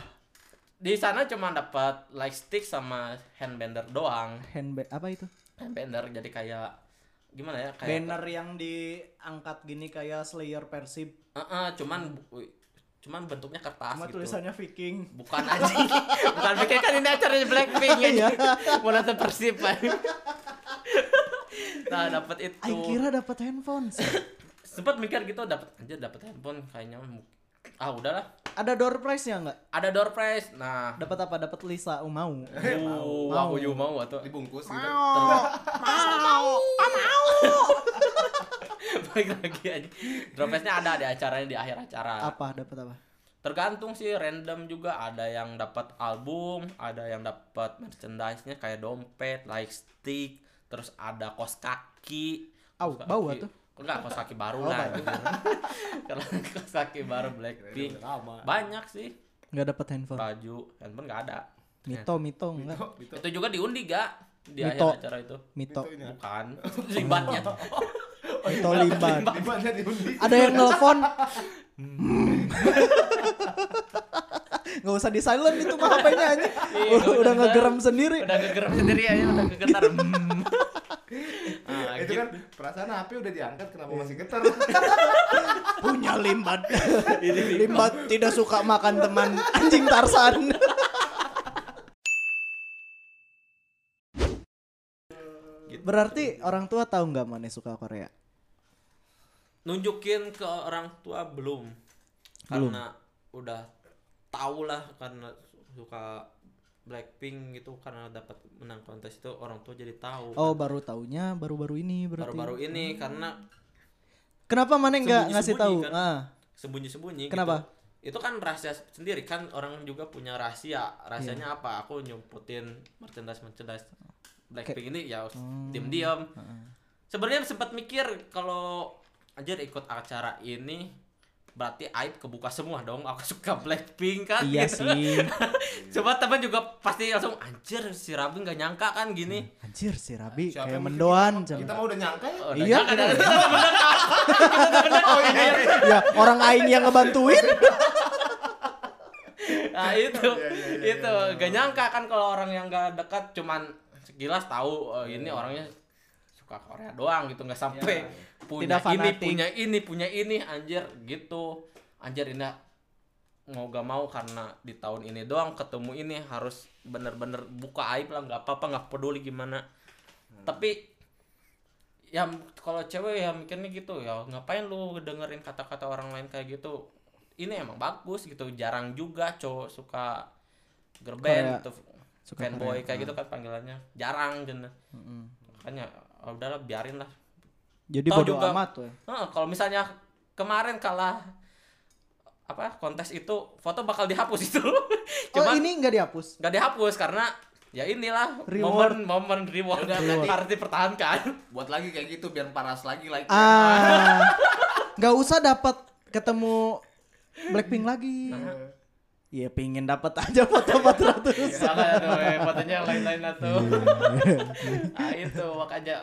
[SPEAKER 3] di sana cuma dapat lightstick sama handbender doang
[SPEAKER 1] handbag apa itu
[SPEAKER 3] handbender jadi kayak gimana ya kayak
[SPEAKER 1] banner yang diangkat gini kayak Slayer Persib
[SPEAKER 3] Heeh, cuman cuman bentuknya kertas
[SPEAKER 1] cuma
[SPEAKER 3] gitu
[SPEAKER 1] tulisannya Viking
[SPEAKER 3] bukan anjing bukan bikin kan ini acaranya Blackpink ya mau nonton persib Pak. nah dapat itu
[SPEAKER 1] Aing kira dapat handphone
[SPEAKER 3] sempat mikir gitu dapat aja dapat handphone kayaknya mu- ah udahlah
[SPEAKER 1] *laughs* ada door prize nya nggak
[SPEAKER 3] ada door prize nah
[SPEAKER 1] dapat apa dapat Lisa oh, mau
[SPEAKER 3] mau aku juga mau atau
[SPEAKER 2] dibungkus gitu
[SPEAKER 4] mau mau
[SPEAKER 3] balik lagi aja door prize nya ada di acaranya di akhir acara
[SPEAKER 1] apa dapat apa
[SPEAKER 3] tergantung sih random juga ada yang dapat album ada yang dapat merchandise nya kayak dompet lightstick terus ada kos kaki
[SPEAKER 1] Au,
[SPEAKER 3] Kos
[SPEAKER 1] bau
[SPEAKER 3] kaki-
[SPEAKER 1] tuh.
[SPEAKER 3] enggak kos kaki
[SPEAKER 1] Oh,
[SPEAKER 3] baru lah *laughs* karena kos kaki baru blackpink banyak sih
[SPEAKER 1] nggak dapat handphone
[SPEAKER 3] baju handphone nggak ada Nah,
[SPEAKER 1] Mito ya. Mito enggak
[SPEAKER 2] gitu
[SPEAKER 3] itu juga diundi gak di
[SPEAKER 1] Mito.
[SPEAKER 3] akhir acara itu
[SPEAKER 1] Mito
[SPEAKER 2] Mitonya.
[SPEAKER 3] bukan
[SPEAKER 2] *laughs*
[SPEAKER 3] libatnya
[SPEAKER 1] Oh. Mito Liban
[SPEAKER 2] di mana diundi
[SPEAKER 1] ada yang nelfon *laughs* nggak usah di silent itu mah HP-nya aja
[SPEAKER 3] Iya,
[SPEAKER 1] udah,
[SPEAKER 3] udah
[SPEAKER 1] ngegeram sendiri
[SPEAKER 3] udah kegeram sendiri aja udah
[SPEAKER 1] *laughs*
[SPEAKER 3] kegetar Hmm. Ah,
[SPEAKER 2] itu
[SPEAKER 3] gitu.
[SPEAKER 2] kan perasaan HP udah diangkat kenapa masih getar
[SPEAKER 1] punya limbat limbat tidak suka makan teman anjing Tarsan berarti orang tua tahu nggak mana suka Korea
[SPEAKER 3] nunjukin ke orang tua belum karena udah tau lah karena suka Blackpink gitu karena dapat menang kontes itu orang tua jadi tahu
[SPEAKER 1] oh baru taunya baru-baru ini berarti Hmm.
[SPEAKER 3] baru-baru ini karena
[SPEAKER 1] kenapa mana nggak
[SPEAKER 3] Sembunyi-sembunyi
[SPEAKER 1] ngasih tahu
[SPEAKER 3] kan?
[SPEAKER 1] ah
[SPEAKER 3] sembunyi-sembunyi
[SPEAKER 1] Kenapa?
[SPEAKER 3] gitu. itu kan rahasia sendiri kan orang juga punya rahasia
[SPEAKER 1] Iya.
[SPEAKER 3] rahasianya apa aku nyumputin merchandise merchandise Blackpink ini ya
[SPEAKER 1] Hmm.
[SPEAKER 3] tim diam sebenarnya sempat mikir kalau anjir ikut acara ini berarti aib kebuka semua dong aku *laughs* suka Blackpink kan
[SPEAKER 1] iya
[SPEAKER 3] gitu. *laughs*
[SPEAKER 1] sih
[SPEAKER 3] coba teman juga pasti langsung anjir si Rabi nggak nyangka kan gini
[SPEAKER 1] anjir si Rabi
[SPEAKER 2] Siapa
[SPEAKER 1] kayak
[SPEAKER 2] yang
[SPEAKER 1] mendoan
[SPEAKER 2] kita
[SPEAKER 1] jangan
[SPEAKER 2] mau udah nyangka ya Oh, iya.
[SPEAKER 3] Oh, udah
[SPEAKER 1] Iya,
[SPEAKER 3] nyangka,
[SPEAKER 1] bener.
[SPEAKER 3] dah. Kita bener, kan? Kita bener.
[SPEAKER 1] *laughs* ya orang aing yang ngebantuin
[SPEAKER 3] *laughs* nah itu
[SPEAKER 2] Iya, iya, iya,
[SPEAKER 3] itu gak nyangka kan kalau orang yang gak dekat cuman sekilas tahu eh,
[SPEAKER 2] Iya.
[SPEAKER 3] ini orangnya suka Korea doang gitu nggak sampai punya
[SPEAKER 1] Tidak
[SPEAKER 3] ini
[SPEAKER 1] fanatik.
[SPEAKER 3] punya ini punya ini anjir gitu anjir ini mau gak mau karena di tahun ini doang ketemu ini harus bener-bener buka aib lah nggak apa-apa nggak peduli gimana tapi ya kalau cewek ya mikirnya gitu ya ngapain lu dengerin kata-kata orang lain kayak gitu ini emang bagus gitu jarang juga cowok suka girl
[SPEAKER 1] Korea.
[SPEAKER 3] band gitu
[SPEAKER 1] Suka
[SPEAKER 3] fanboy
[SPEAKER 1] Korea, ah.
[SPEAKER 3] kayak gitu kan panggilannya jarang gitu makanya ah, udahlah biarin lah
[SPEAKER 1] jadi
[SPEAKER 3] Tahu
[SPEAKER 1] bodoh
[SPEAKER 3] juga.
[SPEAKER 1] amat weh
[SPEAKER 3] Heeh, kalau misalnya kemarin kalah apa kontes itu foto bakal dihapus itu
[SPEAKER 1] oh
[SPEAKER 3] *laughs* cuman
[SPEAKER 1] ini nggak dihapus
[SPEAKER 3] nggak dihapus karena ya inilah
[SPEAKER 1] Reward.
[SPEAKER 3] momen momen reward,
[SPEAKER 1] Reward.
[SPEAKER 3] harus dipertahankan
[SPEAKER 2] buat lagi kayak gitu biar paras lagi like
[SPEAKER 1] Ah, nggak usah dapat ketemu Blackpink lagi. Iya, pingin dapat aja foto-foto terus.
[SPEAKER 3] Salah tuh eh, fotonya yang lain-lain lah tuh.
[SPEAKER 1] Iya.
[SPEAKER 3] *laughs* nah, itu makanya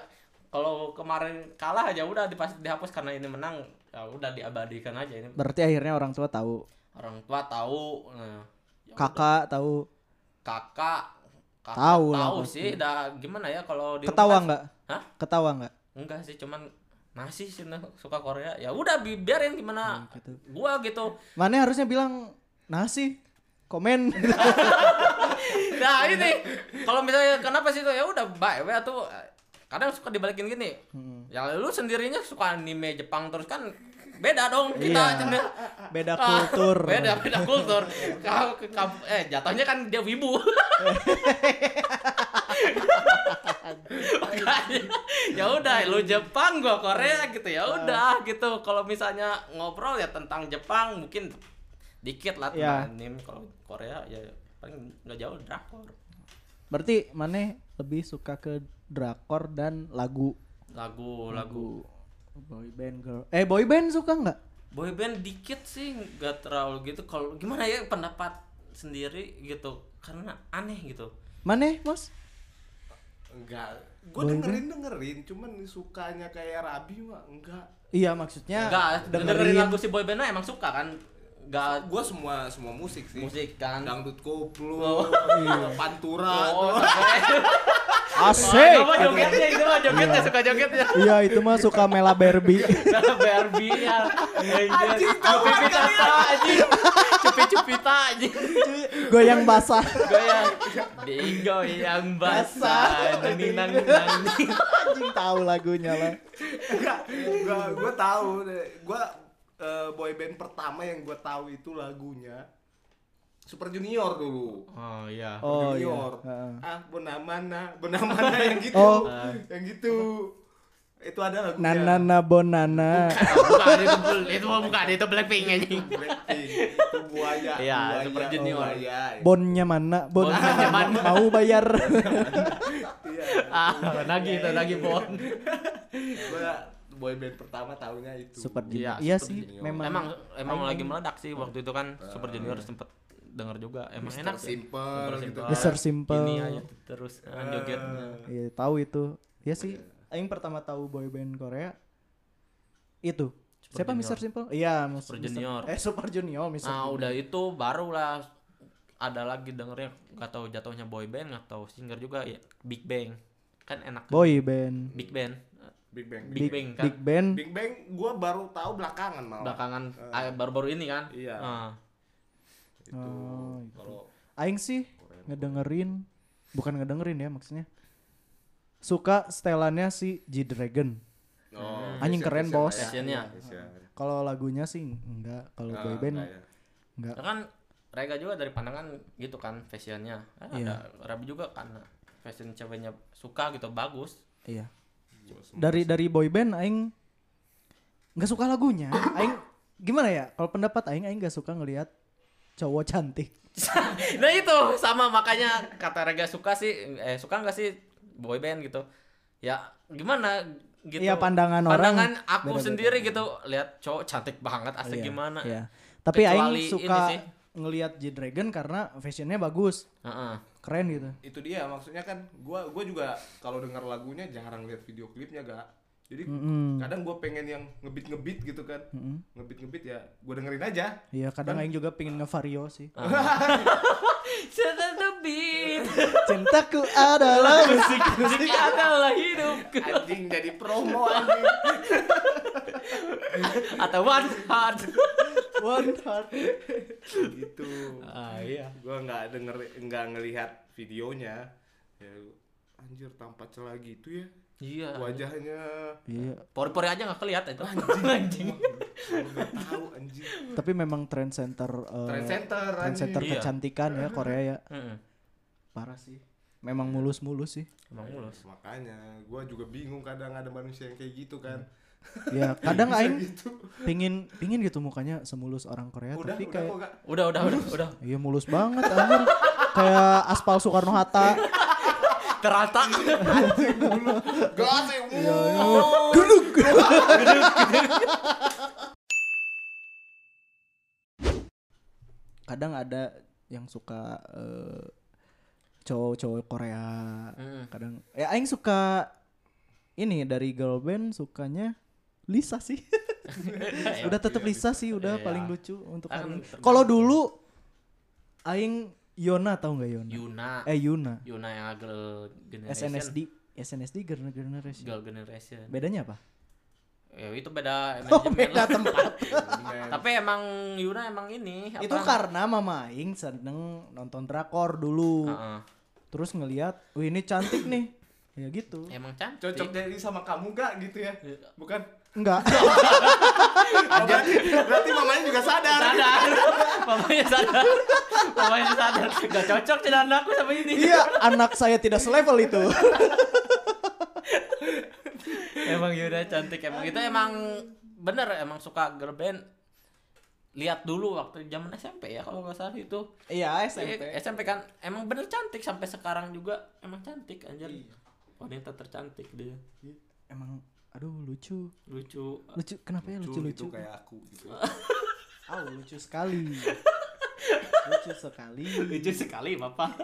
[SPEAKER 3] kalau kemarin kalah aja udah dipas dihapus karena ini menang ya udah diabadikan aja ini
[SPEAKER 1] Berarti akhirnya orang tua tahu,
[SPEAKER 3] orang tua tahu nah, ya
[SPEAKER 1] kakak tahu,
[SPEAKER 3] kakak kakak
[SPEAKER 1] Tahu
[SPEAKER 3] tahu,
[SPEAKER 1] lah pasti.
[SPEAKER 3] sih dah gimana ya kalau di
[SPEAKER 1] ketawa
[SPEAKER 3] rumah-
[SPEAKER 1] nggak?
[SPEAKER 3] Hah?
[SPEAKER 1] Ketawa nggak?
[SPEAKER 3] enggak sih cuman masih sih nah, suka Korea ya udah bi- biarin gimana
[SPEAKER 1] gitu.
[SPEAKER 3] gua gitu
[SPEAKER 1] Mana harusnya bilang nasi, komen.
[SPEAKER 3] nah ini kalau misalnya kenapa sih itu ya udah bye bye tuh kadang suka dibalikin gini ya lu sendirinya suka anime Jepang terus kan beda dong kita
[SPEAKER 1] Iya.
[SPEAKER 3] cendera-
[SPEAKER 1] *laughs* Beda
[SPEAKER 3] Ah,
[SPEAKER 1] kultur.
[SPEAKER 3] beda beda kultur Kau- kau- eh jatuhnya kan dia wibu Makanya, ya udah lu Jepang gua Korea gitu ya udah gitu kalau misalnya ngobrol ya tentang Jepang mungkin dikit lah
[SPEAKER 1] Iya.
[SPEAKER 3] tentang anime kalau Korea ya paling nggak jauh drakor
[SPEAKER 1] Berarti mana lebih suka ke drakor dan lagu
[SPEAKER 3] lagu lagu
[SPEAKER 1] boy band girl. Eh, boy band suka nggak?
[SPEAKER 3] boyband dikit sih nggak terlalu gitu kalau gimana ya pendapat sendiri gitu karena aneh gitu
[SPEAKER 1] Mana, Bos?
[SPEAKER 2] enggak gue dengerin dengerin cuman sukanya kayak Rabi mah enggak
[SPEAKER 1] Iya, maksudnya
[SPEAKER 3] Enggak, dengerin lagu si boybandnya emang suka kan Gak
[SPEAKER 2] Gue semua semua musik sih.
[SPEAKER 3] musik kan.
[SPEAKER 2] Dangdut
[SPEAKER 3] Oh.
[SPEAKER 2] koplo, *laughs* pantura,
[SPEAKER 3] Oh,
[SPEAKER 2] tuh.
[SPEAKER 1] Asik.
[SPEAKER 3] Coba jogetnya itu mah jogetnya suka *laughs* jogetnya.
[SPEAKER 1] Iya itu mah suka Mela
[SPEAKER 3] *laughs*
[SPEAKER 1] Barbie.
[SPEAKER 3] Karena Barbie-nya. Anjing, cupi pita anjing. Cupi-cupi anjing.
[SPEAKER 1] Goyang basah.
[SPEAKER 3] Goyang. Digo yang basah. Neng neng neng.
[SPEAKER 1] Anjing tahu lagunya lah.
[SPEAKER 3] Iya.
[SPEAKER 2] Gua gue tahu deh. Gua eh, boy band pertama yang gue tahu itu lagunya Super Junior dulu.
[SPEAKER 3] Oh iya.
[SPEAKER 1] Oh iya.
[SPEAKER 2] Junior.
[SPEAKER 1] Heeh.
[SPEAKER 2] Ah, benamana, benamana yang gitu.
[SPEAKER 1] Oh.
[SPEAKER 2] Yang gitu. Itu ada lagunya.
[SPEAKER 1] Nanana Bonana.
[SPEAKER 3] bukan itu bel- itu mah bukan itu Blackpink anjing.
[SPEAKER 2] Blackpink. Itu buaya.
[SPEAKER 3] Iya,
[SPEAKER 2] buaya,
[SPEAKER 3] Super Junior.
[SPEAKER 2] Buaya.
[SPEAKER 1] Bonnya mana? Bon
[SPEAKER 3] Bonnya mana?
[SPEAKER 1] mau
[SPEAKER 3] *laughs*
[SPEAKER 1] bayar.
[SPEAKER 2] Iya.
[SPEAKER 3] Ah, lagi itu lagi bon.
[SPEAKER 2] Gua boy band pertama tahunya itu.
[SPEAKER 1] Super Junior.
[SPEAKER 3] Iya,
[SPEAKER 1] Iya
[SPEAKER 3] Super
[SPEAKER 1] sih,
[SPEAKER 2] Junior.
[SPEAKER 1] memang.
[SPEAKER 3] Emang emang lagi meledak sih waktu itu kan Super Junior sempet denger juga. Emang
[SPEAKER 2] Mr.
[SPEAKER 3] enak sih.
[SPEAKER 2] Simple
[SPEAKER 3] Super
[SPEAKER 2] gitu. Eh.
[SPEAKER 3] Simple.
[SPEAKER 1] Mr. Simple.
[SPEAKER 3] Ini aja terus kan jogetnya.
[SPEAKER 1] Iya, tahu itu. Iya sih. Aing pertama tahu boy band Korea itu. Siapa
[SPEAKER 3] Junior.
[SPEAKER 1] Mr. Simple? Iya, Mr.
[SPEAKER 3] Super Junior.
[SPEAKER 1] Eh, Super Junior, Mr.
[SPEAKER 3] Nah,
[SPEAKER 1] Junior.
[SPEAKER 3] udah itu barulah ada lagi dengernya nggak tahu jatuhnya boy band nggak tahu singer juga ya Big Bang kan enak
[SPEAKER 1] Boy band.
[SPEAKER 3] Big Band
[SPEAKER 2] Big Bang.
[SPEAKER 3] Big Bang kan
[SPEAKER 1] Big band.
[SPEAKER 2] Big Bang gua baru tahu belakangan malah.
[SPEAKER 3] belakangan ah, baru-baru ini kan
[SPEAKER 2] Oh. Eh. Iya.
[SPEAKER 3] Ah.
[SPEAKER 2] Itu.
[SPEAKER 1] Oh, itu.
[SPEAKER 2] Kalau
[SPEAKER 1] Aing sih ngedengerin bukan ngedengerin ya maksudnya. Suka setelannya si G-Dragon.
[SPEAKER 2] Oh,
[SPEAKER 1] Anjing keren, bos.
[SPEAKER 3] Fashionnya.
[SPEAKER 1] Kalau lagunya sih enggak, kalau boy band
[SPEAKER 2] Ah,
[SPEAKER 1] enggak.
[SPEAKER 3] Ah, Ya kan Rega juga dari pandangan gitu kan fashionnya kan
[SPEAKER 1] Iya.
[SPEAKER 3] ada Rabi juga kan fashion ceweknya suka gitu bagus
[SPEAKER 1] Iya. Dari dari boy band aing nggak suka lagunya. Aing gimana ya? Kalau pendapat aing aing nggak suka ngelihat cowok cantik.
[SPEAKER 3] *laughs* nah itu sama makanya kata Rega suka sih eh suka nggak sih boyband gitu ya gimana gitu
[SPEAKER 1] Iya, pandangan orang
[SPEAKER 3] pandangan aku
[SPEAKER 1] beda-beda.
[SPEAKER 3] sendiri gitu lihat cowok cantik banget
[SPEAKER 1] Iya,
[SPEAKER 3] asli gimana
[SPEAKER 1] Iya. Tapi
[SPEAKER 3] Kecuali
[SPEAKER 1] aing
[SPEAKER 3] ini sih.
[SPEAKER 1] suka ngelihat G-Dragon karena fashionnya bagus,
[SPEAKER 3] Heeh.
[SPEAKER 1] keren gitu.
[SPEAKER 2] itu dia maksudnya kan gua gua juga kalau dengar lagunya jarang lihat video klipnya gak jadi
[SPEAKER 1] Mm-mm.
[SPEAKER 2] kadang gua pengen yang ngebit ngebit gitu kan
[SPEAKER 1] Mm-mm.
[SPEAKER 2] ngebit ngebit ya gua dengerin
[SPEAKER 1] *laughs*
[SPEAKER 2] aja
[SPEAKER 1] Iya, kadang
[SPEAKER 3] Kan?
[SPEAKER 1] aing juga pingin ngevario sih.
[SPEAKER 3] Ah. Cinta lebih
[SPEAKER 1] Cintaku adalah musik.
[SPEAKER 3] *laughs* musik Iya. adalah hidupku
[SPEAKER 2] anjing jadi promo anjing
[SPEAKER 3] atau one heart
[SPEAKER 1] One heart.
[SPEAKER 2] gitu
[SPEAKER 3] ah iya
[SPEAKER 2] gua nggak denger nggak ngelihat videonya ya anjir tampak celah gitu ya
[SPEAKER 3] iya
[SPEAKER 2] wajahnya
[SPEAKER 1] Iya,
[SPEAKER 3] pori-pori aja nggak kelihatan itu anjing
[SPEAKER 2] Gua nggak tahu
[SPEAKER 1] *laughs*
[SPEAKER 2] anjing
[SPEAKER 1] tapi memang trend center eh,
[SPEAKER 2] trend center
[SPEAKER 1] trend
[SPEAKER 2] anjing
[SPEAKER 1] center
[SPEAKER 3] Iya.
[SPEAKER 1] kecantikan ya Korea ya.
[SPEAKER 3] Heeh.
[SPEAKER 1] Parah sih. Memang mulus-mulus sih.
[SPEAKER 3] emang mulus
[SPEAKER 2] makanya gua juga bingung kadang ada manusia yang kayak gitu kan
[SPEAKER 1] Ya, kadang
[SPEAKER 2] Bisa
[SPEAKER 1] aing
[SPEAKER 2] gitu
[SPEAKER 1] pingin pingin gitu mukanya semulus orang Korea
[SPEAKER 2] udah
[SPEAKER 1] Ya, tapi
[SPEAKER 2] udah
[SPEAKER 1] kayak
[SPEAKER 2] kok
[SPEAKER 1] *laughs*
[SPEAKER 2] gak
[SPEAKER 3] udah udah udah udah
[SPEAKER 1] iya mulus banget anjir. kayak aspal Soekarno Hatta.
[SPEAKER 3] terata
[SPEAKER 1] Iya,
[SPEAKER 2] gak sih
[SPEAKER 1] Kadang ada yang suka eh, cowok-cowok Korea.
[SPEAKER 3] Mm.
[SPEAKER 2] Hmm.
[SPEAKER 1] Kadang ya aing suka ini dari girl band sukanya Lisa sih. udah tetap Lisa sih udah
[SPEAKER 3] Iya.
[SPEAKER 1] paling lucu untuk
[SPEAKER 3] Kan
[SPEAKER 1] hari ini.
[SPEAKER 3] tergantung.
[SPEAKER 1] Kalau dulu aing Yona tahu nggak Yona?
[SPEAKER 3] Yuna
[SPEAKER 1] Eh Yuna.
[SPEAKER 3] Yuna yang girl generation
[SPEAKER 1] SNSD SNSD Girl Generation.
[SPEAKER 3] girl generation
[SPEAKER 1] Bedanya apa?
[SPEAKER 3] ya itu beda
[SPEAKER 1] Oh,
[SPEAKER 3] manajemen
[SPEAKER 1] beda
[SPEAKER 3] lah.
[SPEAKER 1] tempat.
[SPEAKER 3] *laughs* tapi emang Yuna emang ini apa?
[SPEAKER 1] Itu karena mama aing seneng nonton drakor dulu.
[SPEAKER 3] Heeh.
[SPEAKER 1] Terus ngelihat, "Wih, ini cantik nih." Ya gitu.
[SPEAKER 3] emang cantik
[SPEAKER 2] cocok jadi sama kamu gak gitu ya bukan
[SPEAKER 1] Enggak.
[SPEAKER 2] Oh, berarti, berarti mamanya juga sadar
[SPEAKER 3] sadar *laughs* mamanya sadar mamanya sadar gak cocok celana aku sama ini
[SPEAKER 1] *laughs* iya, anak saya tidak selevel
[SPEAKER 3] *laughs*
[SPEAKER 1] itu.
[SPEAKER 3] emang Yuna cantik emang itu emang bener emang suka girl band lihat dulu waktu zaman SMP ya kalau nggak salah itu
[SPEAKER 1] iya,
[SPEAKER 3] SMP.
[SPEAKER 1] SMP.
[SPEAKER 3] SMP kan emang bener cantik sampai sekarang juga emang cantik anjir wanita tercantik dia
[SPEAKER 1] Emang aduh lucu.
[SPEAKER 3] lucu kan.
[SPEAKER 1] Lucu kenapa ya
[SPEAKER 2] lucu
[SPEAKER 1] lucu-lucu?
[SPEAKER 2] kayak aku gitu
[SPEAKER 1] Ah, lucu
[SPEAKER 3] *laughs*
[SPEAKER 1] sekali. lucu sekali.
[SPEAKER 3] lucu sekali bapak *laughs*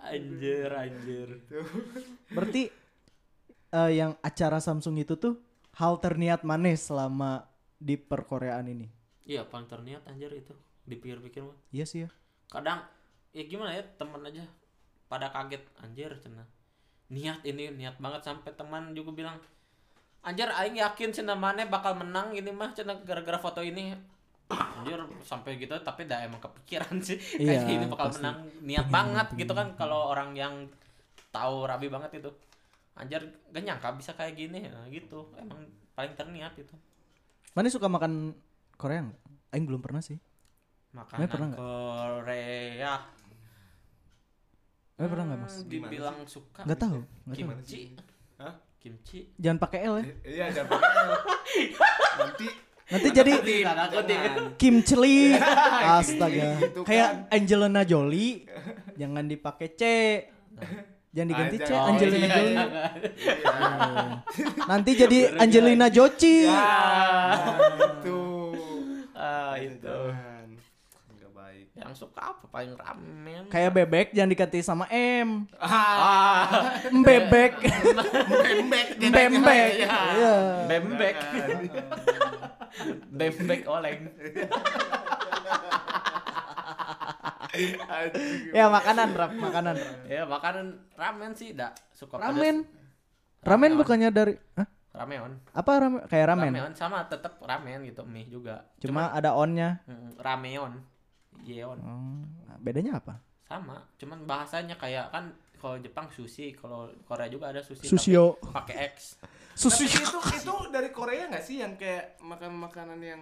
[SPEAKER 3] anjir anjir
[SPEAKER 1] Berarti eh, yang acara Samsung itu tuh hal terniat manis selama di perkoreaan ini.
[SPEAKER 3] Iya paling terniat anjir itu dipikir-pikir mah.
[SPEAKER 1] Iya sih ya.
[SPEAKER 3] Kadang ya gimana ya teman aja pada kaget anjir cina. Niat ini niat banget sampai teman juga bilang anjir aing yakin cina mana bakal menang ini mah cina gara-gara foto ini. Anjir sampai gitu tapi dah emang kepikiran sih *laughs*
[SPEAKER 1] Iya,
[SPEAKER 3] kayaknya ini bakal
[SPEAKER 1] pasti.
[SPEAKER 3] menang niat banget gitu kan kalau orang yang tahu rabi banget itu. Anjir gak nyangka bisa kayak gini Nah, gitu. Emang paling terniat itu.
[SPEAKER 1] Mana suka makan Korea nggak? Aing belum pernah sih.
[SPEAKER 3] Makanan
[SPEAKER 1] pernah nggak?
[SPEAKER 3] Korea.
[SPEAKER 1] Mana Eh, pernah nggak mas?
[SPEAKER 3] Hmm,
[SPEAKER 2] Gimana
[SPEAKER 3] Dibilang suka.
[SPEAKER 1] Nggak tahu. nggak tahu.
[SPEAKER 2] Gimana
[SPEAKER 3] Kimchi.
[SPEAKER 2] Hah?
[SPEAKER 3] Kimchi.
[SPEAKER 1] Jangan pakai L ya.
[SPEAKER 2] Eh, Iya, jangan pakai L. Nanti
[SPEAKER 1] Nanti jadi
[SPEAKER 3] Tanda kutip.
[SPEAKER 2] jangan.
[SPEAKER 1] Kim Chili.
[SPEAKER 2] *laughs* Kim Chili
[SPEAKER 1] Astaga.
[SPEAKER 2] gitu kan.
[SPEAKER 1] Kayak Angelina Jolie. Jangan dipakai C. Jangan diganti C
[SPEAKER 2] jangan.
[SPEAKER 1] Angelina
[SPEAKER 2] Oh, iya,
[SPEAKER 1] Jolie.
[SPEAKER 2] iya.
[SPEAKER 1] Nanti jadi Angelina Joci.
[SPEAKER 2] Ya,
[SPEAKER 1] Nah,
[SPEAKER 2] Itu.
[SPEAKER 3] Ah,
[SPEAKER 1] gitu.
[SPEAKER 2] itu.
[SPEAKER 3] itu.
[SPEAKER 2] Enggak *laughs* baik.
[SPEAKER 3] Yang suka apa paling ramen.
[SPEAKER 1] Kayak bebek jangan diganti sama M.
[SPEAKER 3] ah,
[SPEAKER 1] Bebek.
[SPEAKER 3] bembek.
[SPEAKER 2] gitu.
[SPEAKER 1] Bembek.
[SPEAKER 3] Iya.
[SPEAKER 1] Iya.
[SPEAKER 3] Bembek.
[SPEAKER 2] Jangan.
[SPEAKER 3] *laughs* Bembek oleng.
[SPEAKER 2] Anjing.
[SPEAKER 1] Ya makanan rap, makanan. Rap.
[SPEAKER 3] Ya makanan ramen sih dak suka pedas.
[SPEAKER 1] Ramen. Ramen bukannya dari Hah?
[SPEAKER 3] Rameon.
[SPEAKER 1] apa ramen kayak ramen.
[SPEAKER 3] Rameon sama tetap ramen gitu mie juga.
[SPEAKER 1] Cuma ada onnya.
[SPEAKER 3] Mm, rameon. Yeon.
[SPEAKER 1] Oh, bedanya apa?
[SPEAKER 3] sama cuman bahasanya kayak kan kalau Jepang sushi kalau Korea juga ada sushi
[SPEAKER 1] Susio.
[SPEAKER 3] tapi pakai X
[SPEAKER 2] Tapi
[SPEAKER 1] Sushi.
[SPEAKER 2] itu itu dari Korea nggak sih yang kayak makan makanan yang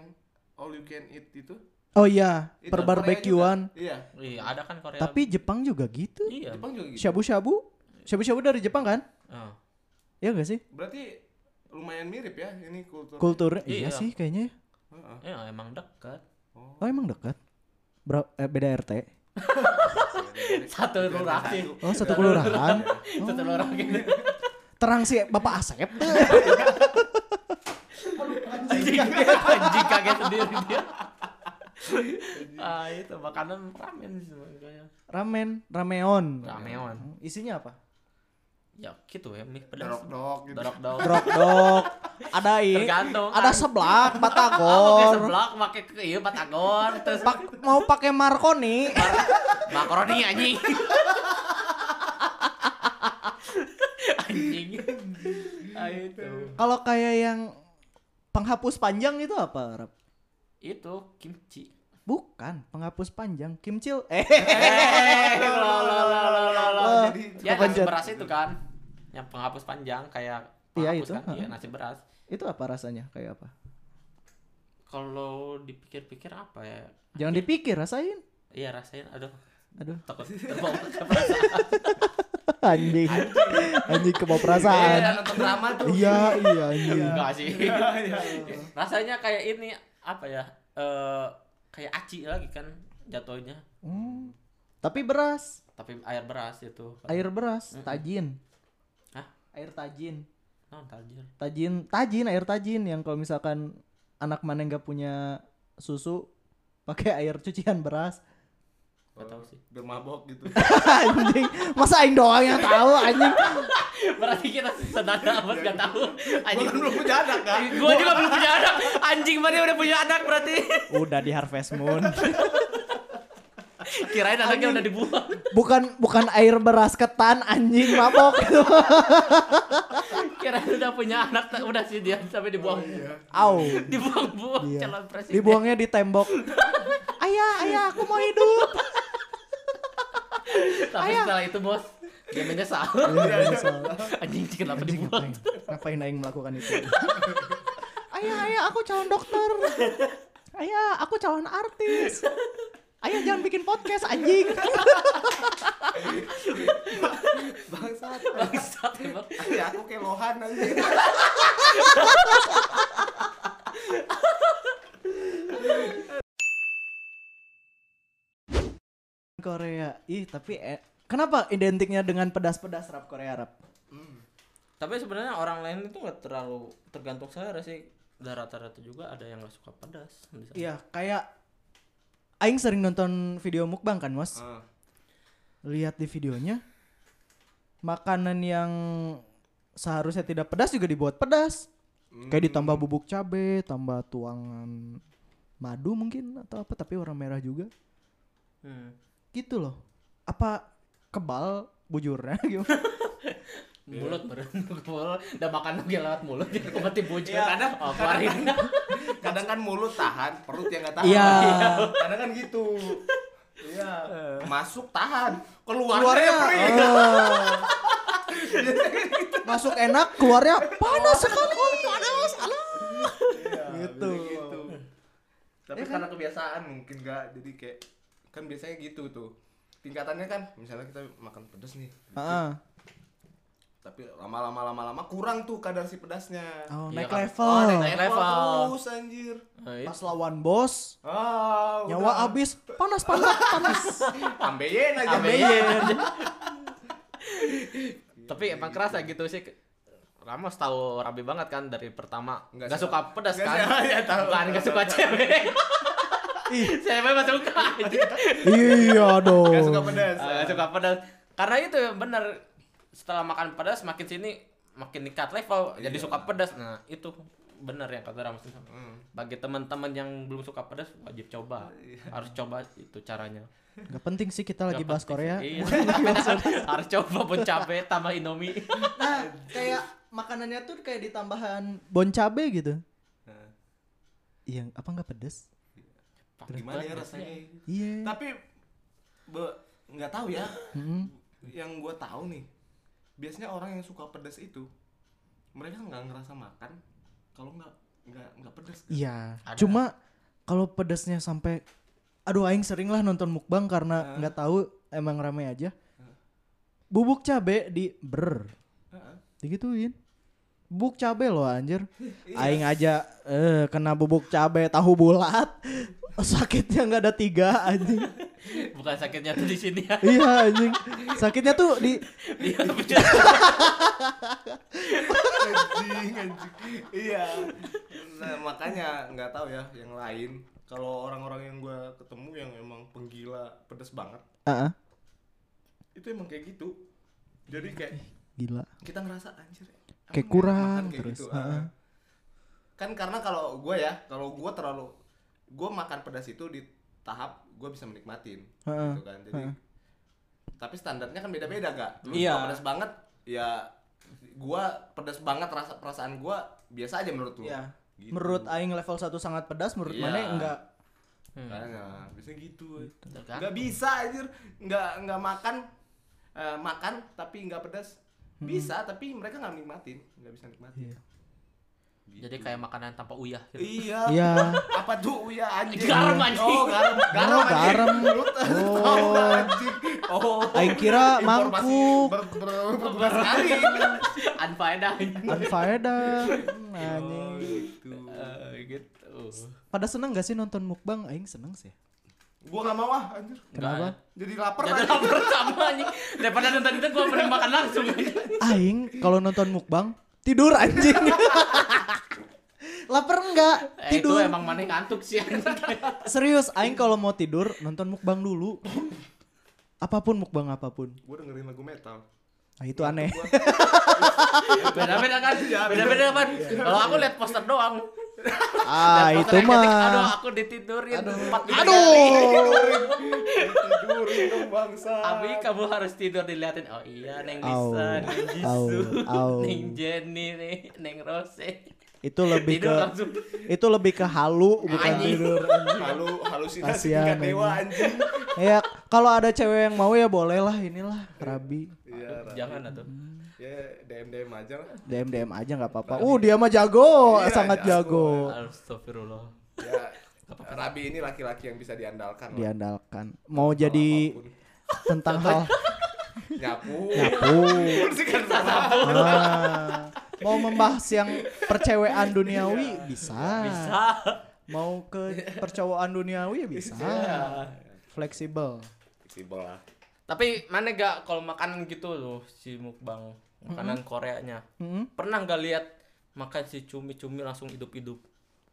[SPEAKER 2] all you can eat itu?
[SPEAKER 1] Oh iya,
[SPEAKER 2] Itu
[SPEAKER 1] per
[SPEAKER 2] Korea
[SPEAKER 1] barbekyuan.
[SPEAKER 2] juga. Iya.
[SPEAKER 3] iya ada kan Korea
[SPEAKER 1] Tapi Jepang juga gitu.
[SPEAKER 3] iya
[SPEAKER 2] Jepang juga gitu.
[SPEAKER 1] Shabu-shabu? Shabu-shabu dari Jepang kan?
[SPEAKER 3] Eh,
[SPEAKER 1] Iya gak sih?
[SPEAKER 2] Berarti lumayan mirip ya ini kultur.
[SPEAKER 1] Kulturnya iya,
[SPEAKER 3] Iya.
[SPEAKER 1] sih kayaknya.
[SPEAKER 2] Heeh.
[SPEAKER 3] iya emang dekat
[SPEAKER 2] Oh.
[SPEAKER 1] Oh emang dekat. Bra- eh, beda RT.
[SPEAKER 3] Iya, satu lurah sih
[SPEAKER 1] Oh *laughs* satu kelurahan.
[SPEAKER 3] satu
[SPEAKER 1] Oh.
[SPEAKER 3] lurah
[SPEAKER 1] *laughs*
[SPEAKER 3] gitu
[SPEAKER 1] Terang sih Bapak Asep. *laughs*
[SPEAKER 3] anjing
[SPEAKER 1] Iya.
[SPEAKER 3] anjing kaget sendiri
[SPEAKER 1] *laughs*
[SPEAKER 3] dia ah itu makanan ramen sih makanya
[SPEAKER 1] Ramen, rameon.
[SPEAKER 3] rameon
[SPEAKER 1] Isinya apa?
[SPEAKER 3] ya gitu ya mie pedas
[SPEAKER 2] Dorok-dorok gitu.
[SPEAKER 3] dorok dorok
[SPEAKER 1] Drok dok. Ada ini.
[SPEAKER 3] Tergantung.
[SPEAKER 1] Ada
[SPEAKER 3] *laughs*
[SPEAKER 1] seblak,
[SPEAKER 3] pakai
[SPEAKER 1] batagor.
[SPEAKER 3] seblak pakai ke iya batagor terus
[SPEAKER 1] Pak mau pakai Marconi.
[SPEAKER 3] makaroni anjing *laughs* anjing ah itu
[SPEAKER 1] Kalau kayak yang penghapus panjang itu apa? Rap?
[SPEAKER 3] itu kimchi
[SPEAKER 1] Bukan, penghapus panjang. Kimchil. Eh, *laughs*
[SPEAKER 3] eh lo, lo, lo, lo, lo, lo.
[SPEAKER 1] Oh,
[SPEAKER 2] jadi
[SPEAKER 3] ya
[SPEAKER 1] apa,
[SPEAKER 3] nasi
[SPEAKER 1] Jan?
[SPEAKER 3] beras itu kan yang penghapus panjang kayak
[SPEAKER 1] Iya,
[SPEAKER 3] penghapus
[SPEAKER 1] itu,
[SPEAKER 3] kan
[SPEAKER 1] heeh.
[SPEAKER 3] iya nasi beras
[SPEAKER 1] itu apa rasanya? Kayak apa?
[SPEAKER 3] kalau dipikir-pikir apa ya
[SPEAKER 1] Jangan dipikir,
[SPEAKER 3] *laughs*
[SPEAKER 1] rasain.
[SPEAKER 3] iya rasain aduh
[SPEAKER 1] Aduh, *laughs*
[SPEAKER 3] takut terbawa ke perasaan
[SPEAKER 1] anjing. Anjing kebawa perasaan.
[SPEAKER 2] Iya, nonton drama tuh.
[SPEAKER 1] Iya, iya anjing.
[SPEAKER 3] enggak sih
[SPEAKER 2] Iya.
[SPEAKER 3] rasanya kayak ini apa ya eh kayak aci lagi kan jatuhnya
[SPEAKER 1] Hmm. Tapi beras,
[SPEAKER 3] tapi air beras itu
[SPEAKER 1] air beras, tajin.
[SPEAKER 3] Hah?
[SPEAKER 1] Air tajin.
[SPEAKER 3] non tajir
[SPEAKER 1] Tajin, tajin air tajin yang kalau misalkan anak mana nggak punya susu pakai air cucian beras. *laughs*
[SPEAKER 3] Gak tahu sih.
[SPEAKER 2] Biar mabok *laughs* gitu.
[SPEAKER 1] anjing, masa aing doang yang tahu anjing.
[SPEAKER 3] Berarti kita
[SPEAKER 1] *laughs*
[SPEAKER 3] senada amat gak tahu. Anjing
[SPEAKER 2] Kan belum punya anak kan?
[SPEAKER 3] Gua juga belum punya anak. Anjing mana udah punya anak berarti.
[SPEAKER 1] Udah di Harvest Moon.
[SPEAKER 3] Kirain anaknya udah dibuang.
[SPEAKER 1] bukan bukan air beras ketan anjing mabok itu.
[SPEAKER 3] Kirain udah punya anak ta- udah sih dia sampai dibuang.
[SPEAKER 1] *laughs* Au. Oh,
[SPEAKER 3] Dibuang-buang
[SPEAKER 1] Iya.
[SPEAKER 3] calon presiden.
[SPEAKER 1] Dibuangnya di tembok. Ayah, ayah, aku mau hidup.
[SPEAKER 3] Tapi
[SPEAKER 1] Ayah.
[SPEAKER 3] setelah itu bos dia menyesal.
[SPEAKER 1] *laughs* Iya, menyesal.
[SPEAKER 3] Anjing kenapa
[SPEAKER 1] Anjing ngapain?
[SPEAKER 3] dibuang?
[SPEAKER 1] Ngapain aing melakukan itu? *laughs* ayah, ayah, aku calon dokter. Ayah, aku calon artis. Ayah jangan bikin podcast anjing.
[SPEAKER 2] Bangsat.
[SPEAKER 3] Bangsat emang.
[SPEAKER 2] Ya aku kayak lohan aja.
[SPEAKER 1] Korea. Ih, tapi eh, kenapa identiknya dengan pedas-pedas rap Korea rap?
[SPEAKER 3] Tapi sebenarnya orang lain itu gak terlalu tergantung selera sih. Dan rata-rata juga ada yang gak suka pedas. di sana.
[SPEAKER 1] Iya, kayak aing sering nonton video mukbang kan, Mas?
[SPEAKER 2] Ah.
[SPEAKER 1] lihat di videonya makanan yang seharusnya tidak
[SPEAKER 4] Hmm.
[SPEAKER 1] pedas juga dibuat pedas kayak ditambah bubuk cabe tambah tuangan madu mungkin atau apa tapi warna merah juga
[SPEAKER 3] Hmm.
[SPEAKER 1] gitu loh apa kebal bujurnya *laughs* gimana
[SPEAKER 4] mulut meren *laughs* mulut udah makan lagi lewat mulut jadi kemati bocor
[SPEAKER 2] Iya, kadang-
[SPEAKER 4] oh, keluarin
[SPEAKER 2] kadang kan mulut tahan perut yang nggak tahan
[SPEAKER 1] Iya.
[SPEAKER 2] kadang kan gitu iya masuk tahan
[SPEAKER 1] Eh.
[SPEAKER 2] keluarnya,
[SPEAKER 1] keluarnya
[SPEAKER 2] perih.
[SPEAKER 1] eh, masuk enak keluarnya panas sekali panas
[SPEAKER 2] Iya,
[SPEAKER 1] *laughs* Gitu.
[SPEAKER 2] biasanya gitu. tapi
[SPEAKER 1] Ya kan?
[SPEAKER 2] karena kebiasaan mungkin nggak jadi kayak kan biasanya gitu tuh tingkatannya kan misalnya kita makan pedas nih tapi lama-lama lama-lama kurang tuh kadar si pedasnya
[SPEAKER 1] oh,
[SPEAKER 4] Iya
[SPEAKER 1] naik
[SPEAKER 4] kan?
[SPEAKER 1] level
[SPEAKER 4] Oh, naik
[SPEAKER 2] Level
[SPEAKER 4] level.
[SPEAKER 2] terus anjir
[SPEAKER 4] Nah,
[SPEAKER 1] pas lawan bos
[SPEAKER 2] ah
[SPEAKER 1] nyawa
[SPEAKER 2] udah.
[SPEAKER 1] abis panas panas panas
[SPEAKER 2] ambeien aja Iya.
[SPEAKER 3] Ambeien. Tapi emang kerasa gitu sih. Ramos tahu Rabi banget kan dari pertama
[SPEAKER 2] Nggak
[SPEAKER 3] nggak
[SPEAKER 2] suka.
[SPEAKER 3] suka pedas
[SPEAKER 2] Nggak
[SPEAKER 3] kan?
[SPEAKER 2] suka, *laughs* ya tahu,
[SPEAKER 3] Bukan
[SPEAKER 2] tahu,
[SPEAKER 3] nggak
[SPEAKER 2] tahu,
[SPEAKER 3] suka
[SPEAKER 2] tahu. *laughs*
[SPEAKER 3] cewek.
[SPEAKER 1] Ih.
[SPEAKER 3] Cewek mah suka. anjing.
[SPEAKER 1] iya dong
[SPEAKER 2] Gak suka pedas.
[SPEAKER 3] Ah, Nggak suka pedas. Karena itu ya, bener setelah makan pedas makin sini makin meningkat level jadi
[SPEAKER 2] Iya.
[SPEAKER 3] suka pedas. Nah, itu bener yang kata Ramos.
[SPEAKER 2] Hmm.
[SPEAKER 3] Bagi teman-teman yang belum suka pedas wajib coba.
[SPEAKER 2] Iya.
[SPEAKER 3] Harus coba itu caranya.
[SPEAKER 1] nggak penting sih kita lagi
[SPEAKER 3] Nggak
[SPEAKER 1] bahas
[SPEAKER 3] penting
[SPEAKER 1] Korea
[SPEAKER 3] sih. Iya. *laughs* Harus coba pun capek tambah Indomie.
[SPEAKER 1] nah kayak makanannya tuh kayak ditambahan bon cabe gitu
[SPEAKER 2] Nah,
[SPEAKER 1] iya apa nggak pedes
[SPEAKER 2] gimana ya rasanya?
[SPEAKER 1] iya
[SPEAKER 2] Tapi be- nggak tahu ya.
[SPEAKER 1] Mm-mm.
[SPEAKER 2] Yang gue tahu nih, biasanya orang yang suka pedas itu mereka nggak ngerasa makan kalau nggak nggak nggak pedas. kan?
[SPEAKER 1] Iya.
[SPEAKER 3] Ada.
[SPEAKER 1] Cuma kalau pedasnya sampai aduh aing sering lah nonton mukbang karena nggak tahu emang rame aja. Bubuk cabe di ber
[SPEAKER 2] Heeh.
[SPEAKER 1] digituin. Bubuk cabe loh anjir.
[SPEAKER 3] Iya.
[SPEAKER 1] Aing aja eh kena bubuk cabe tahu bulat. *laughs* Sakitnya nggak ada tiga anjing.
[SPEAKER 3] Bukan sakitnya tuh di sini
[SPEAKER 2] *laughs*
[SPEAKER 3] ya.
[SPEAKER 1] iya anjing. Sakitnya tuh di
[SPEAKER 3] Iya,
[SPEAKER 2] anjing, anjing. Iya. Nah, makanya nggak tahu ya yang lain. Kalau orang-orang yang gue ketemu yang emang penggila pedas banget,
[SPEAKER 1] Ah, ah,
[SPEAKER 2] itu emang kayak gitu. Jadi kayak
[SPEAKER 1] gila.
[SPEAKER 2] kita ngerasa anjir emang
[SPEAKER 1] Kayak
[SPEAKER 2] enak
[SPEAKER 1] kurang
[SPEAKER 2] makan kayak
[SPEAKER 1] terus,
[SPEAKER 2] gitu,
[SPEAKER 1] heeh.
[SPEAKER 2] ah. kan karena kalau gue ya kalau gue terlalu gue makan pedas itu di tahap gue bisa menikmatin
[SPEAKER 1] Heeh,
[SPEAKER 2] gitu kan jadi tapi standarnya kan beda-beda gak lu
[SPEAKER 3] Iya.
[SPEAKER 2] suka pedas banget ya gue pedas banget rasa perasaan gue biasa aja menurut lu
[SPEAKER 1] Iya.
[SPEAKER 2] Gitu.
[SPEAKER 1] Menurut aing level 1 sangat pedas, menurut
[SPEAKER 2] Iya.
[SPEAKER 1] mana enggak.
[SPEAKER 2] Karena bisa gitu.
[SPEAKER 3] Kan?
[SPEAKER 2] Nggak bisa anjir. Nggak nggak makan eh, makan tapi nggak pedas. Bisa tapi mereka nggak nikmatin, nggak bisa
[SPEAKER 1] Hmm.
[SPEAKER 2] nikmatin.
[SPEAKER 1] Iya.
[SPEAKER 2] Gitu.
[SPEAKER 3] Jadi kayak makanan tanpa uyah gitu.
[SPEAKER 2] Iya.
[SPEAKER 1] Iya.
[SPEAKER 2] Apa tuh ya anjing?
[SPEAKER 3] Garam, anjing.
[SPEAKER 2] Oh, garam. Garam.
[SPEAKER 1] Oh,
[SPEAKER 2] anjing.
[SPEAKER 1] garam.
[SPEAKER 2] Lu *laughs* tahu nggak, anjing. *laughs*
[SPEAKER 1] Oh.
[SPEAKER 2] Oh.
[SPEAKER 1] Aing kira
[SPEAKER 2] Informasi
[SPEAKER 1] mangkuk.
[SPEAKER 2] ber- ber- berguna sekali. *laughs*
[SPEAKER 3] Unfaedah.
[SPEAKER 1] Unfaedah Hmm,
[SPEAKER 2] Oh,
[SPEAKER 1] *laughs* anjing.
[SPEAKER 2] gitu.
[SPEAKER 3] Eh, gitu.
[SPEAKER 1] Pada seneng gak sih nonton mukbang? Aing seneng sih.
[SPEAKER 2] Gua nggak mau ah anjir.
[SPEAKER 3] ya.
[SPEAKER 1] Kenapa?
[SPEAKER 2] Jadi lapar
[SPEAKER 3] Jadi *laughs*
[SPEAKER 2] anjing.
[SPEAKER 3] lapar sama anjing. Daripada nonton itu gua mending makan langsung. Eh,
[SPEAKER 1] Aing kalau nonton mukbang tidur anjing. Lapar enggak?
[SPEAKER 3] Eh, itu
[SPEAKER 1] Tidur.
[SPEAKER 3] emang mana ngantuk
[SPEAKER 2] *laughs*
[SPEAKER 3] sih anjing.
[SPEAKER 1] Serius, aing kalau mau tidur nonton mukbang dulu. Apapun mukbang apapun.
[SPEAKER 2] Gua dengerin lagu metal.
[SPEAKER 1] Nah, itu aneh.
[SPEAKER 3] Beda-beda kan?
[SPEAKER 2] Iya,
[SPEAKER 3] Beda-beda kan? Kalau aku lihat poster doang.
[SPEAKER 1] Ah,
[SPEAKER 3] Lihat
[SPEAKER 1] itu
[SPEAKER 3] posternya ketik, Aduh,
[SPEAKER 1] mah.
[SPEAKER 3] aku ditidurin.
[SPEAKER 1] Aduh.
[SPEAKER 3] Empat kali.
[SPEAKER 1] Aduh. *laughs*
[SPEAKER 2] Tidurin dong bangsa.
[SPEAKER 3] Abi kamu harus tidur diliatin. Oh iya, Neng
[SPEAKER 1] Au,
[SPEAKER 3] Lisa, Neng
[SPEAKER 1] au,
[SPEAKER 3] Jisoo,
[SPEAKER 1] au.
[SPEAKER 3] *laughs* Neng Jenny, Neng- Neng Rose.
[SPEAKER 1] Itu lebih
[SPEAKER 3] Tidur
[SPEAKER 1] ke
[SPEAKER 3] langsung.
[SPEAKER 1] itu lebih ke halu bukan
[SPEAKER 3] Anjing.
[SPEAKER 1] tidur.
[SPEAKER 2] Halu halusinasi
[SPEAKER 1] Kasihan,
[SPEAKER 2] tingkat dewa
[SPEAKER 1] anjing.
[SPEAKER 2] anjing.
[SPEAKER 1] Ya, kalau ada cewek yang mau ya boleh lah inilah Rabi.
[SPEAKER 2] Iya, Ra.
[SPEAKER 3] Jangan atuh.
[SPEAKER 2] ya DM DM aja
[SPEAKER 1] *laughs*
[SPEAKER 2] lah.
[SPEAKER 1] DM DM aja nggak apa-apa. Uh dia mah jago,
[SPEAKER 2] Iya,
[SPEAKER 1] sangat
[SPEAKER 2] jago.
[SPEAKER 1] jago.
[SPEAKER 3] Astagfirullah.
[SPEAKER 2] Ya, Rabi ini laki-laki yang bisa diandalkan. lah.
[SPEAKER 1] Diandalkan. Mau
[SPEAKER 2] Kalau
[SPEAKER 1] jadi
[SPEAKER 2] apapun.
[SPEAKER 1] tentang hal
[SPEAKER 2] nyapu.
[SPEAKER 1] *laughs* nyapu. *laughs*
[SPEAKER 2] Bersihkan rumah.
[SPEAKER 1] Ah, mau membahas yang percewean
[SPEAKER 2] Iya.
[SPEAKER 1] duniawi bisa.
[SPEAKER 3] Bisa.
[SPEAKER 1] Ah. Mau ke percowaan duniawi ya bisa.
[SPEAKER 2] Iya.
[SPEAKER 1] Fleksibel.
[SPEAKER 2] Si bola.
[SPEAKER 3] *laughs* Tapi mana gak kalau makanan gitu loh si mukbang makanan Koreanya.
[SPEAKER 1] Mm-mm.
[SPEAKER 3] Pernah gak lihat makan si cumi-cumi langsung
[SPEAKER 1] *laughs*
[SPEAKER 3] hidup-hidup?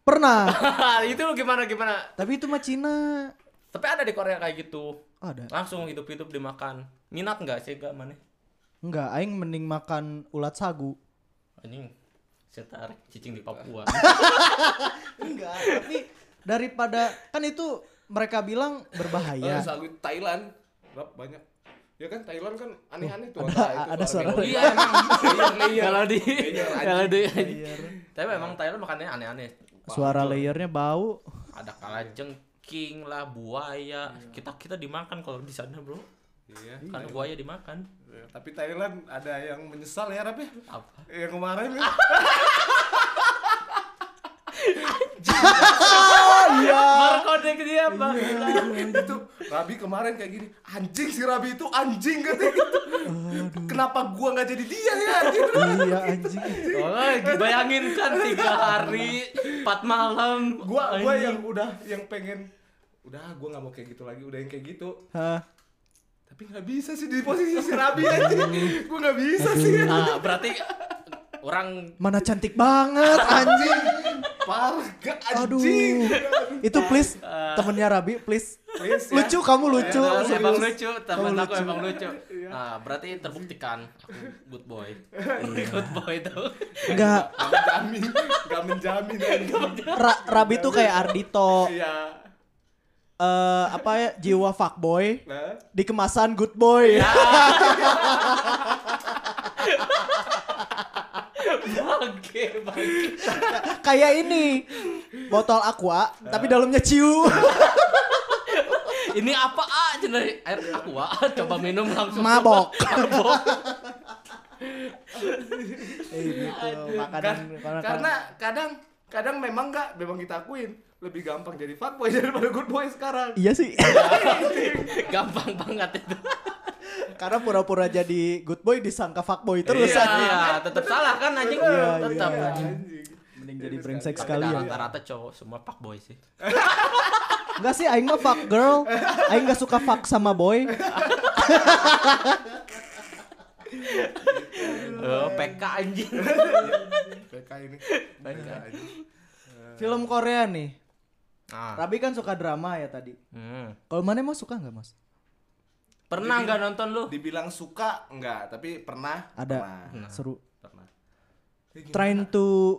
[SPEAKER 1] Pernah.
[SPEAKER 3] itu gimana gimana?
[SPEAKER 1] Tapi itu mah Cina.
[SPEAKER 3] Tapi ada di Korea kayak gitu.
[SPEAKER 1] Ada.
[SPEAKER 3] Langsung hidup-hidup dimakan. Minat nggak sih gak mana?
[SPEAKER 1] Enggak, aing mending makan ulat sagu. *laughs*
[SPEAKER 3] Anjing. Saya tarik cicing di Papua.
[SPEAKER 1] Enggak, tapi daripada kan itu mereka bilang
[SPEAKER 2] Iya.
[SPEAKER 1] berbahaya.
[SPEAKER 2] Thailand, rap banyak. Ya kan Thailand kan aneh-aneh tuh.
[SPEAKER 1] ada- ada suara iya, *laughs*
[SPEAKER 2] bego.
[SPEAKER 3] Iya,
[SPEAKER 2] emang. Layer,
[SPEAKER 3] Kalau di
[SPEAKER 2] Layer, Iya. anjing.
[SPEAKER 3] kalau di
[SPEAKER 1] Layer.
[SPEAKER 3] Tapi emang Thailand makanannya aneh-aneh.
[SPEAKER 1] Suara layernya bau.
[SPEAKER 3] Ada kala jengking lah, buaya. Kita kita dimakan kalau di sana, Bro.
[SPEAKER 2] Iya.
[SPEAKER 3] Karena buaya dimakan.
[SPEAKER 2] Iya, Tapi Thailand ada yang menyesal ya Rap ya?
[SPEAKER 3] Apa?
[SPEAKER 2] Yang kemarin ya.
[SPEAKER 1] Oh, iya.
[SPEAKER 3] Barcode dia, Bang.
[SPEAKER 2] Iya. itu Rabi kemarin kayak gini anjing si Rabi itu anjing katanya gitu. kenapa gua nggak jadi dia ya anjing
[SPEAKER 1] iya anjing.
[SPEAKER 3] Oh, dibayangin kan tiga hari, empat malam.
[SPEAKER 2] gua gua
[SPEAKER 3] Anjing.
[SPEAKER 2] yang udah yang pengen udah gua nggak mau kayak gitu lagi udah yang kayak gitu
[SPEAKER 1] Hah.
[SPEAKER 2] tapi nggak bisa sih di posisi si Rabi anjing gua nggak bisa sih
[SPEAKER 3] Ah, berarti orang
[SPEAKER 1] Mana cantik banget anjing.
[SPEAKER 2] parah gak
[SPEAKER 1] Aduh.
[SPEAKER 2] anjing
[SPEAKER 1] Itu please temennya Rabi please.
[SPEAKER 2] Please, ya.
[SPEAKER 1] Lucu kamu lucu.
[SPEAKER 3] Nah,
[SPEAKER 1] Serius.
[SPEAKER 2] iya,
[SPEAKER 3] emang lucu, temen
[SPEAKER 1] Kamu
[SPEAKER 3] aku
[SPEAKER 1] lucu.
[SPEAKER 3] emang lucu. Nah, berarti terbuktikan aku good boy. good boy itu. *laughs*
[SPEAKER 1] Enggak.
[SPEAKER 2] Nggak menjamin nggak menjamin anjing.
[SPEAKER 1] Ra- Rabi tuh kayak Ardito.
[SPEAKER 2] iya
[SPEAKER 1] eh apa ya jiwa fuckboy
[SPEAKER 2] nah
[SPEAKER 1] di kemasan good boy.
[SPEAKER 2] Iya.
[SPEAKER 3] Oke, baik.
[SPEAKER 1] *laughs* kayak ini botol aqua tapi dalamnya ciu
[SPEAKER 3] Ini apa ah cenai air aqua? *laughs* Coba minum langsung.
[SPEAKER 1] mabok.
[SPEAKER 3] *laughs* Mabok.
[SPEAKER 1] Eh, gitu,
[SPEAKER 2] Iya, Kar-
[SPEAKER 1] makanan, makanan
[SPEAKER 2] karena kadang kadang memang nggak memang kita akuin lebih gampang jadi fuckboy *laughs* daripada good boy sekarang
[SPEAKER 1] iya sih
[SPEAKER 3] Gampang banget itu.
[SPEAKER 1] karena pura-pura jadi good boy disangka fuckboy terus
[SPEAKER 3] iya,
[SPEAKER 1] anjing.
[SPEAKER 3] iya, tetap salah kan anjing.
[SPEAKER 1] Iya,
[SPEAKER 3] tetap.
[SPEAKER 1] *laughs* iya,
[SPEAKER 3] anjing.
[SPEAKER 2] Anjing.
[SPEAKER 1] mending jadi brengsek
[SPEAKER 3] Tapi
[SPEAKER 1] sekali ya
[SPEAKER 3] Rata-rata cowok semua pak boy sih.
[SPEAKER 1] enggak sih aing mah fuck girl aing enggak suka fuck sama boy
[SPEAKER 3] Eh, PK anjing.
[SPEAKER 1] iya.
[SPEAKER 2] PK ini PK anjing.
[SPEAKER 1] film Korea nih
[SPEAKER 3] Nah.
[SPEAKER 1] Rabi kan suka drama ya tadi
[SPEAKER 3] Hmm.
[SPEAKER 1] kalau mana emang suka nggak mas
[SPEAKER 3] Pernah nggak nonton lu?
[SPEAKER 2] dibilang suka enggak tapi pernah
[SPEAKER 1] ada Hmm. seru
[SPEAKER 2] pernah, pernah.
[SPEAKER 1] trying to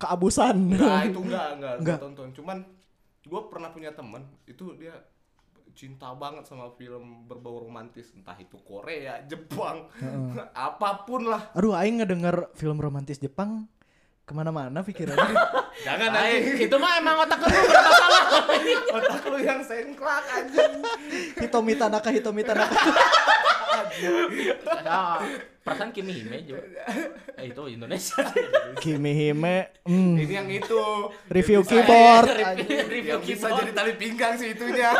[SPEAKER 1] keabusan *laughs*
[SPEAKER 2] Nah, itu enggak enggak,
[SPEAKER 1] Enggak.
[SPEAKER 2] enggak. tonton cuman gue pernah punya temen itu dia cinta banget sama film berbau romantis entah itu Korea Jepang *laughs* apapun lah
[SPEAKER 1] Aduh, Aing ngedenger film romantis Jepang kemana-mana pikirannya.
[SPEAKER 2] jangan
[SPEAKER 3] Ay,
[SPEAKER 2] anjing
[SPEAKER 3] itu mah emang otak lu bermasalah.
[SPEAKER 2] otak lu yang sengklak anjing
[SPEAKER 1] Hitomi Tanaka, Hitomi Tanaka.
[SPEAKER 3] Ada perasaan Kimi Hime juga. Eh itu *laughs* Indonesia.
[SPEAKER 1] Kimi Hime, hmm,
[SPEAKER 2] ini yang itu
[SPEAKER 1] review keyboard.
[SPEAKER 3] Review review
[SPEAKER 2] yang bisa
[SPEAKER 3] keyboard.
[SPEAKER 2] jadi tali pinggang sih itunya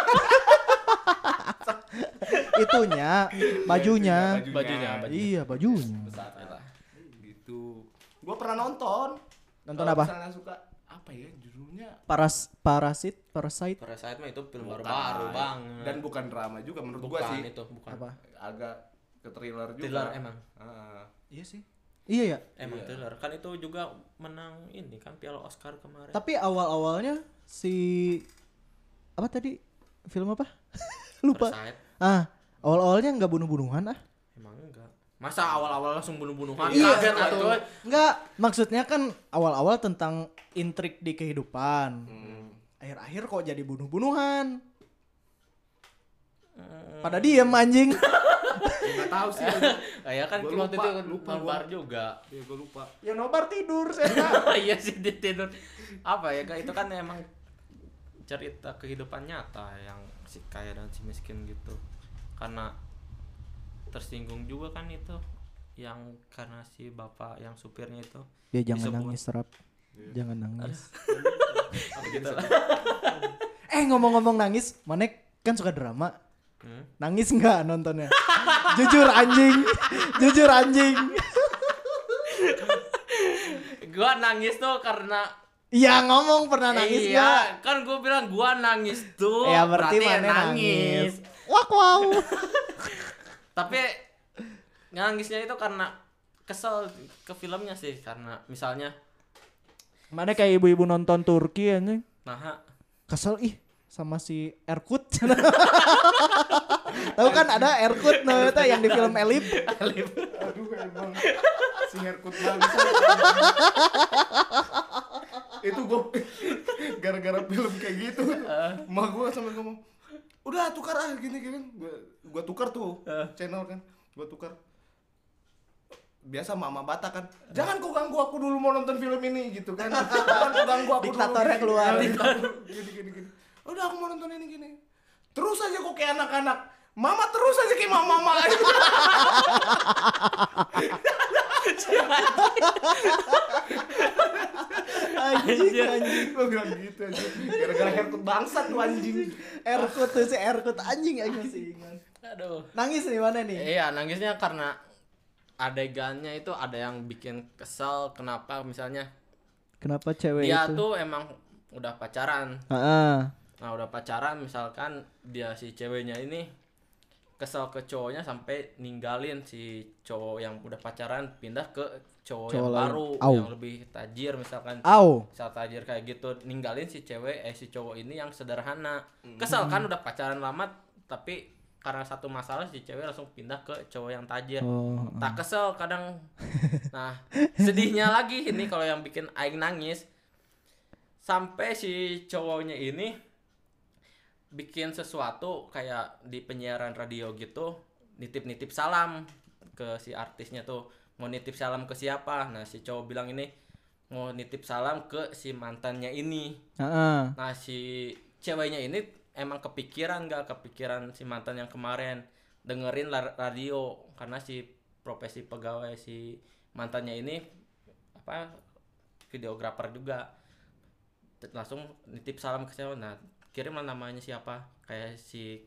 [SPEAKER 1] Itunya, bajunya.
[SPEAKER 3] Bajunya, bajunya.
[SPEAKER 1] Iya, bajunya.
[SPEAKER 2] besar
[SPEAKER 3] Nah,
[SPEAKER 2] lah gitu gue pernah nonton
[SPEAKER 1] Nonton
[SPEAKER 2] Kalau
[SPEAKER 1] apa?
[SPEAKER 2] misalnya suka apa ya judulnya
[SPEAKER 1] Paras, parasit, parasite,
[SPEAKER 3] Parasite mah itu film
[SPEAKER 2] Bukan. dan bukan drama juga menurut gue sih
[SPEAKER 3] itu bukan.
[SPEAKER 1] apa?
[SPEAKER 2] agak ke thriller juga
[SPEAKER 3] Thriller emang.
[SPEAKER 2] Heeh.
[SPEAKER 1] Iya sih. Iya ya.
[SPEAKER 3] Emang thriller. Kan itu juga menang ini kan Piala Oscar kemarin.
[SPEAKER 1] Tapi awal-awalnya si apa tadi? Film apa? *laughs* Lupa.
[SPEAKER 3] Parasite
[SPEAKER 1] Ah, awal-awalnya nggak bunuh-bunuhan ah.
[SPEAKER 3] emang enggak. Masa awal-awal langsung bunuh-bunuhan?
[SPEAKER 2] Iya,
[SPEAKER 3] Kaget
[SPEAKER 2] betul.
[SPEAKER 3] atau
[SPEAKER 1] Enggak, maksudnya kan awal-awal tentang intrik di kehidupan.
[SPEAKER 2] Hmm.
[SPEAKER 1] akhir-akhir kok jadi bunuh-bunuhan pada diem *laughs* anjing
[SPEAKER 2] nggak tahu sih
[SPEAKER 3] ya kan
[SPEAKER 2] Gua
[SPEAKER 3] waktu
[SPEAKER 2] lupa,
[SPEAKER 3] itu
[SPEAKER 2] lupa
[SPEAKER 3] nobar
[SPEAKER 2] gua.
[SPEAKER 3] juga.
[SPEAKER 2] ya gue lupa
[SPEAKER 1] ya nobar tidur saya
[SPEAKER 3] *laughs* Iya sih dia tidur. Apa ya Kak? itu kan emang cerita kehidupan nyata yang si kaya dan si miskin gitu. Karena tersinggung juga kan itu yang karena si bapak yang supirnya itu
[SPEAKER 1] ya jangan
[SPEAKER 3] Disebut.
[SPEAKER 1] nangis serap jangan nangis
[SPEAKER 3] gitu lah.
[SPEAKER 1] eh ngomong-ngomong nangis manek kan suka drama
[SPEAKER 3] Hmm?
[SPEAKER 1] nangis nggak nontonnya jujur anjing jujur anjing
[SPEAKER 3] Gua nangis tuh karena
[SPEAKER 1] Iya ngomong pernah nangis nggak
[SPEAKER 3] iya, kan gua bilang gua nangis tuh.
[SPEAKER 1] ya berarti
[SPEAKER 3] ya
[SPEAKER 1] mana nangis wak wow
[SPEAKER 3] tapi nangisnya itu karena kesel ke filmnya sih karena misalnya
[SPEAKER 1] mana kayak ibu-ibu nonton Turki anjing
[SPEAKER 3] nah
[SPEAKER 1] kesel ih sama si Erkut tahu kan ada Erkut nah, itu yang di film Elip
[SPEAKER 2] aduh emang si Herkut bagus itu gue *laughs* gara-gara film kayak gitu emak gue sampai ngomong udah tukar ah gini gini gue gue tukar tuh channel kan gue tukar biasa mama bata kan jangan kau ganggu aku dulu mau nonton film ini gitu kan jangan kau ganggu aku
[SPEAKER 1] Diktatornya
[SPEAKER 2] dulu
[SPEAKER 1] keluar.
[SPEAKER 2] gini gini gini udah aku mau nonton ini gini terus aja kok kayak anak-anak mama terus aja kayak mama *laughs* mama
[SPEAKER 1] Anjing, anjing.
[SPEAKER 2] *laughs* gue bilang gitu aja gara-gara herkut bangsat tuh anjing
[SPEAKER 1] Erkut tuh si Erkut anjing aja sih.
[SPEAKER 3] Aduh.
[SPEAKER 1] Nangis nih mana nih?
[SPEAKER 3] Iya, nangisnya karena adegannya itu ada yang bikin kesel kenapa misalnya
[SPEAKER 1] Kenapa cewek
[SPEAKER 3] dia
[SPEAKER 1] Iya, itu?
[SPEAKER 3] Iya, tuh emang udah pacaran.
[SPEAKER 1] Heeh.
[SPEAKER 3] Nah, udah pacaran misalkan dia si ceweknya ini kesel ke cowoknya sampai ninggalin si cowok yang udah pacaran pindah ke cowok, yang
[SPEAKER 1] Cowok lain.
[SPEAKER 3] baru
[SPEAKER 1] Au.
[SPEAKER 3] yang lebih tajir misalkan
[SPEAKER 1] Au.
[SPEAKER 3] misal tajir kayak gitu ninggalin si cewek eh si cowok ini yang sederhana kesel kan udah pacaran lama tapi karena satu masalah si cewek langsung pindah ke cowok yang tajir
[SPEAKER 1] Oh.
[SPEAKER 3] Iya. tak kesel kadang nah sedihnya lagi ini kalau yang bikin aing nangis sampai si cowoknya ini bikin sesuatu kayak di penyiaran radio gitu nitip-nitip salam ke si artisnya tuh mau nitip salam ke siapa nah si cowok bilang ini mau nitip salam ke si mantannya ini
[SPEAKER 1] Heeh.
[SPEAKER 3] Nah si ceweknya ini emang kepikiran nggak kepikiran si mantan yang kemarin dengerin la- radio karena si profesi pegawai si mantannya ini apa videografer juga Ter- langsung nitip salam ke siapa nah kirimlah namanya siapa kayak si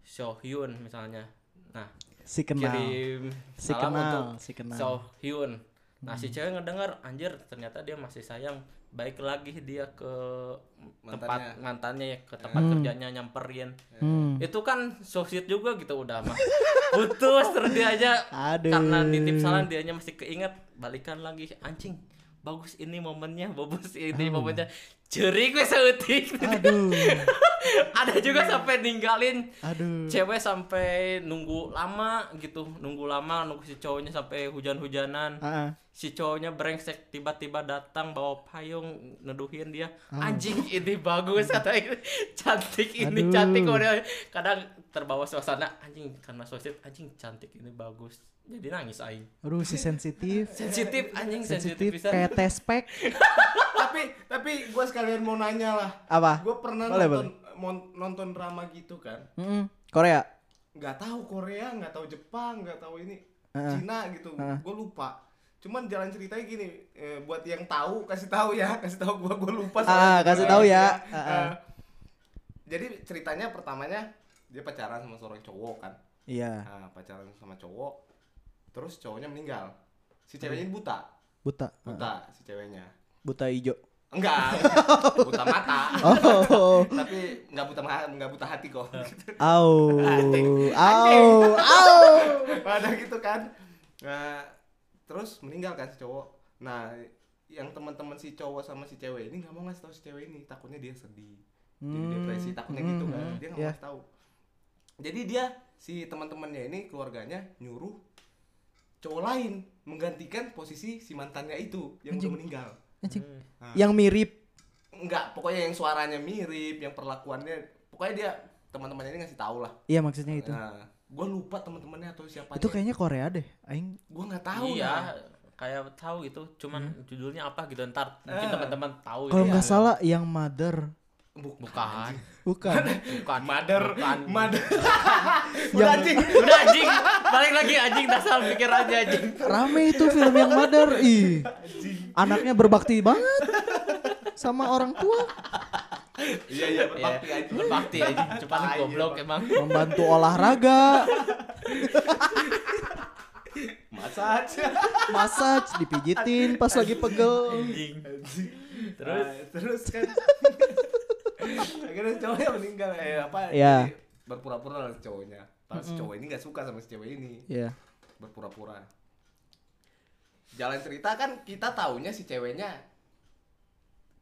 [SPEAKER 3] Sohyun misalnya nah
[SPEAKER 1] Si kenal.
[SPEAKER 3] kirim
[SPEAKER 1] Si
[SPEAKER 3] salam
[SPEAKER 1] kenal,
[SPEAKER 3] untuk
[SPEAKER 1] si kenal.
[SPEAKER 3] Sohyun nah
[SPEAKER 1] Hmm.
[SPEAKER 3] si cewek ngedengar anjir ternyata dia masih sayang baik lagi dia ke tempat mantannya ya ke tempat kerjanya nyamperin
[SPEAKER 1] Hmm.
[SPEAKER 3] itu kan sosial juga gitu udah mah *laughs* putus terus dia aja
[SPEAKER 1] Aduh.
[SPEAKER 3] karena nitip salam dianya masih keinget balikan lagi anjing bagus ini momennya bagus ini momennya jerik gue seutik
[SPEAKER 1] Aduh.
[SPEAKER 3] *laughs* ada juga sampai ninggalin
[SPEAKER 2] *laughs*
[SPEAKER 1] Aduh.
[SPEAKER 3] cewek sampai nunggu lama gitu nunggu lama nunggu si cowoknya sampai hujan-hujanan
[SPEAKER 1] Heeh.
[SPEAKER 3] si cowoknya brengsek tiba-tiba datang bawa payung neduhin dia
[SPEAKER 1] Ah.
[SPEAKER 3] anjing ini bagus kata ini. cantik ini
[SPEAKER 1] Aduh.
[SPEAKER 3] cantik udah kadang terbawa suasana anjing karena sosmed anjing cantik ini bagus jadi nangis aing
[SPEAKER 1] Aduh si
[SPEAKER 2] *laughs*
[SPEAKER 1] sensitif.
[SPEAKER 3] sensitif
[SPEAKER 1] *laughs*
[SPEAKER 3] anjing sensitif
[SPEAKER 1] sensitif eh.
[SPEAKER 3] bisa
[SPEAKER 1] kayak tespek
[SPEAKER 2] tapi tapi gue sekalian mau nanya lah
[SPEAKER 1] apa?
[SPEAKER 2] gue pernah
[SPEAKER 1] Boleh,
[SPEAKER 2] nonton mon- nonton drama gitu kan
[SPEAKER 1] Mm-mm. Hmm, Korea.
[SPEAKER 2] nggak tahu Korea nggak tahu Jepang nggak tahu ini
[SPEAKER 1] Heeh.
[SPEAKER 2] Cina gitu
[SPEAKER 1] Heeh.
[SPEAKER 2] gue lupa cuman jalan ceritanya gini eh, buat yang tahu kasih tahu ya *laughs* kasih tahu gue gue lupa
[SPEAKER 1] Ah,
[SPEAKER 2] soalnya.
[SPEAKER 1] kasih tahu ya.
[SPEAKER 2] Eh,
[SPEAKER 1] Ah, ah.
[SPEAKER 2] jadi ceritanya pertamanya dia pacaran sama seorang cowok kan
[SPEAKER 1] Iya,
[SPEAKER 2] Nah, pacaran sama cowok terus cowoknya meninggal si ceweknya
[SPEAKER 1] Hmm.
[SPEAKER 2] ini buta
[SPEAKER 1] buta. Heeh.
[SPEAKER 2] buta si ceweknya
[SPEAKER 1] Buta ijo.
[SPEAKER 2] enggak
[SPEAKER 1] *laughs*
[SPEAKER 2] buta mata
[SPEAKER 1] Oh.
[SPEAKER 2] tapi nggak buta ma- nggak buta hati kok Gitu. *laughs*
[SPEAKER 1] Au.
[SPEAKER 2] Anjing.
[SPEAKER 1] Au. Au.
[SPEAKER 2] pada gitu kan nah, terus meninggal kan si cowok nah yang teman-teman si cowok sama si cewek ini nggak mau ngasih tahu si cewek ini takutnya dia sedih jadi
[SPEAKER 1] Hmm,
[SPEAKER 2] depresi takutnya gitu kan dia nggak
[SPEAKER 1] iya.
[SPEAKER 2] mau ngasih tahu jadi dia si teman-temannya ini keluarganya nyuruh cowok lain menggantikan posisi si mantannya itu yang udah meninggal
[SPEAKER 3] Hmm.
[SPEAKER 1] Anjing.
[SPEAKER 2] "Ah."
[SPEAKER 1] Yang mirip.
[SPEAKER 2] enggak pokoknya yang suaranya mirip yang perlakuannya pokoknya dia teman-temannya ini ngasih tahu lah
[SPEAKER 1] Iya maksudnya itu.
[SPEAKER 2] nah gue lupa teman-temannya atau siapa
[SPEAKER 1] Itu kayaknya Korea deh. Aing
[SPEAKER 2] gue nggak tahu
[SPEAKER 3] iya
[SPEAKER 2] ya
[SPEAKER 3] kayak tahu gitu cuman judulnya apa gitu ntar mungkin
[SPEAKER 2] Eh.
[SPEAKER 3] teman-teman tahu
[SPEAKER 1] Hmm. kalau
[SPEAKER 3] ya.
[SPEAKER 1] nggak salah yang mother
[SPEAKER 3] bukan
[SPEAKER 1] bukan
[SPEAKER 2] *laughs*
[SPEAKER 3] bukan
[SPEAKER 2] Mother,
[SPEAKER 3] bukan. *laughs*
[SPEAKER 2] mother.
[SPEAKER 1] Yang-
[SPEAKER 2] Udah anjing.
[SPEAKER 3] udah anjing balik lagi anjing dasar pikir aja anjing
[SPEAKER 1] rame itu film yang mother ih anaknya berbakti banget sama orang tua
[SPEAKER 2] Iya iya
[SPEAKER 3] Iya,
[SPEAKER 2] berbakti anjing.
[SPEAKER 3] berbakti anjing cepat
[SPEAKER 2] Tai,
[SPEAKER 3] goblok
[SPEAKER 2] emang.
[SPEAKER 3] emang
[SPEAKER 1] membantu olahraga
[SPEAKER 2] Masa aja.
[SPEAKER 1] massage dipijitin pas lagi pegel
[SPEAKER 3] anjing
[SPEAKER 2] Anjing.
[SPEAKER 3] Terus?
[SPEAKER 2] Nah, terus
[SPEAKER 3] *laughs*
[SPEAKER 2] kan. Akhirnya cowoknya meninggal eh apa?
[SPEAKER 1] Iya.
[SPEAKER 2] jadi Berpura-pura lah si cowoknya. Padahal si cowok ini nggak suka sama si cewek ini.
[SPEAKER 1] ya
[SPEAKER 2] Berpura-pura. Jalan cerita kan kita taunya si ceweknya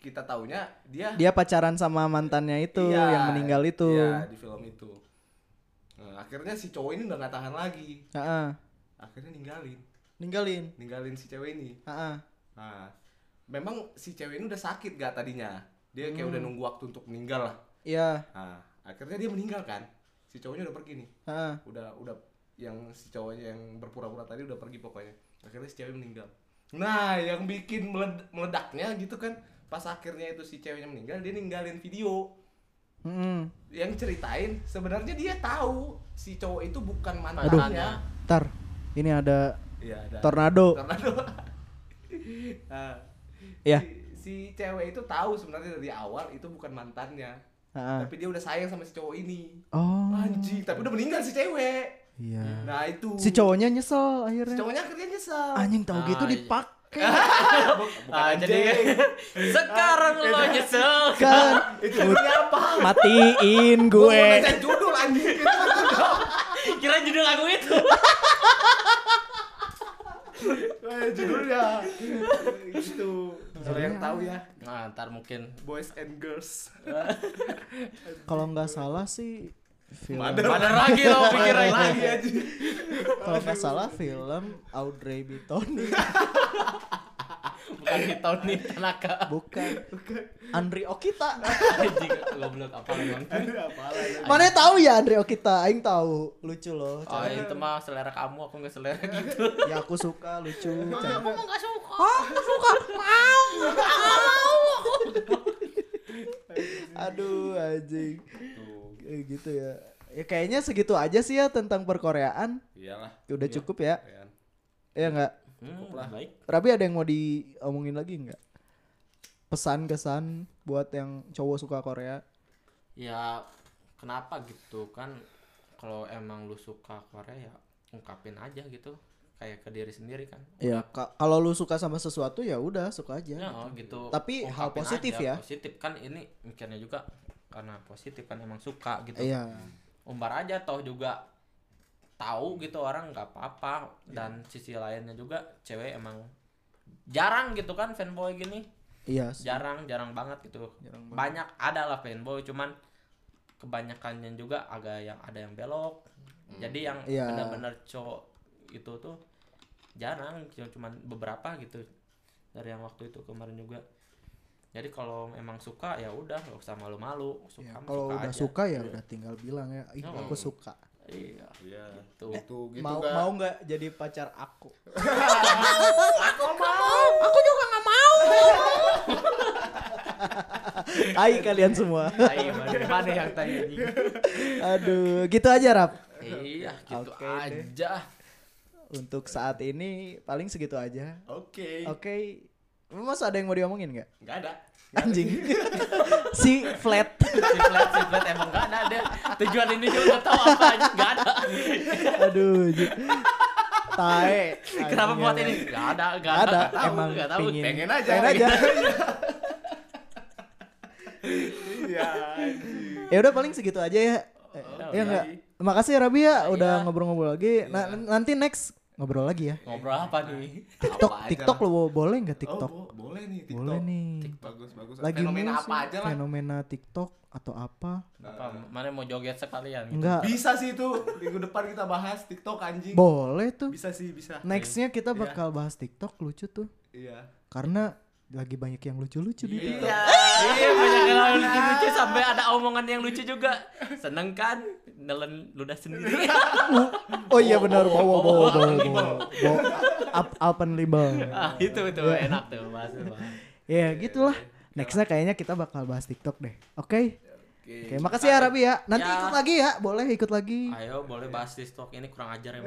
[SPEAKER 2] kita taunya dia
[SPEAKER 1] dia pacaran sama mantannya itu
[SPEAKER 2] Iya,
[SPEAKER 1] yang meninggal itu
[SPEAKER 2] Iya, di film itu. Nah, akhirnya si cowok ini udah nggak tahan lagi.
[SPEAKER 1] Heeh.
[SPEAKER 2] Akhirnya ninggalin,
[SPEAKER 1] ninggalin
[SPEAKER 2] ninggalin si cewek ini.
[SPEAKER 1] Heeh.
[SPEAKER 2] Nah, memang si cewek ini udah sakit gak tadinya dia kayak
[SPEAKER 1] Hmm.
[SPEAKER 2] udah nunggu waktu untuk meninggal lah
[SPEAKER 1] Iya.
[SPEAKER 2] nah, akhirnya dia meninggal kan si cowoknya udah pergi nih
[SPEAKER 1] Heeh.
[SPEAKER 2] udah udah yang si cowoknya yang berpura-pura tadi udah pergi pokoknya akhirnya si cewek meninggal nah yang bikin meled- meledaknya gitu kan pas akhirnya itu si ceweknya meninggal dia ninggalin video
[SPEAKER 1] Heeh.
[SPEAKER 2] yang ceritain sebenarnya dia tahu si cowok itu bukan
[SPEAKER 1] Aduh.
[SPEAKER 2] mantannya
[SPEAKER 1] Ntar, ini ada
[SPEAKER 2] Iya, ada-
[SPEAKER 1] tornado.
[SPEAKER 2] tornado *laughs* Nah,
[SPEAKER 1] Iya.
[SPEAKER 2] si, si cewek itu tahu sebenarnya dari awal itu bukan mantannya
[SPEAKER 1] Heeh.
[SPEAKER 2] tapi dia udah sayang sama si cowok ini
[SPEAKER 1] Oh.
[SPEAKER 2] anjing tapi udah meninggal si cewek
[SPEAKER 1] Iya.
[SPEAKER 2] nah itu
[SPEAKER 1] Si cowoknya nyesel
[SPEAKER 2] Si
[SPEAKER 1] akhirnya.
[SPEAKER 2] cowoknya akhirnya nyesel
[SPEAKER 1] Anjing tahu
[SPEAKER 3] Ah,
[SPEAKER 1] gitu
[SPEAKER 3] iya.
[SPEAKER 1] dipakai.
[SPEAKER 2] *laughs* bukan
[SPEAKER 3] Ah, jadi
[SPEAKER 2] anjing.
[SPEAKER 3] sekarang lo nyesel
[SPEAKER 1] Kan
[SPEAKER 2] itu judulnya apa
[SPEAKER 1] matiin
[SPEAKER 2] Gua mau
[SPEAKER 1] gue.
[SPEAKER 2] baca judul anjing itu
[SPEAKER 3] kira judul lagu itu
[SPEAKER 2] *laughs* Eh, judulnya gitu kalau yang tahu ya
[SPEAKER 3] nah ntar mungkin
[SPEAKER 2] boys and girls
[SPEAKER 1] Kalau nggak salah sih film.
[SPEAKER 3] ada lagi lo pikirin
[SPEAKER 2] lagi aja
[SPEAKER 1] Kalau nggak salah film Audrey Bitton
[SPEAKER 3] bukan di tahun ini Tanaka
[SPEAKER 1] bukan Andri Okita.
[SPEAKER 3] Nah, iya, anjing goblok apa emang
[SPEAKER 2] apa lagi
[SPEAKER 1] Mana tahu ya Andri Okita, aing tahu. Lucu loh.
[SPEAKER 3] oh itu mah selera kamu aku nggak selera gitu
[SPEAKER 1] Ya aku suka lucu.
[SPEAKER 4] Aku
[SPEAKER 1] Canda.
[SPEAKER 4] mau gak suka. Aku suka. Mau. Mau.
[SPEAKER 1] Aduh anjing. Eh, gitu ya. Ya kayaknya segitu aja sih ya tentang perkoreaan.
[SPEAKER 2] iyalah
[SPEAKER 1] Udah cukup ya.
[SPEAKER 2] keren.
[SPEAKER 1] Ya enggak?
[SPEAKER 3] hmm, baik
[SPEAKER 1] Rabi ada yang mau diomongin lagi enggak? Pesan kesan buat yang cowok suka Korea.
[SPEAKER 3] ya kenapa gitu kan kalau emang lu suka Korea ya ungkapin aja gitu kayak ke diri sendiri kan
[SPEAKER 1] Ya ka- kalau lu suka sama sesuatu ya udah suka
[SPEAKER 3] ya
[SPEAKER 1] aja.
[SPEAKER 3] gitu
[SPEAKER 1] Tapi hal
[SPEAKER 3] Ungkapin
[SPEAKER 1] positif
[SPEAKER 3] aja,
[SPEAKER 1] ya.
[SPEAKER 3] positif kan ini mikirnya juga karena positif kan emang suka gitu
[SPEAKER 1] Iya.
[SPEAKER 3] umbar aja toh juga tahu gitu orang nggak apa-apa
[SPEAKER 1] Iya.
[SPEAKER 3] dan sisi lainnya juga cewek emang jarang gitu kan fanboy gini
[SPEAKER 1] Iya. sih.
[SPEAKER 3] jarang jarang banget gitu
[SPEAKER 1] Jarang
[SPEAKER 3] banyak ada lah fanboy cuman kebanyakannya juga agak yang ada yang belok jadi yang
[SPEAKER 1] Iya.
[SPEAKER 3] benar-benar cowok itu tuh jarang cu- cuman beberapa gitu dari yang waktu itu kemarin juga jadi kalau emang suka ya udah nggak usah malu-malu suka
[SPEAKER 1] Ya,
[SPEAKER 3] mah
[SPEAKER 1] kalau
[SPEAKER 3] suka
[SPEAKER 1] udah
[SPEAKER 3] aja.
[SPEAKER 1] suka ya udah tinggal bilang ya, Ih,
[SPEAKER 3] Hmm.
[SPEAKER 1] aku suka.
[SPEAKER 3] iya
[SPEAKER 2] iya
[SPEAKER 3] Gitu.
[SPEAKER 2] gitu gitu
[SPEAKER 1] mau
[SPEAKER 2] Kak.
[SPEAKER 1] mau nggak jadi pacar aku?
[SPEAKER 4] Aku mau. Aku juga gak mau.
[SPEAKER 1] Tai kalian semua.
[SPEAKER 3] *laughs* tai mana mana yang tai anjing.
[SPEAKER 1] Aduh, gitu aja Rap.
[SPEAKER 3] iya gitu
[SPEAKER 1] Oke deh.
[SPEAKER 3] aja
[SPEAKER 1] Untuk saat ini paling segitu aja.
[SPEAKER 2] oke
[SPEAKER 1] Oke. Mas ada yang mau diomongin nggak?
[SPEAKER 2] nggak ada
[SPEAKER 1] *laughs* Anjing. si flat.
[SPEAKER 3] siflet siflet emang gak ada deh tujuan ini juga gak tahu apa aja gak ada
[SPEAKER 1] Aduh. ji- Tae.
[SPEAKER 3] kenapa
[SPEAKER 1] Anjing,
[SPEAKER 3] buat
[SPEAKER 1] emang.
[SPEAKER 3] ini gak ada gak
[SPEAKER 1] Nggak
[SPEAKER 3] ada,
[SPEAKER 1] ada,
[SPEAKER 3] Iya, nggak tahu,
[SPEAKER 1] emang
[SPEAKER 3] nggak tahu.
[SPEAKER 1] pingin.
[SPEAKER 2] pengen aja
[SPEAKER 1] Pengen aja.
[SPEAKER 2] iya anjing.
[SPEAKER 1] ya udah paling segitu aja ya. Eh, ya
[SPEAKER 3] Oh, iya.
[SPEAKER 1] enggak. Makasih ya Rabi ya udah
[SPEAKER 3] Iya.
[SPEAKER 1] ngobrol-ngobrol lagi. Nah, n- nanti next ngobrol lagi ya.
[SPEAKER 3] ngobrol apa nih
[SPEAKER 1] TikTok,
[SPEAKER 2] Apa aja
[SPEAKER 1] TikTok
[SPEAKER 2] lah.
[SPEAKER 1] lo boleh nggak
[SPEAKER 2] oh
[SPEAKER 1] TikTok?
[SPEAKER 2] bo- boleh nih tiktok
[SPEAKER 1] Boleh nih.
[SPEAKER 2] bagus bagus
[SPEAKER 1] Lagi
[SPEAKER 2] fenomena
[SPEAKER 1] mau
[SPEAKER 2] apa
[SPEAKER 1] sih,
[SPEAKER 2] aja lah
[SPEAKER 1] Fenomena TikTok atau apa?
[SPEAKER 3] apa mana mau joget sekalian gitu.
[SPEAKER 1] Enggak.
[SPEAKER 2] bisa sih itu minggu depan kita bahas tiktok anjing
[SPEAKER 1] Boleh tuh.
[SPEAKER 2] bisa sih bisa
[SPEAKER 1] Nextnya kita
[SPEAKER 2] Iya.
[SPEAKER 1] bakal bahas TikTok lucu tuh.
[SPEAKER 2] iya
[SPEAKER 1] Karena lagi banyak yang lucu-lucu di TikTok.
[SPEAKER 2] Iya.
[SPEAKER 3] iya banyak yang lucu-lucu sampai ada omongan yang lucu juga seneng kan nelen ludah *laughs* sendiri
[SPEAKER 1] Oh iya benar,
[SPEAKER 3] oh,
[SPEAKER 1] bawa
[SPEAKER 3] oh,
[SPEAKER 1] bawa
[SPEAKER 3] oh,
[SPEAKER 1] bawa
[SPEAKER 3] oh,
[SPEAKER 2] Iya.
[SPEAKER 1] bawa. Bawa up alpen libel.
[SPEAKER 3] ah, itu itu enak tuh mas
[SPEAKER 1] Ya gitulah. Nextnya kayaknya kita bakal bahas TikTok deh. Oke.
[SPEAKER 2] oke
[SPEAKER 1] Oke, makasih ya Rabi ya. Nanti
[SPEAKER 3] Ya.
[SPEAKER 1] ikut lagi ya, boleh ikut lagi.
[SPEAKER 3] ayo boleh bahas TikTok ini kurang ajar *laughs* ya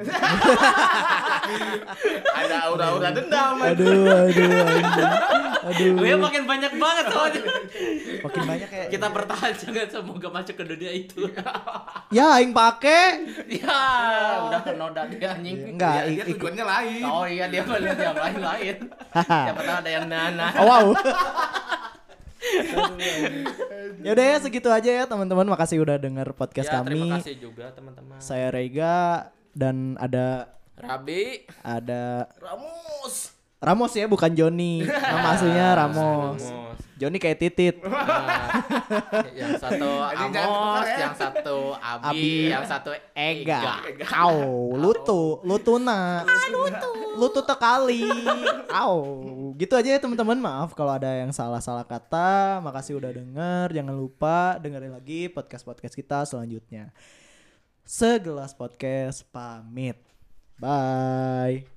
[SPEAKER 2] ada aura-aura dendam
[SPEAKER 1] Aduh, aduh, aduh. aduh.
[SPEAKER 3] gue makin banyak banget soalnya
[SPEAKER 1] Makin banyak ya.
[SPEAKER 3] kita bertahan jangan semoga masuk ke dunia *laughs* itu
[SPEAKER 1] Ya, aing pake.
[SPEAKER 3] ya udah kenoda dia anjing
[SPEAKER 1] Enggak,
[SPEAKER 2] ya, dia
[SPEAKER 1] ik- ikut.
[SPEAKER 2] tujuannya lain
[SPEAKER 3] oh iya dia beli yang lain lain siapa tahu ada yang nana
[SPEAKER 1] Oh, wow. Yaudah ya segitu aja ya teman-teman. Makasih udah denger podcast
[SPEAKER 3] ya
[SPEAKER 1] kami.
[SPEAKER 3] terima kasih juga teman-teman
[SPEAKER 1] Saya Rega dan ada
[SPEAKER 3] Rabi
[SPEAKER 1] ada
[SPEAKER 2] Ramus
[SPEAKER 1] Ramos ya bukan Joni. Nama aslinya Ramos.
[SPEAKER 3] Ramos.
[SPEAKER 1] Joni kayak titit.
[SPEAKER 3] Nah, yang satu
[SPEAKER 2] Ini jangan
[SPEAKER 3] Amos,
[SPEAKER 2] ketukar ya.
[SPEAKER 3] yang satu Abi,
[SPEAKER 1] Abi.
[SPEAKER 3] yang satu Ega.
[SPEAKER 1] Ega. Kau lutu, lutuna. Lutu tekali. Au. Gitu aja ya teman-teman. Maaf kalau ada yang salah-salah kata. Makasih udah denger. Jangan lupa dengerin lagi podcast-podcast kita selanjutnya. Segelas podcast pamit. Bye.